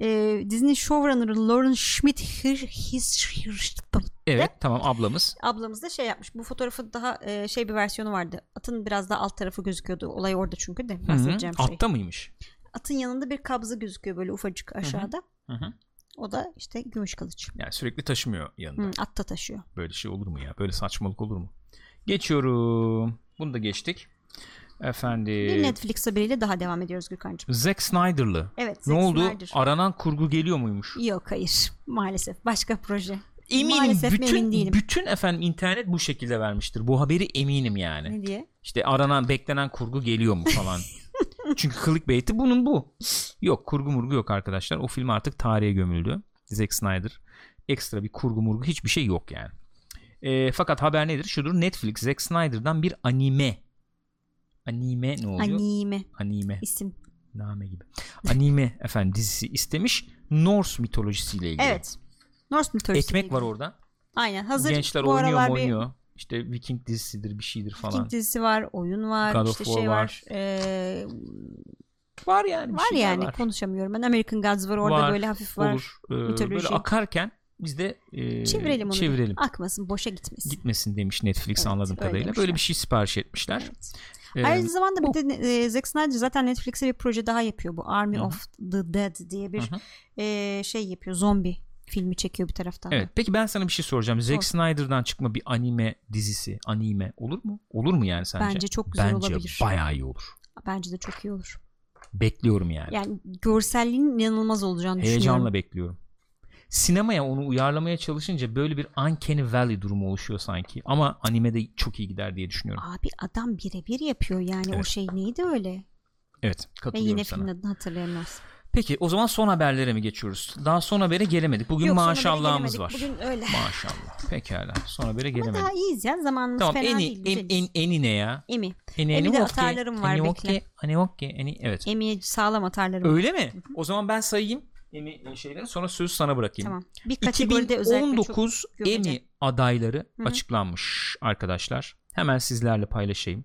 B: Ee, Disney showrunner'ı Lauren Schmidt Hir- His- Hir-
A: Evet tamam ablamız.
B: ablamız da şey yapmış. Bu fotoğrafın daha e, şey bir versiyonu vardı. Atın biraz daha alt tarafı gözüküyordu. Olay orada çünkü de
A: Hı hı.
B: bahsedeceğim şey.
A: Atta mıymış?
B: Atın yanında bir kabza gözüküyor böyle ufacık aşağıda.
A: Hı hı.
B: O da işte gümüş kılıç.
A: Yani sürekli taşımıyor yanında.
B: Hı, atta taşıyor.
A: Böyle şey olur mu ya? Böyle saçmalık olur mu? Geçiyorum. Bunu da geçtik.
B: Bir
A: Efendim.
B: Netflix haberiyle daha devam ediyoruz Gürkan'cığım.
A: Zack Snyder'lı.
B: Evet.
A: ne
B: Zack
A: oldu?
B: Snyder.
A: Aranan kurgu geliyor muymuş?
B: Yok hayır. Maalesef. Başka proje.
A: Eminim
B: Maalesef mi
A: bütün
B: emin değilim.
A: bütün efendim internet bu şekilde vermiştir. Bu haberi eminim yani.
B: Ne diye?
A: İşte aranan beklenen kurgu geliyor mu falan. Çünkü clickbait'i bunun bu. Yok kurgu murgu yok arkadaşlar. O film artık tarihe gömüldü. Zack Snyder. Ekstra bir kurgu murgu hiçbir şey yok yani. E, fakat haber nedir? Şudur Netflix Zack Snyder'dan bir anime. Anime ne oluyor?
B: Anime
A: anime.
B: isim.
A: Name gibi. Anime efendim dizisi istemiş. Norse mitolojisiyle ilgili.
B: Evet. Norse mitolojisi.
A: Ekmek var orada.
B: Aynen. Hazır
A: Gençler
B: bu
A: oynuyor
B: aralar
A: mu
B: bir
A: oynuyor. İşte Viking dizisidir bir şeydir falan.
B: King dizisi var, oyun var,
A: God of
B: işte
A: War
B: şey
A: var.
B: var. Ee,
A: Var yani. bir
B: var
A: şeyler
B: yani konuşamıyorum. Ben American Gods var orada
A: Var,
B: böyle hafif var.
A: Olur. Ee,
B: mitoloji.
A: böyle akarken biz de e,
B: Çevirelim onu. bir.
A: çevirelim.
B: Akmasın, boşa gitmesin.
A: Gitmesin demiş Netflix
B: Evet,
A: anladığım
B: öyle
A: kadarıyla. Böyle
B: demişler.
A: bir şey sipariş etmişler.
B: Evet.
A: Ee,
B: Aynı zamanda bir de ne- e, Zack Snyder zaten Netflix'e bir proje daha yapıyor. Bu Army
A: Hı hı.
B: of the Dead diye bir
A: Hı hı.
B: e, şey yapıyor. Zombi filmi çekiyor bir taraftan. da.
A: evet. Peki ben sana bir şey soracağım. Zack
B: Sor.
A: Snyder'dan çıkma bir anime dizisi, anime olur mu? Olur mu yani sence?
B: Bence çok güzel
A: Bence
B: olabilir.
A: bayağı iyi olur.
B: Bence de çok iyi olur.
A: Bekliyorum yani.
B: Yani görselliğin inanılmaz olacağını
A: Heyecanla
B: düşünüyorum.
A: bekliyorum. Sinemaya onu uyarlamaya çalışınca böyle bir uncanny valley durumu oluşuyor sanki. Ama animede çok iyi gider diye düşünüyorum.
B: Abi adam birebir yapıyor yani o
A: Evet.
B: şey neydi öyle.
A: Evet,
B: Ve
A: katılıyorum
B: yine
A: sana.
B: filmin adını hatırlayamaz.
A: Peki o zaman son haberlere mi geçiyoruz? Daha son habere gelemedik. Bugün
B: Yok, sonra
A: maşallahımız
B: beri
A: var.
B: gelemedik. Bugün öyle.
A: Maşallah. Pekala. Son habere
B: Ama
A: gelemedik.
B: daha iyiyiz ya zamanımız
A: Tamam
B: fena
A: en,
B: değil.
A: en,
B: güzeliz.
A: en, eni ne ya?
B: Emi.
A: En,
B: Emi de
A: okey,
B: atarlarım var,
A: eni
B: bekle.
A: okey, Hani okey. Eni, evet.
B: Emi'ye sağlam atarlarım.
A: Öyle mi? O zaman ben sayayım Emi e, şeyleri sonra sözü sana bırakayım.
B: Tamam. Bir kategoride özellikle çok
A: 2019
B: gömeceğim.
A: Emmy adayları
B: Hı hı.
A: açıklanmış arkadaşlar. Hemen sizlerle paylaşayım.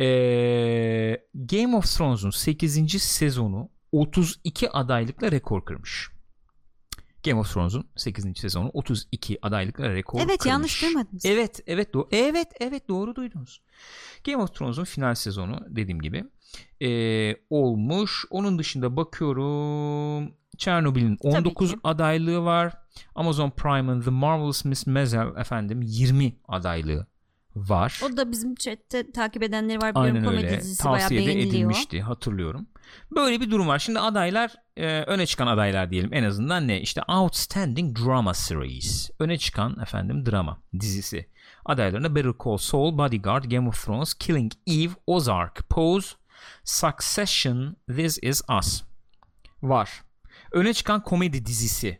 A: Ee, Game of Thrones'un 8. sezonu 32 adaylıkla rekor kırmış. Game of Thrones'un 8. sezonu 32 adaylıkla rekor
B: Evet,
A: kırmış.
B: yanlış duymadınız.
A: Evet evet doğru. Evet evet doğru duydunuz. Game of Thrones'un final sezonu dediğim gibi ee, olmuş. Onun dışında bakıyorum Chernoby'nin
B: ki.
A: 19 adaylığı var. Amazon Prime'ın The Marvelous Miss Maisel efendim 20 adaylığı var.
B: O da bizim chatte takip edenleri var. biliyorum.
A: Aynen
B: komedi
A: öyle.
B: dizisi bayağı
A: Tavsiye de
B: beğeniliyor.
A: edilmişti hatırlıyorum. Böyle bir durum var. Şimdi adaylar e, öne çıkan adaylar diyelim en azından ne? İşte Outstanding Drama Series. Öne çıkan efendim drama dizisi. Adaylarına Better Call Saul, Bodyguard, Game of Thrones, Killing Eve, Ozark, Pose, Succession, This Is Us var. Öne çıkan komedi dizisi.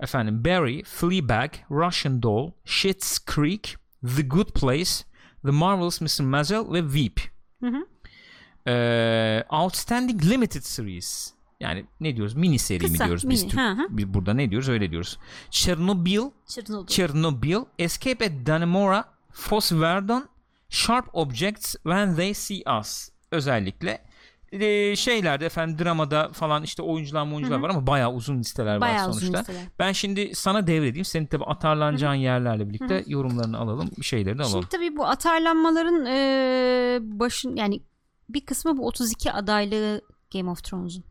A: Efendim Barry, Fleabag, Russian Doll, Schitt's Creek, The Good Place, The Marvelous Mrs. Maisel ve Veep.
B: Hı hı.
A: Ee, Outstanding Limited Series. Yani ne diyoruz? Mini seri
B: Kısa,
A: mi diyoruz biz
B: mini,
A: Türk-
B: hı hı.
A: biz burada ne diyoruz? Öyle diyoruz. Chernobyl,
B: Çırpınıldı.
A: Chernobyl, Escape at Dannemora, Foss Verdon, Sharp Objects When They See Us. Özellikle ee, şeylerde efendim dramada falan işte oyuncular oyuncular var ama bayağı uzun listeler
B: Bayağı
A: var
B: uzun
A: sonuçta.
B: listeler.
A: Ben şimdi sana devredeyim. Senin tabi atarlanacağın yerlerle birlikte yorumlarını alalım. Bir şeyleri de alalım.
B: Şimdi tabii bu atarlanmaların e, başın yani bir kısmı bu 32 adaylığı Game of Thrones'un.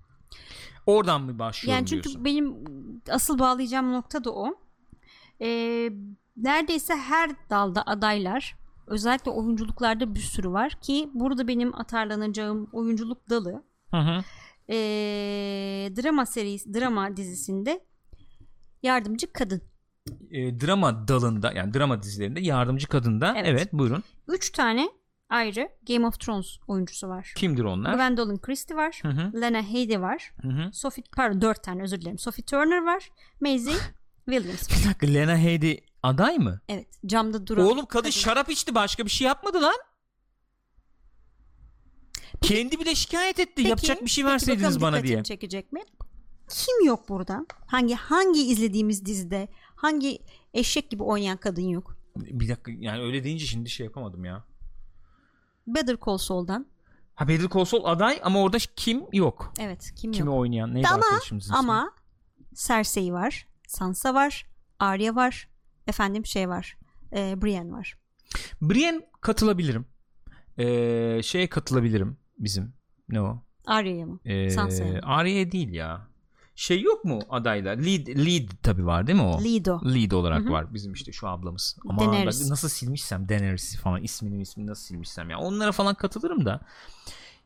A: Oradan mı başlıyorum
B: Yani çünkü
A: diyorsun?
B: benim asıl bağlayacağım nokta da o. E, neredeyse her dalda adaylar özellikle oyunculuklarda bir sürü var ki burada benim atarlanacağım oyunculuk dalı
A: Hı hı.
B: e, drama serisi drama dizisinde yardımcı kadın.
A: e, drama dalında yani drama dizilerinde yardımcı kadında evet,
B: Evet.
A: buyurun
B: 3 tane ayrı Game of Thrones oyuncusu var.
A: kimdir onlar?
B: Gwendolyn Christie var.
A: Hı hı,
B: Lena Headey var.
A: hı hı.
B: Sophie pardon 4 tane özür dilerim. Sophie Turner var. Maisie Williams. var.
A: Bir dakika Lena Headey aday mı?
B: Evet. Camda duran.
A: Oğlum kadın şarap içti başka bir şey yapmadı lan. Kendi bile şikayet etti
B: Peki,
A: yapacak bir şey
B: peki
A: verseydiniz
B: bakalım
A: bana
B: dikkatini
A: diye.
B: çekecek mi? Kim yok burada? Hangi hangi izlediğimiz dizide hangi eşek gibi oynayan kadın yok?
A: Bir dakika yani öyle deyince şimdi şey yapamadım ya.
B: Better Call Saul'dan.
A: Ha Bedir Kosol aday ama orada kim yok.
B: Evet, kim
A: Kimi
B: yok?
A: oynayan neydi
B: Ama-
A: arkadaşımızın ismi?
B: Ama Cersei var, Sansa var, Arya var, efendim şey var. E, Brienne var.
A: Brienne katılabilirim. Ee, şeye katılabilirim bizim. Ne o?
B: Arya'ya mı?
A: Ee,
B: Sansa'ya mı?
A: Arya'ya değil ya. Şey yok mu adaylar? Lead, lead tabii var değil mi o?
B: Lido.
A: Lead olarak
B: Hı hı.
A: var bizim işte şu ablamız. Ama
B: Daenerys.
A: nasıl silmişsem Daenerys falan ismini ismini nasıl silmişsem ya. Onlara falan katılırım da.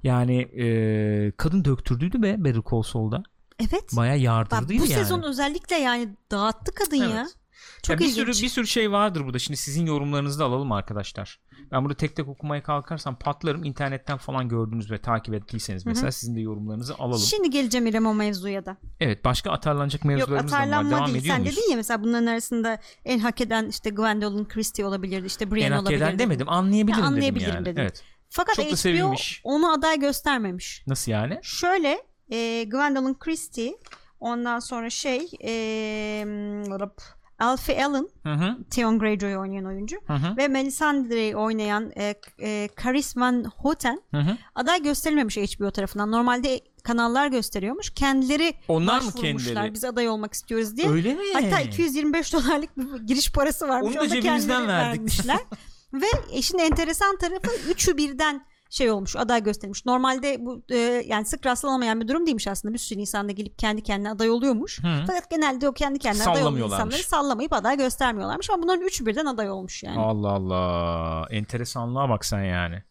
A: Yani e, kadın döktürdüydü be Better Call Saul'da.
B: Evet.
A: Baya
B: Bak,
A: yardırdıydı
B: bu
A: yani.
B: sezon özellikle yani dağıttı kadın ya.
A: Evet.
B: Çok
A: Ya bir
B: ilginç.
A: sürü bir sürü şey vardır burada. Şimdi sizin yorumlarınızı da alalım arkadaşlar. Ben burada tek tek okumaya kalkarsam patlarım. İnternetten falan gördünüz ve takip ettiyseniz mesela sizin de yorumlarınızı alalım.
B: Şimdi geleceğim İrem o mevzuya da.
A: Evet, başka atarlanacak
B: Yok
A: mevzularımız da var.
B: atarlanma
A: Devam
B: değil.
A: ediyor
B: Sen
A: muyuz?
B: dedin ya mesela bunların arasında en hak eden işte Gwendolyn Christie olabilirdi. işte Brienne
A: En hak
B: olabilirdi.
A: eden demedim. Anlayabilirim,
B: Ha, anlayabilirim
A: dedim yani.
B: dedin.
A: Evet.
B: Fakat
A: Çok da
B: HBO
A: sevilmiş.
B: onu aday göstermemiş.
A: Nasıl yani?
B: Şöyle e, Gwendolyn Christie ondan sonra şey e, rap- Alfie Allen
A: Hı hı.
B: Theon Greyjoy oynayan oyuncu
A: Hı hı.
B: ve Melisandre'yi oynayan e, e, Caris Van Houten
A: Hı hı.
B: aday gösterilmemiş HBO tarafından. Normalde kanallar gösteriyormuş. Kendileri
A: Onlar mı
B: başvurmuşlar.
A: kendileri?
B: Biz aday olmak istiyoruz diye.
A: Öyle mi?
B: Hatta 225 dolarlık bir giriş parası varmış.
A: Ee. Onu da
B: kendileri
A: cebimizden verdik.
B: vermişler. Ve işin enteresan tarafı üçü birden şey olmuş aday göstermiş. Normalde bu e, yani sık rastlanamayan bir durum değilmiş aslında. Bir sürü insan da gelip kendi kendine aday oluyormuş.
A: Hı.
B: Fakat genelde o kendi kendine aday olan
A: Sallamıyorlarmış.
B: insanları sallamayıp aday göstermiyorlarmış. Ama bunların üçü birden aday olmuş yani.
A: Allah Allah. Enteresanlığa bak sen yani.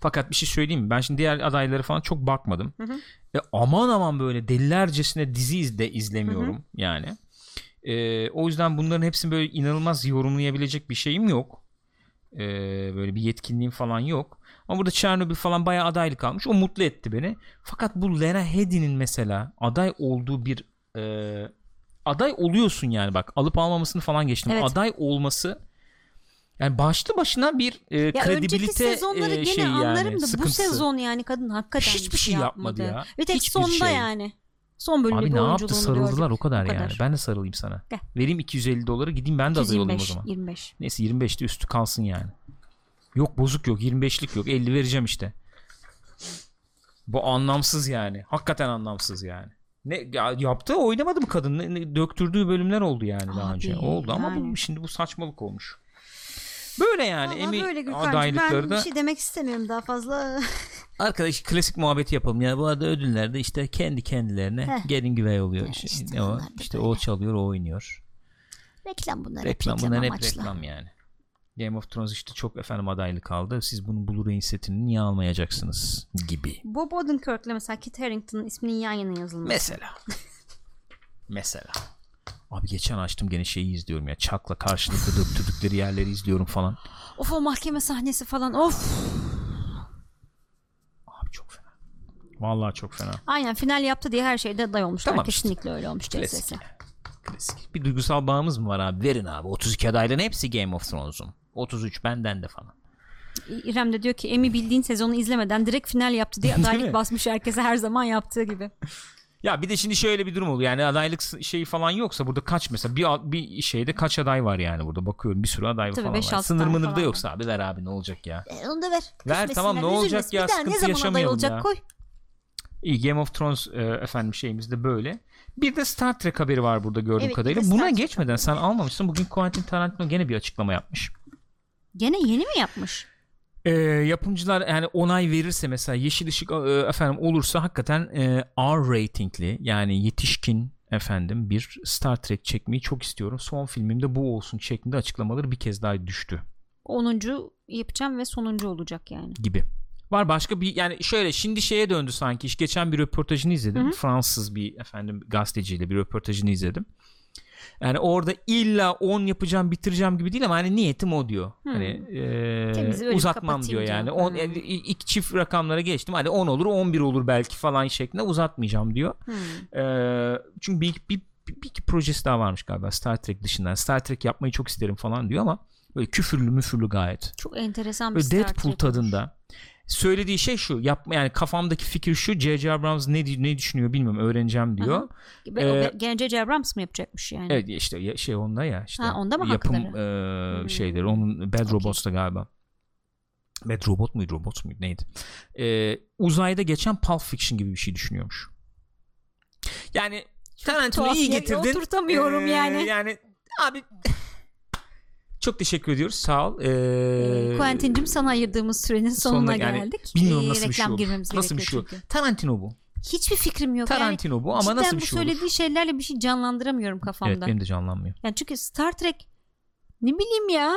A: Fakat bir şey söyleyeyim mi? Ben şimdi diğer adayları falan çok bakmadım.
B: Hı hı.
A: E, aman aman böyle delilercesine dizi izle, izlemiyorum yani. E, o yüzden bunların hepsini böyle inanılmaz yorumlayabilecek bir şeyim yok. E, böyle bir yetkinliğim falan yok. Ama burada Chernobyl falan bayağı adaylık almış. O mutlu etti beni. Fakat bu Lena Headey'nin mesela aday olduğu bir e, aday oluyorsun yani bak alıp almamasını falan geçtim.
B: Evet.
A: Aday olması yani başlı başına bir e,
B: Ya önceki
A: kredibilite
B: sezonları
A: e,
B: gene
A: şeyi yani,
B: anlarım da bu
A: sıkıntısı.
B: sezon yani kadın hakikaten
A: Hiçbir şey yapmadı ya.
B: Ve tek
A: Hiçbir
B: sonda
A: şey.
B: yani. Son bölümde
A: Abi
B: bir
A: ne yaptı
B: oyunculuğunu gördük.
A: sarıldılar o kadar,
B: O kadar.
A: yani. Ben de sarılayım sana.
B: Gel.
A: Vereyim 250 doları gideyim ben de aday olayım o
B: 225,
A: zaman.
B: 25.
A: Neyse 25'te üstü kalsın yani. Yok bozuk yok 25'lik yok 50 vereceğim işte. Bu anlamsız yani. Hakikaten anlamsız yani. Ne ya, yaptı oynamadı bu kadın. Ne- ne- döktürdüğü bölümler oldu yani daha
B: Abi,
A: önce. Oldu ama bu,
B: yani.
A: şimdi bu saçmalık olmuş. Böyle yani
B: Vallahi
A: Emmy
B: böyle Gürkan'cığım,
A: adaylıkları
B: ben
A: da
B: bir şey demek istemiyorum daha fazla.
A: Arkadaş klasik muhabbeti yapalım ya. Bu arada ödüllerde işte kendi kendilerine
B: Heh.
A: gelin güvey oluyor. işte,
B: işte
A: ne o,
B: onlar da
A: işte o çalıyor, o oynuyor.
B: reklam bunlar. hep
A: Reklam bunlar hep
B: amaçlı.
A: reklam yani. Game of Thrones işte çok efendim adaylık aldı. Siz bunun Blu-ray setini niye almayacaksınız gibi.
B: Bob Odenkirk'le mesela Kit Harington'ın isminin yan yana yazılması.
A: Mesela. Mesela. Abi geçen açtım gene şeyi izliyorum ya. Çakla karşılıklı döktürdükleri yerleri izliyorum falan.
B: of o mahkeme sahnesi falan of.
A: Abi çok fena. Vallahi çok fena.
B: Aynen final yaptı diye her şeyde aday olmuşlar.
A: Tamam işte.
B: Kesinlikle öyle olmuş CSS.
A: Klasik. Klasik. Bir duygusal bağımız mı var abi? Verin abi. 32 adaylığın hepsi Game of Thrones'un. 33 benden de falan.
B: İrem de diyor ki Emi bildiğin sezonu izlemeden direkt final yaptı diye
A: mi?
B: adaylık basmış herkese her zaman yaptığı gibi.
A: Ya bir de şimdi şöyle bir durum oluyor. Yani adaylık s- şeyi falan yoksa burada kaç mesela bir bir şeyde kaç aday var yani burada bakıyorum bir sürü aday
B: Tabii
A: falan
B: beş,
A: var.
B: altı
A: Sınır
B: tane
A: mınır da
B: falan
A: yoksa abi ver abi ne olacak ya.
B: E, onu da ver.
A: Ver,
B: Küsmesinler,
A: tamam, ne
B: üzülmesin.
A: olacak ya,
B: Bir daha ne
A: sıkıntı
B: zaman aday
A: yaşamayalım
B: olacak
A: ya.
B: koy.
A: İyi Game of Thrones e, efendim şeyimizde böyle. Bir de Star Trek haberi var burada gördüğüm
B: Evet, bir de
A: kadarıyla.
B: Star
A: Buna
B: Trek
A: geçmeden sen almamışsın. Bugün Quentin Tarantino gene bir açıklama yapmış.
B: Gene yeni mi yapmış?
A: E, yapımcılar yani onay verirse mesela yeşil ışık e, efendim olursa hakikaten e, R ratingli yani yetişkin efendim bir Star Trek çekmeyi çok istiyorum. Son filmimde bu olsun şeklinde açıklamaları bir kez daha düştü
B: 10. yapacağım ve sonuncu olacak yani.
A: gibi. Var başka bir yani şöyle şimdi şeye döndü sanki İşte geçen bir röportajını izledim. Fransız bir efendim gazeteciyle bir röportajını izledim. Yani orada illa 10 yapacağım bitireceğim gibi değil ama hani niyetim o diyor.
B: Hı.
A: Hani e,
B: Temiz böyle bir
A: uzatmam
B: kapatayım
A: diyor
B: diyor.
A: yani. On,
B: Hı.
A: e, ilk çift rakamlara geçtim. Hani 10 olur 11 olur belki falan şeklinde uzatmayacağım diyor.
B: Hmm.
A: Ee, çünkü bir, bir, bir iki projesi daha varmış galiba Star Trek dışından. Star Trek yapmayı çok isterim falan diyor ama böyle küfürlü müfürlü gayet.
B: Çok enteresan bir
A: Böyle
B: Star
A: Deadpool
B: Trek.
A: tadında. Söylediği şey şu. Yapma yani kafamdaki fikir şu. J.J. Abrams ne ne düşünüyor bilmiyorum öğreneceğim diyor.
B: Aha. Ve o
A: Ee,
B: Ge- Gence Cebrams mı yapacakmış yani?
A: Evet işte ya- şey onda ya işte.
B: Ha, onda mı
A: yapım e,
B: Hmm.
A: şeyleri onun Bad Robots'ta galiba. Bad Robot muydu Robot muydu neydi? Ee, uzayda geçen Pulp Fiction gibi bir şey düşünüyormuş. Yani Tarantino
B: tuhaf
A: iyi
B: yere
A: getirdin. Ee,
B: oturtamıyorum yani.
A: Yani abi çok teşekkür ediyoruz sağ ol. Ee,
B: Ee, Quentin'cim sana ayırdığımız sürenin sonuna,
A: yani
B: geldik.
A: Bilmiyorum
B: Ee,
A: nasıl bir şey
B: reklam
A: olur.
B: girmemiz
A: Nasıl bir şey
B: gerekiyor
A: olur.
B: çünkü.
A: Tarantino bu.
B: Hiçbir fikrim yok. yani
A: Tarantino bu ama
B: cidden
A: nasıl bir
B: bu
A: şey olur?
B: söylediği şeylerle bir şey canlandıramıyorum kafamda.
A: Evet benim de canlanmıyor.
B: Yani çünkü Star Trek ne bileyim ya.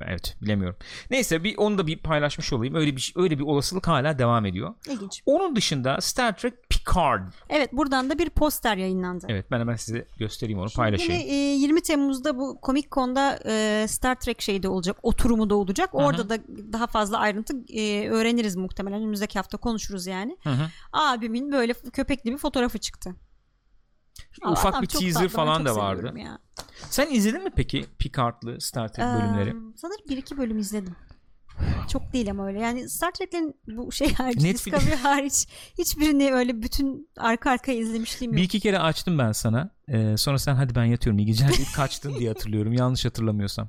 A: Evet bilemiyorum. Neyse bir onu da bir paylaşmış olayım. Öyle bir öyle bir olasılık hala devam ediyor.
B: İlginç.
A: Onun dışında Star Trek Picard.
B: Evet buradan da bir poster yayınlandı.
A: Evet ben hemen size göstereyim onu
B: Şimdi
A: paylaşayım.
B: yine, e, 20 Temmuz'da bu Comic Con'da e, Star Trek şeyi de olacak. Oturumu da olacak. Orada da daha fazla ayrıntı e, öğreniriz muhtemelen. Önümüzdeki hafta konuşuruz yani.
A: Hı hı.
B: Abimin böyle f- köpekli bir fotoğrafı çıktı. Aa,
A: Ufak
B: adam
A: bir
B: çok
A: teaser
B: tatlı, ben
A: falan
B: çok
A: da
B: seviyorum
A: vardı.
B: ya.
A: Sen izledin mi peki Picard'lı Star Trek bölümleri?
B: Ee, sanırım bir iki bölüm izledim. Çok değil ama öyle. Yani Star Trek'lerin bu şey hariç,
A: Netflix-
B: Discovery hariç hiçbirini öyle bütün arka arkaya izlemişliğim
A: Bir
B: yok.
A: iki kere açtım ben sana. Ee, sonra sen hadi ben yatıyorum iyi geceler deyip kaçtın diye hatırlıyorum. Yanlış hatırlamıyorsam.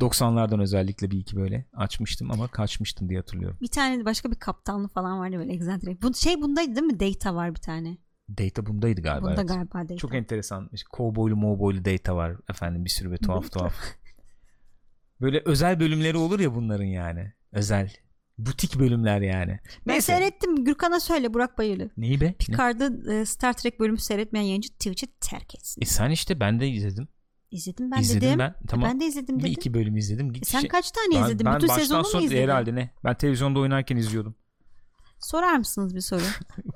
A: 90'lardan özellikle bir iki böyle açmıştım ama kaçmıştım diye hatırlıyorum.
B: Bir tane de başka bir kaptanlı falan vardı böyle egzantrik. Bu şey bundaydı değil mi? Data var bir tane.
A: Data bundaydı galiba.
B: Bunda
A: evet.
B: galiba Data.
A: Çok enteresan. İşte Cowboylu mowboylu data var. Efendim bir sürü bir tuhaf tuhaf. Böyle özel bölümleri olur ya bunların yani. Özel. Butik bölümler yani.
B: Ben
A: Neyse.
B: seyrettim. Gürkan'a söyle Burak Bayırlı.
A: Neyi be? Ne?
B: Picard'ı e, Star Trek bölümü seyretmeyen yayıncı Twitch'i terk etsin.
A: E sen işte ben de izledim.
B: İzledim ben
A: izledim
B: dedim. E
A: ben. Tamam.
B: Ben de izledim
A: bir
B: dedim.
A: iki bölüm izledim. Git
B: E, sen
A: şey-
B: kaç tane izledin? Bütün
A: baştan
B: sezonu mu
A: sona-
B: izledin?
A: Herhalde ne? Ben televizyonda oynarken izliyordum.
B: Sorar mısınız bir soru?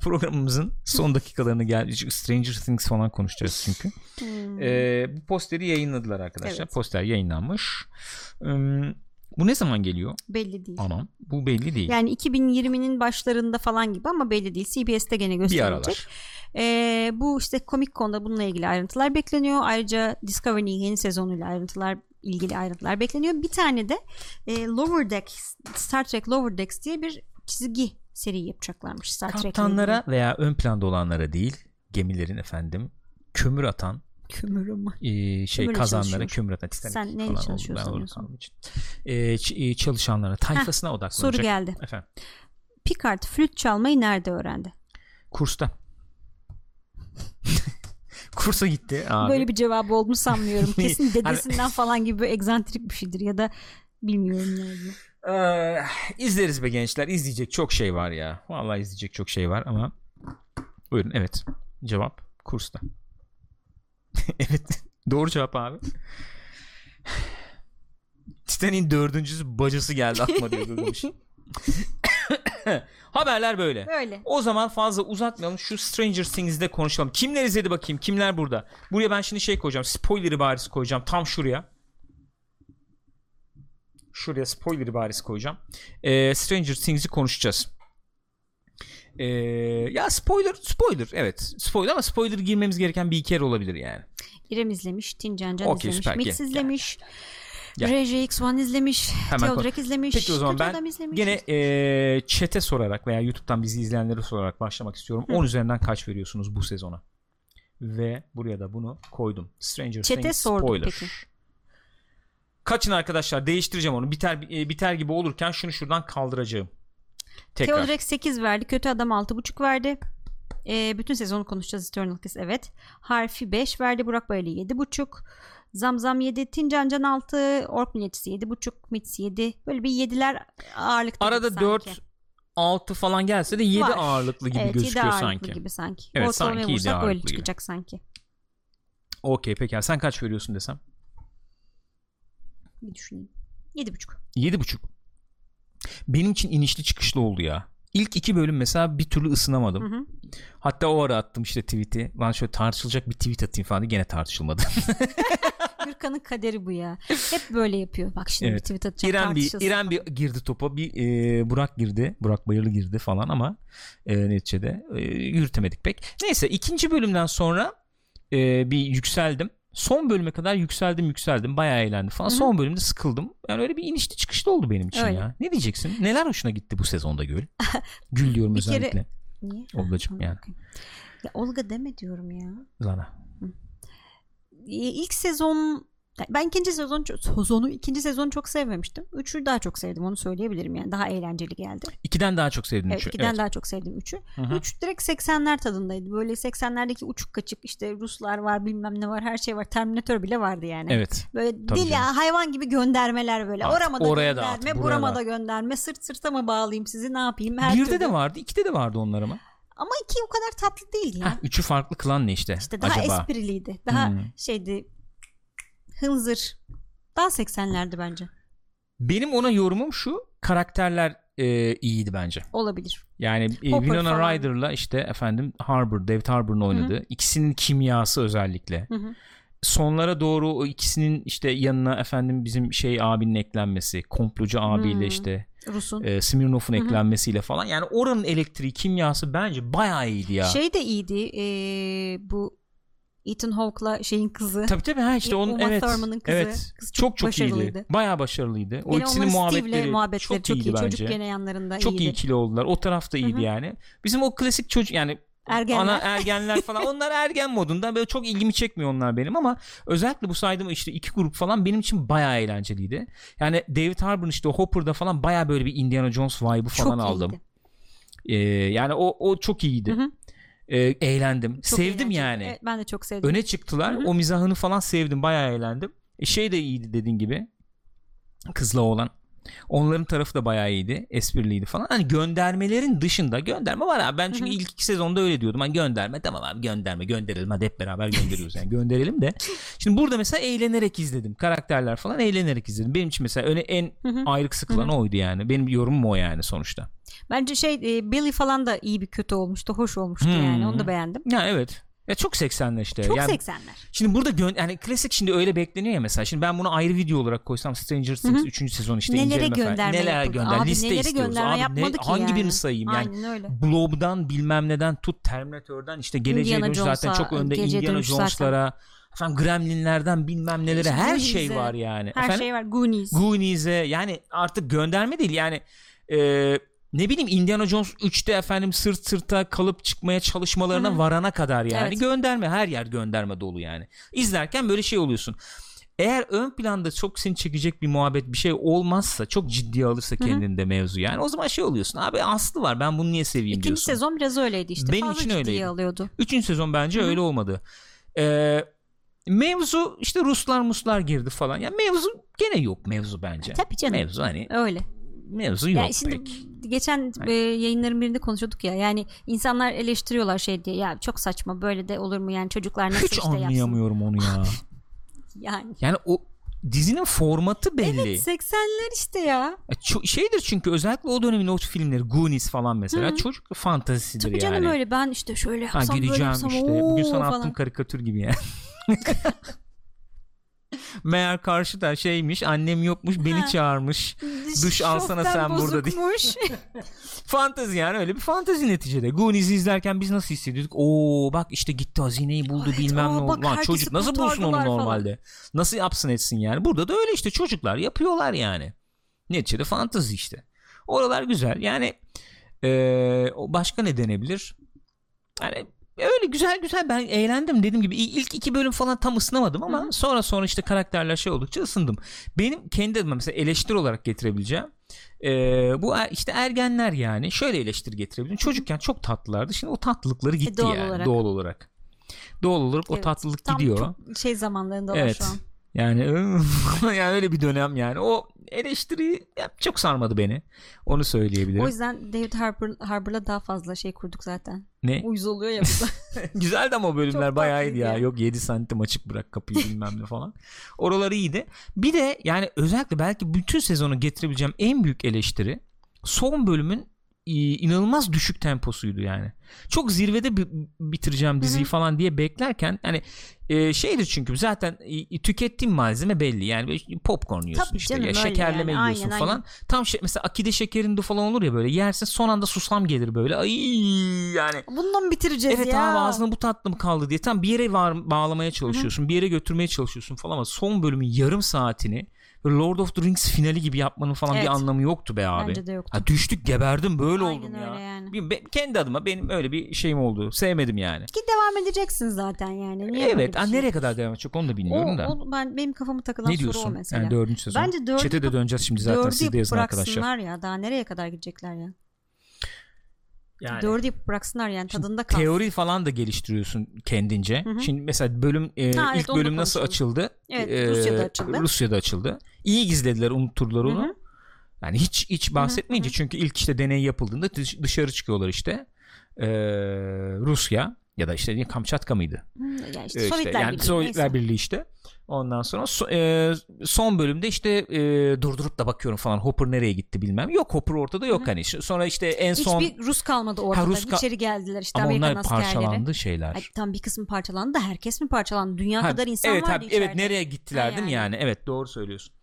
A: Programımızın son dakikalarını gel Stranger Things falan konuşacağız çünkü.
B: Hmm.
A: Ee, bu posteri yayınladılar arkadaşlar.
B: Evet.
A: Poster yayınlanmış. Ee, bu ne zaman geliyor?
B: Belli değil.
A: Anam. Bu belli değil.
B: Yani 2020'nin başlarında falan gibi ama belli değil. CBS'te gene
A: bir
B: gösterilecek.
A: aralar.
B: Ee, bu işte Comic Con'da bununla ilgili ayrıntılar bekleniyor. Ayrıca Discovery'nin yeni sezonuyla ayrıntılar ilgili ayrıntılar bekleniyor. Bir tane de e, Lower Decks, Star Trek Lower Decks diye bir çizgi seri yapacaklarmış Star Trek'le
A: Kaptanlara veya ön planda olanlara değil gemilerin efendim kömür atan
B: ilgili. Kömür ama.
A: e, şey
B: Kömürle
A: kazanlara
B: çalışıyormuş.
A: kömür atan Titanic
B: Sen neyle
A: falan oldu.
B: çalışıyorsun
A: Ben orada
B: diyorsun?
A: kaldığım için. E, ç- e, çalışanlara tayfasına odaklanacak.
B: Soru geldi.
A: Efendim
B: Picard flüt çalmayı nerede öğrendi?
A: kursta. Kursa gitti abi.
B: Böyle bir cevabı olduğunu sanmıyorum. Kesin
A: Hani-
B: dedesinden falan gibi böyle egzantrik bir şeydir ya da bilmiyorum ne olduğunu.
A: Ee, izleriz be gençler. İzleyecek çok şey var ya. Vallahi izleyecek çok şey var ama. Buyurun evet. Cevap kursta. evet. Doğru cevap abi. Titanic'in dördüncüsü bacası geldi aklıma diyor Gılgamış. Haberler böyle.
B: Böyle.
A: O zaman fazla uzatmayalım. Şu Stranger Things'de konuşalım. Kimler izledi bakayım? Kimler burada? Buraya ben şimdi şey koyacağım. Spoiler'ı bariz koyacağım. Tam şuraya. Şuraya spoiler'ı bariz koyacağım. Ee, Stranger Things'i konuşacağız. Ee, ya spoiler spoiler evet spoiler ama spoiler girmemiz gereken bir iki yer olabilir yani.
B: İrem izlemiş, Tincan Can
A: Okey,
B: izlemiş,
A: süper.
B: Mix
A: Gel,
B: izlemiş,
A: gel.
B: RJX1 izlemiş,
A: Hemen
B: Teodrak izlemiş,
A: Peki o zaman
B: Kötü
A: ben
B: Adam izlemiş.
A: Gene ee, chat'e sorarak veya YouTube'dan bizi izleyenlere sorarak başlamak istiyorum. 10 üzerinden kaç veriyorsunuz bu sezona? Ve buraya da bunu koydum. Stranger
B: Chat'e
A: Things
B: sorduk
A: spoiler.
B: peki.
A: Kaçın arkadaşlar değiştireceğim onu. Biter e, biter gibi olurken şunu şuradan kaldıracağım. Tekrar.
B: Teodrak 8 verdi, Kötü Adam 6.5 verdi. Ee, bütün sezonu konuşacağız Eternal Kiss evet. Harfi 5 verdi, Burak Bayali 7.5. Zamzam 7, Tincan Can 6, Ork Milliyetçisi 7.5, Mits 7. Böyle bir 7'ler ağırlıkta gibi
A: Arada
B: sanki.
A: 4 6 falan gelse de 7
B: Var.
A: ağırlıklı gibi
B: evet,
A: gözüküyor
B: 7 ağırlıklı
A: sanki.
B: gibi sanki.
A: Evet,
B: Ortalamaya
A: sanki 7
B: vursak öyle
A: ağırlıklı gibi.
B: çıkacak sanki.
A: Okey peki. Yani Sen kaç veriyorsun desem?
B: Bir düşüneyim. 7.5.
A: Yedi buçuk. Benim için inişli çıkışlı oldu ya. İlk iki bölüm mesela bir türlü ısınamadım.
B: Hı hı.
A: Hatta o ara attım işte tweet'i. Lan şöyle tartışılacak bir tweet atayım falan diye gene tartışılmadı.
B: Gürkan'ın kaderi bu ya. Hep böyle yapıyor. Bak şimdi
A: Evet.
B: bir tweet atacak
A: İrem bir
B: tartışılsın.
A: İrem bir girdi topa. Bir e, Burak girdi. Burak Bayırlı girdi falan ama e, neticede e, yürütemedik pek. Neyse ikinci bölümden sonra e, bir yükseldim. Son bölüme kadar yükseldim yükseldim. Bayağı eğlendim falan.
B: Hı hı.
A: Son bölümde sıkıldım. Yani öyle bir inişli çıkışlı oldu benim için
B: Öyle.
A: ya. Ne diyeceksin? Neler hoşuna gitti bu sezonda Gül? Gül diyorum
B: Bir kere-
A: özellikle.
B: Niye?
A: Olgacığım
B: Ha,
A: yani.
B: okey. Ya Olga deme diyorum ya.
A: Lana.
B: E, İlk sezon yani ben ikinci sezon sezonu ikinci sezonu çok sevmemiştim. Üçü daha çok sevdim onu söyleyebilirim yani. Daha eğlenceli geldi.
A: İkiden daha çok sevdin
B: Evet,
A: üçü.
B: ikiden
A: Evet.
B: daha çok sevdim üçü.
A: Hı hı.
B: Üç direkt 80'ler tadındaydı. Böyle 80'lerdeki uçuk kaçık işte Ruslar var bilmem ne var her şey var. Terminator bile vardı yani.
A: Evet.
B: Böyle
A: Tabii
B: dil ya
A: canım.
B: hayvan gibi göndermeler böyle.
A: At,
B: Orama da
A: oraya da
B: gönderme,
A: at, buraya
B: burama
A: da
B: da gönderme. Sırt sırta mı bağlayayım sizi ne yapayım? Her
A: Birde
B: türlü-
A: de vardı, ikide de vardı onlar ama.
B: Ama iki o kadar tatlı değildi ya.
A: Heh, üçü farklı kılan ne işte?
B: İşte daha
A: acaba?
B: espriliydi. Daha
A: Hmm.
B: şeydi. Hınzır. Daha 80'lerde bence.
A: Benim ona yorumum şu karakterler e, iyiydi bence.
B: Olabilir.
A: Yani e,
B: Hopper
A: Winona
B: falan.
A: Ryder'la işte efendim Harbour, David Harbour'un oynadığı ikisinin kimyası özellikle.
B: Hı hı.
A: Sonlara doğru o ikisinin işte yanına efendim bizim şey abinin eklenmesi, komplocu abiyle
B: Hmm.
A: işte
B: Rus'un.
A: e, Smirnoff'un eklenmesiyle falan. Yani oranın elektriği, kimyası bence bayağı iyiydi ya.
B: Şey de iyiydi. ee, bu Ethan Hawke'la şeyin kızı.
A: Tabii tabii ha işte onun
B: Uma
A: evet.
B: Thurman'ın kızı.
A: Evet.
B: Kız
A: çok çok iyiydi.
B: başarılıydı.
A: Bayağı başarılıydı. O
B: Gene
A: ikisinin
B: onların
A: muhabbetleri,
B: Steve'le muhabbetleri
A: çok,
B: çok, iyi.
A: iyiydi bence.
B: Çocuk gene yanlarında
A: çok iyi
B: iyiydi.
A: ikili oldular. O taraf da iyiydi
B: Hı hı.
A: yani. Bizim o klasik çocuk yani
B: Ergenler.
A: ana ergenler falan onlar ergen modunda böyle çok ilgimi çekmiyor onlar benim ama özellikle bu saydığım işte iki grup falan benim için bayağı eğlenceliydi. Yani David Harbour'un işte o Hopper'da falan bayağı böyle bir Indiana Jones vibe'ı falan
B: çok
A: aldım.
B: iyiydi.
A: Ee, yani o o çok iyiydi.
B: Hı hı.
A: Ee, eğlendim.
B: Çok
A: Sevdim
B: eğlenceli.
A: yani
B: Evet, ben de çok sevdim.
A: öne çıktılar. O mizahını falan sevdim. Bayağı eğlendim. E, şey de iyiydi dediğin gibi. Kızla olan. Onların tarafı da bayağı iyiydi. Espriliydi falan. Hani göndermelerin dışında gönderme var abi. Ben çünkü
B: Hı hı.
A: ilk iki sezonda öyle diyordum. Hani gönderme tamam abi gönderme gönderelim hadi hep beraber gönderiyoruz yani gönderelim de. Şimdi burada mesela eğlenerek izledim. Karakterler falan eğlenerek izledim. Benim için mesela öne en
B: Hı hı.
A: ayrıksı kılan oydu yani. Benim yorumum o yani sonuçta.
B: Bence şey e, Billy falan da iyi bir kötü olmuştu. Hoş olmuştu
A: Hmm.
B: yani. Onu da beğendim.
A: Ya evet. Ya çok 80'ler işte.
B: Çok
A: yani
B: 80'ler.
A: Şimdi burada gön yani klasik şimdi öyle bekleniyor ya mesela. Şimdi ben bunu ayrı video olarak koysam Stranger Things 3. sezon işte
B: Nelere
A: inceleme falan.
B: gönderme
A: Neler
B: yapıldı?
A: gönder
B: Abi
A: liste
B: nelere
A: istiyoruz.
B: gönderme
A: Abi ne,
B: yapmadı ki
A: hangi
B: yani?
A: birini sayayım yani?
B: Aynen öyle.
A: Blob'dan bilmem neden tut Terminator'dan işte geleceğe
B: Indiana
A: dönüş zaten
B: Jones'a,
A: çok önde
B: Geleceğe
A: Indiana
B: Dönüş
A: Jones'lara efendim Gremlinlerden bilmem nelere
B: İşte
A: her şey
B: Goonies'e,
A: var yani.
B: Her
A: efendim?
B: şey var. Goonies.
A: Goonies'e yani artık gönderme değil yani e, ne bileyim Indiana Jones 3'te efendim sırt sırta kalıp çıkmaya çalışmalarına varana kadar yani
B: Evet.
A: gönderme her yer gönderme dolu yani. İzlerken böyle şey oluyorsun. Eğer ön planda çok seni çekecek bir muhabbet bir şey olmazsa çok ciddiye alırsa kendinde mevzu yani o zaman şey oluyorsun abi aslı var ben bunu niye seveyim
B: İkinci
A: diyorsun.
B: sezon biraz öyleydi işte.
A: Benim
B: Fazla
A: için
B: ciddiye
A: öyleydi.
B: alıyordu.
A: Üçüncü sezon bence öyle olmadı. Ee, mevzu işte Ruslar Muslar girdi falan. Ya mevzu gene yok mevzu bence.
B: Tabii canım.
A: Mevzu hani
B: Öyle.
A: mevzu yok
B: Yani şimdi
A: pek.
B: geçen e, yayınların birinde konuşuyorduk ya. Yani insanlar eleştiriyorlar şey diye. Ya çok saçma böyle de olur mu yani çocuklar nasıl
A: Hiç
B: işte yapsın.
A: anlayamıyorum onu ya.
B: Yani.
A: Yani o dizinin formatı belli.
B: 80'ler işte ya.
A: E, ço- şeydir çünkü özellikle o dönemin o filmleri Goonies falan mesela çocuk fantazisidir
B: Tabii
A: yani.
B: canım öyle ben işte şöyle
A: Ha
B: yapsam böyle
A: gideceğim
B: yapsam
A: işte.
B: ooo
A: Bugün sana
B: falan.
A: attım karikatür gibi yani. Meğer karşıda şeymiş annem yokmuş beni
B: Ha.
A: çağırmış. Duş alsana
B: Şofben
A: sen burada diye.
B: bozukmuş.
A: Fantezi yani öyle bir fantezi neticede. Goonies'i izlerken biz nasıl hissediyorduk? Oo bak işte gitti hazineyi buldu
B: Evet,
A: bilmem
B: aa,
A: ne oldu.
B: bak
A: Lan
B: herkesi
A: çocuk nasıl bulsun onu
B: kurtardılar falan.
A: normalde? Nasıl yapsın etsin yani? Burada da öyle işte çocuklar yapıyorlar yani. Neticede fantezi işte. Oralar güzel yani eee, o başka ne denebilir? Yani Hani öyle güzel güzel ben eğlendim dediğim gibi İ- ilk iki bölüm falan tam ısınamadım ama sonra sonra işte karakterler şey oldukça ısındım. Benim kendi adıma mesela eleştiri olarak getirebileceğim ee, bu er- işte ergenler yani şöyle eleştiri getirebilirim. Çocukken çok tatlılardı. Şimdi o tatlılıkları gitti
B: E, doğal
A: yani
B: olarak.
A: doğal olarak. Doğal olarak o
B: Evet,
A: tatlılık
B: Tam
A: gidiyor.
B: çok şey zamanlarında var
A: evet.
B: şu an.
A: Yani, yani öyle bir dönem yani. O eleştiri ya, çok sarmadı beni. Onu söyleyebilirim.
B: O yüzden David Harbour, Harbour'la daha fazla şey kurduk zaten.
A: ne?
B: Uyuz oluyor ya bu da.
A: Güzeldi ama o bölümler
B: Çok
A: bayağı iyiydi
B: tatlıydı
A: ya.
B: ya.
A: Yok 7 santim açık bırak kapıyı bilmem ne falan. Oraları iyiydi. Bir de yani özellikle belki bütün sezonu getirebileceğim en büyük eleştiri son bölümün e, inanılmaz düşük temposuydu yani. Çok zirvede bi- bitireceğim diziyi falan diye beklerken hani e, şeydir çünkü zaten e, tükettiğim malzeme belli. Yani böyle popcorn yiyorsun
B: Tabii
A: işte
B: canım,
A: ya
B: öyle
A: şekerleme
B: yani.
A: yiyorsun
B: Aynen,
A: falan.
B: aynen.
A: Tam şey mesela akide şekerinde falan olur ya böyle yersin son anda susam gelir böyle. Ay yani
B: Bununla mı bitireceğiz
A: evet
B: ya?
A: abi ağzına bu tatlı mı kaldı diye tam bir yere var, bağlamaya çalışıyorsun bir yere götürmeye çalışıyorsun falan ama son bölümün yarım saatini böyle Lord of the Rings finali gibi yapmanın falan
B: Evet.
A: bir anlamı yoktu be abi.
B: Bence de yoktu.
A: Ha, düştük geberdim böyle
B: Aynen
A: oldum
B: öyle
A: ya.
B: yani.
A: Bir- be- kendi adıma benim öyle bir şeyim oldu. Sevmedim yani.
B: Ki devam edeceksin zaten yani. Niye böyle
A: evet
B: bir
A: ha,
B: şey?
A: nereye kadar devam edecek onu da bilmiyorum
B: o,
A: da.
B: o- ben, benim kafamı takılan
A: ne
B: soru o
A: diyorsun?
B: mesela.
A: Yani dördüncü sezon.
B: Bence dördü
A: Çete de
B: kap-
A: döneceğiz şimdi zaten
B: Dördü
A: siz de yazın arkadaşlar.
B: bıraksınlar ya. Daha nereye kadar gidecekler ya?
A: Yani.
B: Dördü yapıp bıraksınlar yani
A: Şimdi
B: tadında kalsın.
A: teori falan da geliştiriyorsun kendince.
B: hı.
A: Şimdi mesela bölüm e,
B: Ha, evet,
A: ilk
B: onu da
A: bölüm nasıl
B: konuşalım.
A: açıldı? E,
B: Evet, Rusya'da açıldı.
A: Rusya'da açıldı. İyi gizlediler unutturdular onu. Yani hiç hiç bahsetmeyince çünkü ilk işte deney yapıldığında dış- dışarı çıkıyorlar işte. e, Rusya ya da işte Kamçatka mıydı?
B: Hmm, Ya işte
A: Ee, işte,
B: Sovyetler
A: yani
B: Birliği.
A: Sovyetler
B: neyse.
A: Birliği işte. Ondan sonra so- e, son bölümde işte e, durdurup da bakıyorum falan Hopper nereye gitti bilmem. Yok Hopper ortada yok hani. Ş- Sonra işte en son
B: Hiçbir Rus kalmadı ortada.
A: Ha, Rus ka-
B: İçeri geldiler işte
A: ama
B: Amerikan
A: onlar
B: askerleri.
A: parçalandı şeyler.
B: Ay, tam bir kısmı parçalandı da herkes mi parçalandı? Dünya
A: Ha,
B: kadar insan
A: evet,
B: vardı
A: ha,
B: içeride.
A: Evet nereye gittiler
B: Ha,
A: değil mi
B: yani.
A: yani? Evet doğru söylüyorsun.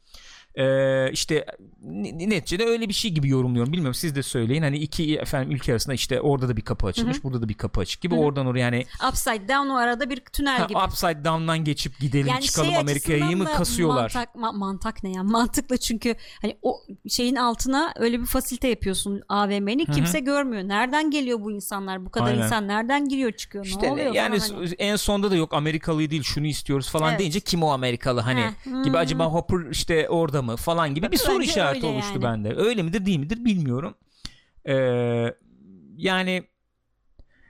A: Ee, işte ne- neticede öyle bir şey gibi yorumluyorum. Bilmiyorum siz de söyleyin. Hani iki efendim ülke arasında işte orada da bir kapı açılmış, burada da bir kapı açık gibi. Oradan oraya yani
B: Upside down o arada bir tünel gibi. şey
A: ha, upside down'dan geçip gidelim çıkalım Amerika'yı
B: açısından
A: mı
B: da
A: kasıyorlar?
B: Mantak, ma- mantak ne ya? Mantıklı çünkü hani o şeyin altına öyle bir fasilite yapıyorsun AVM'ni kimse görmüyor. Nereden geliyor bu insanlar? Bu kadar
A: Aynen.
B: insan nereden giriyor çıkıyor? ne
A: İşte
B: oluyor?
A: yani
B: falan hani.
A: en sonda da yok Amerikalı değil şunu istiyoruz falan
B: Evet.
A: deyince kim o Amerikalı hani
B: Heh, hmm,
A: gibi acaba Hopper işte orada mı falan gibi bir soru
B: Bence
A: işareti
B: öyle
A: oluştu
B: yani.
A: bende. Öyle midir değil midir bilmiyorum. Ee, yani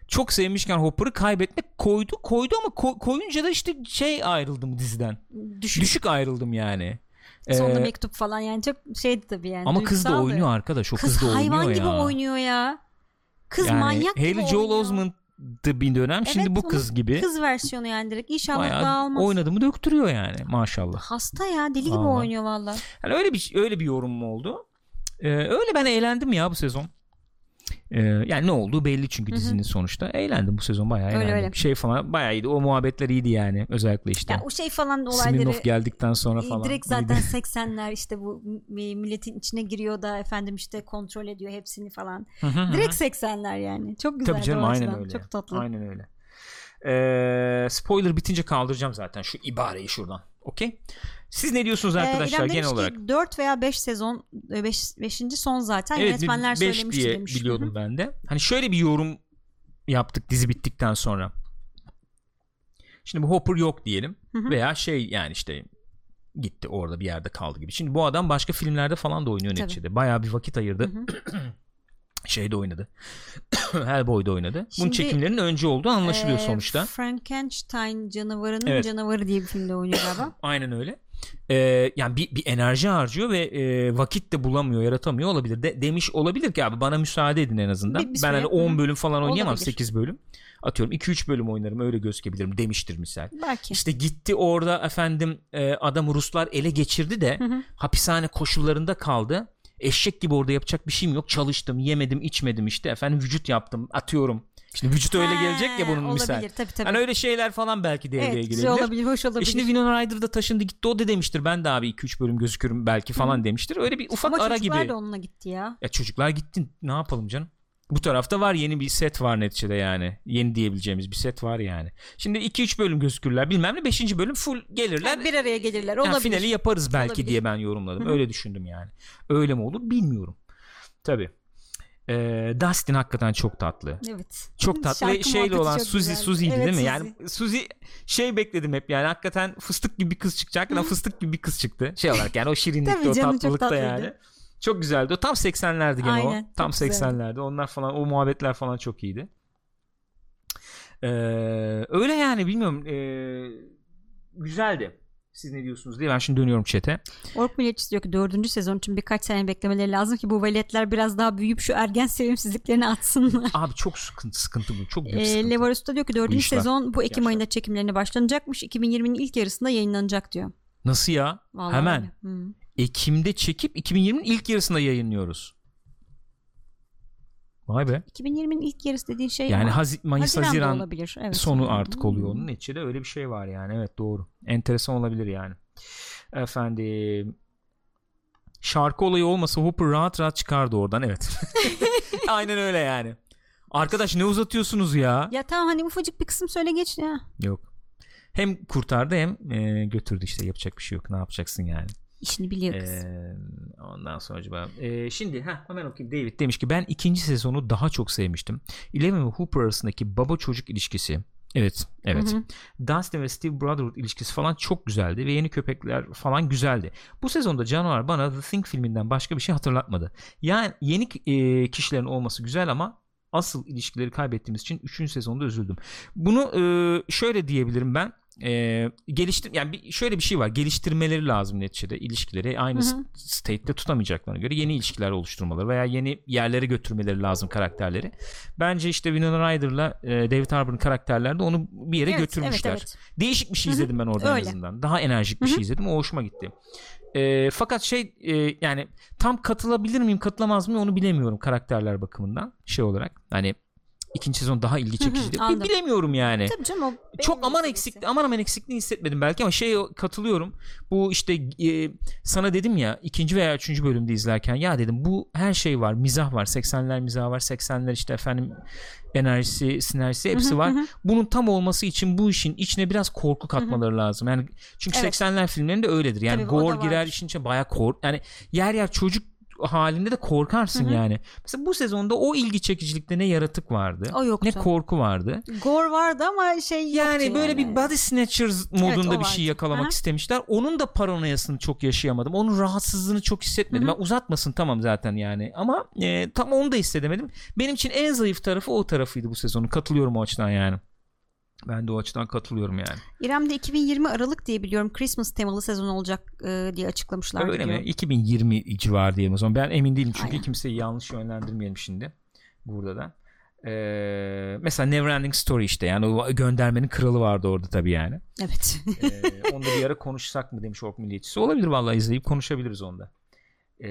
A: çok sevmişken Hopper'ı kaybetmek koydu koydu ama ko- koyunca da işte şey ayrıldım diziden.
B: Düşün.
A: Düşük ayrıldım yani.
B: Sonunda
A: Ee,
B: mektup falan yani çok şeydi tabii yani.
A: ama kız da
B: duygusaldı.
A: oynuyor arkadaş o kız,
B: Kız,
A: da oynuyor
B: hayvan
A: ya.
B: gibi oynuyor ya. Kız
A: yani
B: manyak gibi
A: Haley Joel
B: oynuyor.
A: Osment'dı bir dönem şimdi
B: Evet,
A: bu
B: onun
A: kız gibi.
B: Kız versiyonu yani direkt. İnşallah daha
A: Bayağı
B: almaz.
A: oynadığımı döktürüyor yani maşallah.
B: Hasta ya deli gibi
A: Vallahi.
B: oynuyor valla.
A: Yani öyle bir öyle bir yorumum oldu. Ee, öyle ben eğlendim ya bu sezon. Ee, yani ne olduğu belli çünkü dizinin sonuçta. Eğlendim bu sezon bayağı
B: Öyle
A: eğlendim.
B: öyle.
A: Şey falan bayağı iyiydi. O muhabbetler iyiydi yani özellikle işte.
B: Ya o şey falan olayları
A: Smirnoff geldikten sonra
B: Ee,
A: falan.
B: Direkt
A: iyiydi.
B: zaten 80'ler işte bu m- milletin içine giriyor da efendim işte kontrol ediyor hepsini falan. Direkt 80'ler yani. Çok güzel.
A: Tabii canım
B: o
A: aynen
B: açıdan.
A: öyle.
B: Çok tatlı.
A: Aynen öyle. Ee, spoiler bitince kaldıracağım zaten şu ibareyi şuradan. Okey. Siz ne diyorsunuz
B: Ee,
A: arkadaşlar
B: İrem demiş
A: genel
B: ki
A: olarak?
B: 4 veya 5 sezon 5. son zaten yönetmenler
A: bir beş
B: söylemişti
A: diye
B: demiş.
A: biliyordum ben de. Hani şöyle bir yorum yaptık dizi bittikten sonra. Şimdi bu Hopper yok diyelim
B: Hı hı.
A: veya şey yani işte gitti orada bir yerde kaldı gibi. Şimdi bu adam başka filmlerde falan da oynuyor
B: Tabii.
A: neticede. Bayağı bir vakit ayırdı. Şeyde oynadı. Hellboy'da oynadı. Bunun
B: Şimdi,
A: çekimlerinin önce olduğu anlaşılıyor
B: Ee,
A: sonuçta.
B: Frankenstein canavarının
A: Evet.
B: canavarı diye bir filmde oynuyor galiba.
A: Aynen öyle. Ee, yani bir, bir enerji harcıyor ve e, vakit de bulamıyor, yaratamıyor olabilir. De, demiş olabilir ki abi bana müsaade edin en azından.
B: Bir- bir
A: ben
B: süre,
A: hani
B: hı.
A: 10 bölüm falan oynayamam,
B: Olabilir.
A: 8 bölüm. Atıyorum 2-3 bölüm oynarım öyle gözükebilirim demiştir misal.
B: Belki.
A: İşte gitti orada efendim e, adamı Ruslar ele geçirdi de hapishane koşullarında kaldı. Eşek gibi orada yapacak bir şeyim yok. Çalıştım, yemedim, içmedim işte efendim vücut yaptım, atıyorum. Şimdi vücut öyle
B: Ha,
A: gelecek ya bunun misal.
B: Olabilir tabii tabii.
A: Hani öyle şeyler falan belki devreye
B: evet güzel
A: girebilir.
B: olabilir hoş olabilir.
A: E şimdi Winona Ryder da taşındı gitti o da demiştir ben de abi 2-3 bölüm gözükürüm belki falan demiştir. Öyle bir ufak
B: Ama
A: ara gibi.
B: çocuklar da onunla gitti ya.
A: Ya çocuklar gitti ne yapalım canım. Bu tarafta var yeni bir set var neticede yani. Yeni diyebileceğimiz bir set var yani. Şimdi 2-3 bölüm gözükürler bilmem ne 5. bölüm full gelirler.
B: Yani bir araya gelirler
A: Yani
B: olabilir.
A: finali yaparız belki
B: Olabilir.
A: diye ben yorumladım.
B: Hı hı.
A: Öyle düşündüm yani. Öyle mi olur bilmiyorum. Tabii. Ee, Dustin hakikaten çok tatlı.
B: Evet.
A: Çok tatlı ve
B: Şarkı
A: şeyle
B: muhabbeti
A: olan
B: çok
A: Suzy
B: güzeldi.
A: Suzy'ydi
B: Evet,
A: değil mi?
B: Suzy.
A: Yani Suzy şey bekledim hep yani hakikaten fıstık gibi bir kız çıkacak. Hakikaten fıstık gibi bir kız çıktı. Şey olarak yani o
B: Tabii
A: şirinlikte o
B: canım, çok
A: tatlılıkta
B: tatlıydı.
A: yani. Çok güzeldi. O tam 80'lerdi gene
B: Aynen,
A: o. Tam
B: çok güzeldi.
A: 80'lerde. Onlar falan o muhabbetler falan çok iyiydi. Ee, öyle yani bilmiyorum. Ee, güzeldi. Siz ne diyorsunuz diye ben şimdi dönüyorum çete.
B: Ork Milliyetçisi diyor ki dördüncü sezon için birkaç sene beklemeleri lazım ki bu veletler biraz daha büyüyüp şu ergen sevimsizliklerini atsınlar.
A: Abi çok sıkıntı sıkıntı bu. Çok büyük
B: E,
A: sıkıntı.
B: Levarus'ta diyor ki dördüncü
A: işler,
B: sezon bu Ekim
A: yaşlar.
B: ayında çekimlerine başlanacakmış. 2020'nin ilk yarısında yayınlanacak diyor.
A: Nasıl ya?
B: Vallahi
A: Hemen.
B: öyle. Hmm. Hı.
A: Ekim'de çekip 2020'nin ilk yarısında yayınlıyoruz. Vay be.
B: 2020'nin ilk yarısı dediğin şey
A: Yani
B: ama
A: Haz- Mayıs
B: Haziran'da
A: Haziran
B: olabilir. Evet. Hmm.
A: sonu artık
B: Hı.
A: oluyor onun içinde öyle bir şey var yani. Evet doğru. Enteresan olabilir yani. Efendim şarkı olayı olmasa Hopper rahat rahat çıkardı oradan evet. Aynen öyle yani. Arkadaş ne uzatıyorsunuz ya?
B: Ya tamam hani ufacık bir kısım söyle geç ya.
A: Yok. Hem kurtardı hem e, götürdü işte yapacak bir şey yok. Ne yapacaksın yani?
B: İşini biliyor kız.
A: Ee, ondan sonra acaba Ee, şimdi heh, hemen okuyayım David demiş ki ben ikinci sezonu daha çok sevmiştim Eleven ve Hooper arasındaki baba çocuk ilişkisi evet evet
B: Hı hı.
A: Dustin ve Steve Brotherhood ilişkisi falan çok güzeldi ve yeni köpekler falan güzeldi bu sezonda canavar bana The Thing filminden başka bir şey hatırlatmadı yani yeni e, kişilerin olması güzel ama asıl ilişkileri kaybettiğimiz için 3. sezonda üzüldüm bunu e, şöyle diyebilirim ben e, geliştir yani bir, şöyle bir şey var geliştirmeleri lazım neticede ilişkileri aynı
B: Hı hı.
A: state'de tutamayacaklarına göre yeni ilişkiler oluşturmaları veya yeni yerlere götürmeleri lazım karakterleri bence işte Winona Ryder'la e, David Harbour'ın karakterlerde onu bir yere
B: Evet,
A: götürmüşler
B: evet, evet.
A: değişik bir şey
B: Hı hı.
A: izledim ben orada en
B: Öyle.
A: azından daha enerjik bir şey izledim o hoşuma gitti E, fakat şey e, yani tam katılabilir miyim katılamaz mıyım onu bilemiyorum karakterler bakımından şey olarak hani ikinci sezon daha ilgi
B: Hı hı,
A: çekici
B: anladım.
A: bilemiyorum yani
B: Tabii canım o benim
A: Ee, çok aman
B: meselesi.
A: eksik aman aman eksikliğini hissetmedim belki ama şey katılıyorum. Bu işte e, sana dedim ya ikinci veya üçüncü bölümde izlerken ya dedim bu her şey var mizah var 80'ler mizah var 80'ler işte efendim enerjisi sinerjisi
B: Hı
A: hepsi
B: hı,
A: var.
B: hı hı.
A: Bunun tam olması için bu işin içine biraz korku katmaları lazım. Yani çünkü
B: Evet.
A: 80'ler filmlerinde öyledir. Yani
B: Tabii, o da
A: gore girer
B: vardır.
A: işin içine bayağı kork yani yer yer çocuk halinde de korkarsın yani. Mesela bu sezonda o ilgi çekicilikte ne yaratık vardı.
B: O yoktu.
A: Ne korku vardı.
B: Gore vardı ama şey
A: Yani
B: yoktu
A: böyle bir body snatchers modunda
B: o
A: bir şey
B: vardı.
A: yakalamak
B: Aha.
A: istemişler. Onun da paranoyasını çok yaşayamadım. Onun rahatsızlığını çok hissetmedim. Yani uzatmasın tamam zaten yani. Ama e, tam onu da hissedemedim. Benim için en zayıf tarafı o tarafıydı bu sezonun. Katılıyorum o açıdan yani. Ben de o açıdan katılıyorum yani.
B: İrem'de 2020 Aralık diye biliyorum Christmas temalı sezon olacak e, diye açıklamışlar.
A: Öyle mi? 2020 civarı diyelim o zaman. Ben emin değilim çünkü
B: Aynen.
A: kimseyi yanlış yönlendirmeyelim şimdi. Burada da. Ee, mesela Neverending Story işte yani o göndermenin kralı vardı orada tabii yani.
B: Evet.
A: Ee, onu da bir ara konuşsak mı demiş Ork Milliyetçisi. Olabilir vallahi izleyip konuşabiliriz onda. Ee,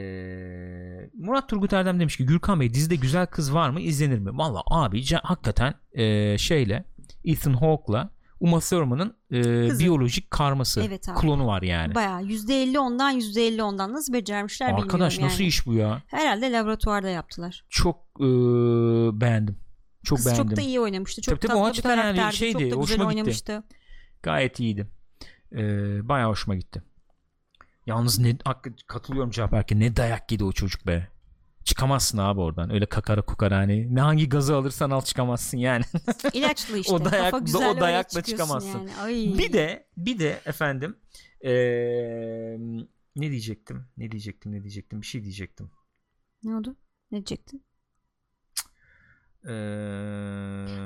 A: Murat Turgut Erdem demiş ki Gürkan Bey dizide güzel kız var mı izlenir mi? Valla abi ca- hakikaten e, şeyle Ethan Hawke'la Uma Thurman'ın e,
B: Kızı.
A: biyolojik karması
B: Evet abi.
A: klonu var yani.
B: Bayağı %50 ondan %50 ondan nasıl becermişler bilmiyorum
A: Hani- Arkadaş nasıl
B: yani.
A: iş bu ya?
B: Herhalde laboratuvarda yaptılar.
A: Çok e, beğendim. Çok
B: Kız
A: beğendim.
B: çok da iyi oynamıştı. Çok
A: Tabii tabii, o
B: tatlı bir
A: açıdan yani
B: karakterdi.
A: şeydi,
B: çok da güzel
A: hoşuma gitti.
B: oynamıştı.
A: Gayet iyiydi. Ee, bayağı hoşuma gitti. Yalnız ne hakikaten katılıyorum Caberke ne dayak yedi o çocuk be. Çıkamazsın abi oradan. Öyle kakara kukara hani. Ne hangi gazı alırsan al çıkamazsın yani.
B: İlaçlı işte.
A: O dayak-
B: Kafa
A: o
B: güzel öyle
A: dayakla
B: çıkıyorsun
A: çıkamazsın.
B: Yani. Ay.
A: bir de bir de efendim ee, ne diyecektim? Ne diyecektim? Ne diyecektim? Bir şey diyecektim.
B: Ne oldu? Ne diyecektin?
A: Ee,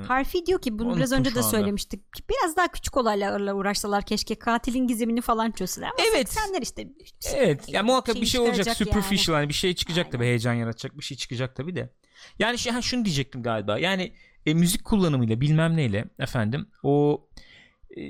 B: Harfi diyor ki bunu
A: Unuttum
B: biraz önce
A: şu
B: de
A: anda.
B: söylemiştik. ki Biraz daha küçük olaylarla uğraşsalar keşke katilin gizemini falan çözseler. Ama
A: Evet.
B: evet. 80'ler işte.
A: Evet. Ya muhakkak
B: şey
A: bir şey olacak.
B: çıkaracak
A: Superficial yani bir şey çıkacak tabii heyecan yaratacak bir şey çıkacak tabii de. Yani şey, ha, şunu diyecektim galiba. Yani e, müzik kullanımıyla bilmem neyle efendim o e,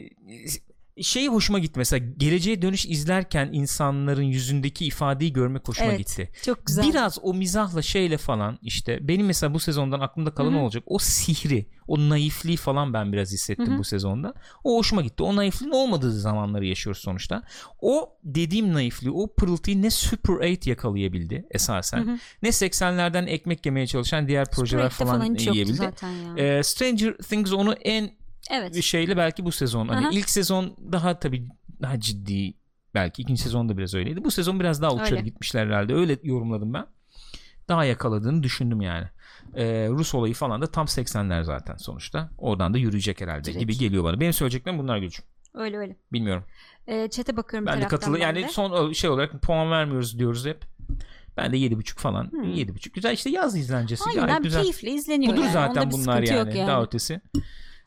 A: şey hoşuma gitti mesela geleceğe dönüş izlerken insanların yüzündeki ifadeyi görmek hoşuma
B: Evet.
A: gitti.
B: Çok güzel.
A: Biraz o mizahla şeyle falan işte benim mesela bu sezondan aklımda kalan
B: Hı hı.
A: ne olacak? O sihri, o naifliği falan ben biraz hissettim
B: Hı hı.
A: bu sezonda. O hoşuma gitti. O naifliğin olmadığı zamanları yaşıyoruz sonuçta. O dediğim naifliği, o pırıltıyı ne Super 8 yakalayabildi esasen.
B: Hı hı.
A: Ne 80'lerden ekmek yemeye çalışan diğer projeler
B: Projede
A: falan,
B: hiç yoktu
A: yiyebildi.
B: zaten ya.
A: Ee, Stranger Things onu en
B: evet.
A: şeyle belki bu sezon. Hani
B: Aha.
A: ilk sezon daha tabii daha ciddi belki ikinci sezon da biraz öyleydi. Bu sezon biraz daha uçarı
B: Öyle.
A: gitmişler herhalde. Öyle yorumladım ben. Daha yakaladığını düşündüm yani. Ee, Rus olayı falan da tam 80'ler zaten sonuçta. Oradan da yürüyecek herhalde
B: Direkt.
A: gibi geliyor bana. Benim söyleyeceklerim bunlar Gülcüm.
B: Öyle öyle.
A: Bilmiyorum.
B: Ee, çete bakıyorum
A: Ben de katılı
B: taraftan ben
A: yani
B: de.
A: son şey olarak puan vermiyoruz diyoruz hep. Ben de 7.5 falan.
B: Hmm.
A: 7.5 güzel işte yaz izlencesi.
B: Aynen
A: Gayet
B: abi,
A: güzel.
B: keyifle izleniyor.
A: Budur
B: yani. Onda
A: zaten
B: bir
A: bunlar
B: sıkıntı yok
A: yani. Daha ötesi.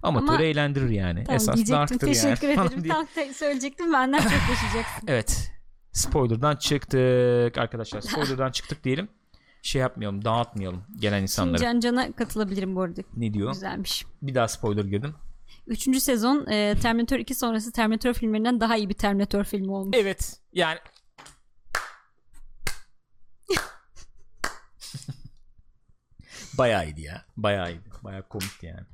A: Amatörü
B: Ama-
A: eğlendirir yani.
B: Tamam,
A: Esas
B: diyecektim.
A: darktır
B: Teşekkür
A: yani.
B: ederim. Tam te- söyleyecektim benden çok yaşayacaksın.
A: Evet. Spoiler'dan çıktık arkadaşlar. Spoiler'dan çıktık diyelim. Şey yapmayalım, dağıtmayalım gelen insanlara.
B: Can Can'a katılabilirim bu arada.
A: Ne diyor?
B: Güzelmiş.
A: Bir daha spoiler girdim.
B: Üçüncü sezon e, Terminator 2 sonrası Terminator filmlerinden daha iyi bir Terminator filmi olmuş.
A: Evet. Yani Bayağı iyiydi ya. Bayağı iyiydi. Bayağı komikti yani.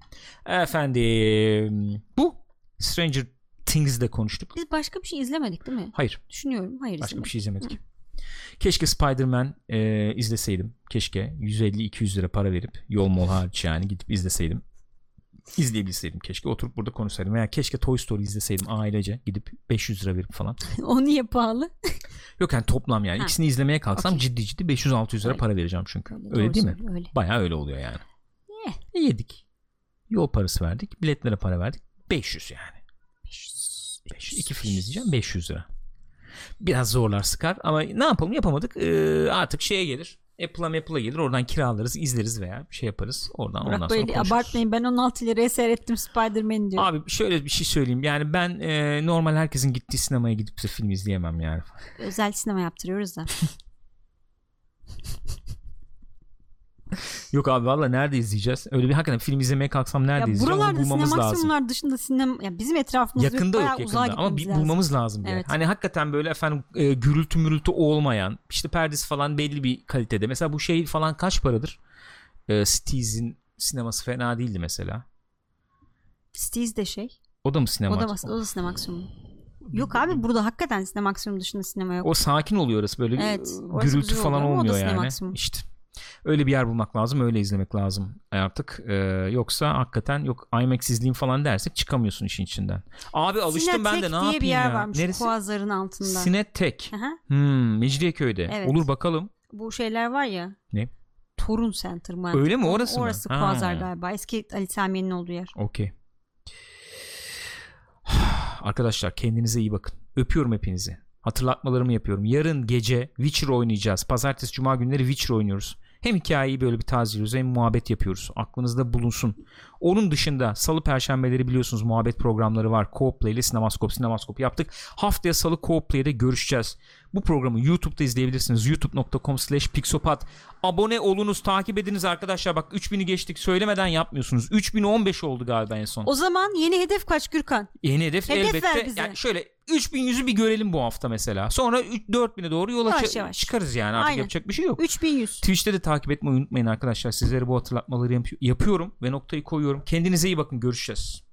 A: Efendim bu Stranger Things'de konuştuk.
B: Biz başka bir şey izlemedik değil mi?
A: Hayır.
B: Düşünüyorum. Hayır
A: Başka bir
B: izlemedik.
A: şey izlemedik. Keşke Spider-Man e, izleseydim. Keşke 150-200 lira para verip yol mol hariç yani gidip izleseydim. İzleyebilseydim keşke. Oturup burada konuşsaydım. Veya keşke Toy Story izleseydim ailece. Gidip 500 lira verip falan.
B: o niye pahalı?
A: Yok yani toplam yani.
B: Ha.
A: ikisini izlemeye kalksam
B: Okey.
A: ciddi ciddi 500-600 lira
B: Öyle.
A: para vereceğim çünkü. Öyle,
B: Doğru
A: değil mi?
B: söylüyor, Öyle.
A: Baya öyle oluyor yani.
B: Eh.
A: E, yedik. Yol parası verdik. Biletlere para verdik. 500 yani.
B: 500.
A: 500. İki film izleyeceğim 500 lira. Biraz zorlar sıkar ama ne yapalım yapamadık. Ee, artık şeye gelir. Apple'a Apple'a gelir oradan kiralarız izleriz veya bir şey yaparız oradan ondan
B: Bırak
A: sonra
B: böyle
A: konuşuruz.
B: abartmayın ben 16 liraya seyrettim Spider-Man'i diyor.
A: Abi şöyle bir şey söyleyeyim yani ben e, normal herkesin gittiği sinemaya gidip de film izleyemem yani.
B: Özel sinema yaptırıyoruz da.
A: Yok abi valla nerede izleyeceğiz? Öyle bir hakikaten film izlemeye kalksam nerede
B: ya
A: izleyeceğim onu
B: buralarda
A: bulmamız lazım.
B: sinemaksimumlar dışında sinema ya bizim etrafımızda
A: Yakında
B: bayağı
A: yok
B: uzağa
A: yakında ama
B: gitmemiz
A: bir
B: lazım.
A: bulmamız lazım bir yer.
B: Evet.
A: Hani hakikaten böyle efendim e, gürültü mürültü olmayan işte perdesi falan belli bir kalitede. Mesela bu şey falan kaç paradır? E, Steez'in sineması fena değildi mesela.
B: Steez de şey.
A: O da mı
B: O
A: sinema?
B: da, o da sinemaksimum. Yok abi burada hakikaten sinemaksimum dışında sinema yok.
A: O sakin oluyor orası böyle bir
B: Evet, orası
A: gürültü
B: güzel
A: falan
B: oluyor ama o da
A: olmuyor
B: sinema
A: yani.
B: maksimum.
A: İşte öyle bir yer bulmak lazım, öyle izlemek lazım artık. Ee, yoksa hakikaten yok IMAX izleyeyim falan dersek çıkamıyorsun işin içinden. Abi alıştım ben de ne
B: Sinetek
A: yapayım
B: diye bir yer
A: ya?
B: varmış
A: Neresi?
B: Kuazar'ın altında.
A: Sinetek.
B: Aha.
A: Hmm, Mecidiyeköy'de.
B: Evet.
A: Olur bakalım.
B: Bu şeyler var ya.
A: Ne?
B: Torun Center mı?
A: Öyle mi? Orası mı?
B: Orası
A: Ha.
B: Kuazar galiba. Eski Ali Samiye'nin olduğu yer.
A: Okey. Arkadaşlar kendinize iyi bakın. Öpüyorum hepinizi. Hatırlatmalarımı yapıyorum. Yarın gece Witcher oynayacağız. Pazartesi cuma günleri Witcher oynuyoruz. Hem hikayeyi böyle bir tazeliyoruz hem muhabbet yapıyoruz. Aklınızda bulunsun. Onun dışında salı perşembeleri biliyorsunuz muhabbet programları var. Coplay ile Sinemaskop Sinemaskop yaptık. Haftaya salı Coplay'de görüşeceğiz. Bu programı YouTube'da izleyebilirsiniz. youtube.com slash pixopat. Abone olunuz takip ediniz arkadaşlar. Bak 3000'i geçtik söylemeden yapmıyorsunuz. 3015 oldu galiba en son.
B: O zaman yeni hedef kaç Gürkan?
A: Yeni hedef,
B: Hedef ver
A: elbette
B: bize.
A: yani şöyle 3100'ü bir görelim bu hafta mesela. Sonra üç- 4000'e doğru yola
B: Yavaş
A: çı-
B: yavaş.
A: çıkarız yani artık
B: Aynen.
A: yapacak bir şey yok.
B: 3100.
A: Twitch'te de takip etmeyi unutmayın arkadaşlar. Sizlere bu hatırlatmaları yap- yapıyorum ve noktayı koyuyorum. Kendinize iyi bakın görüşeceğiz.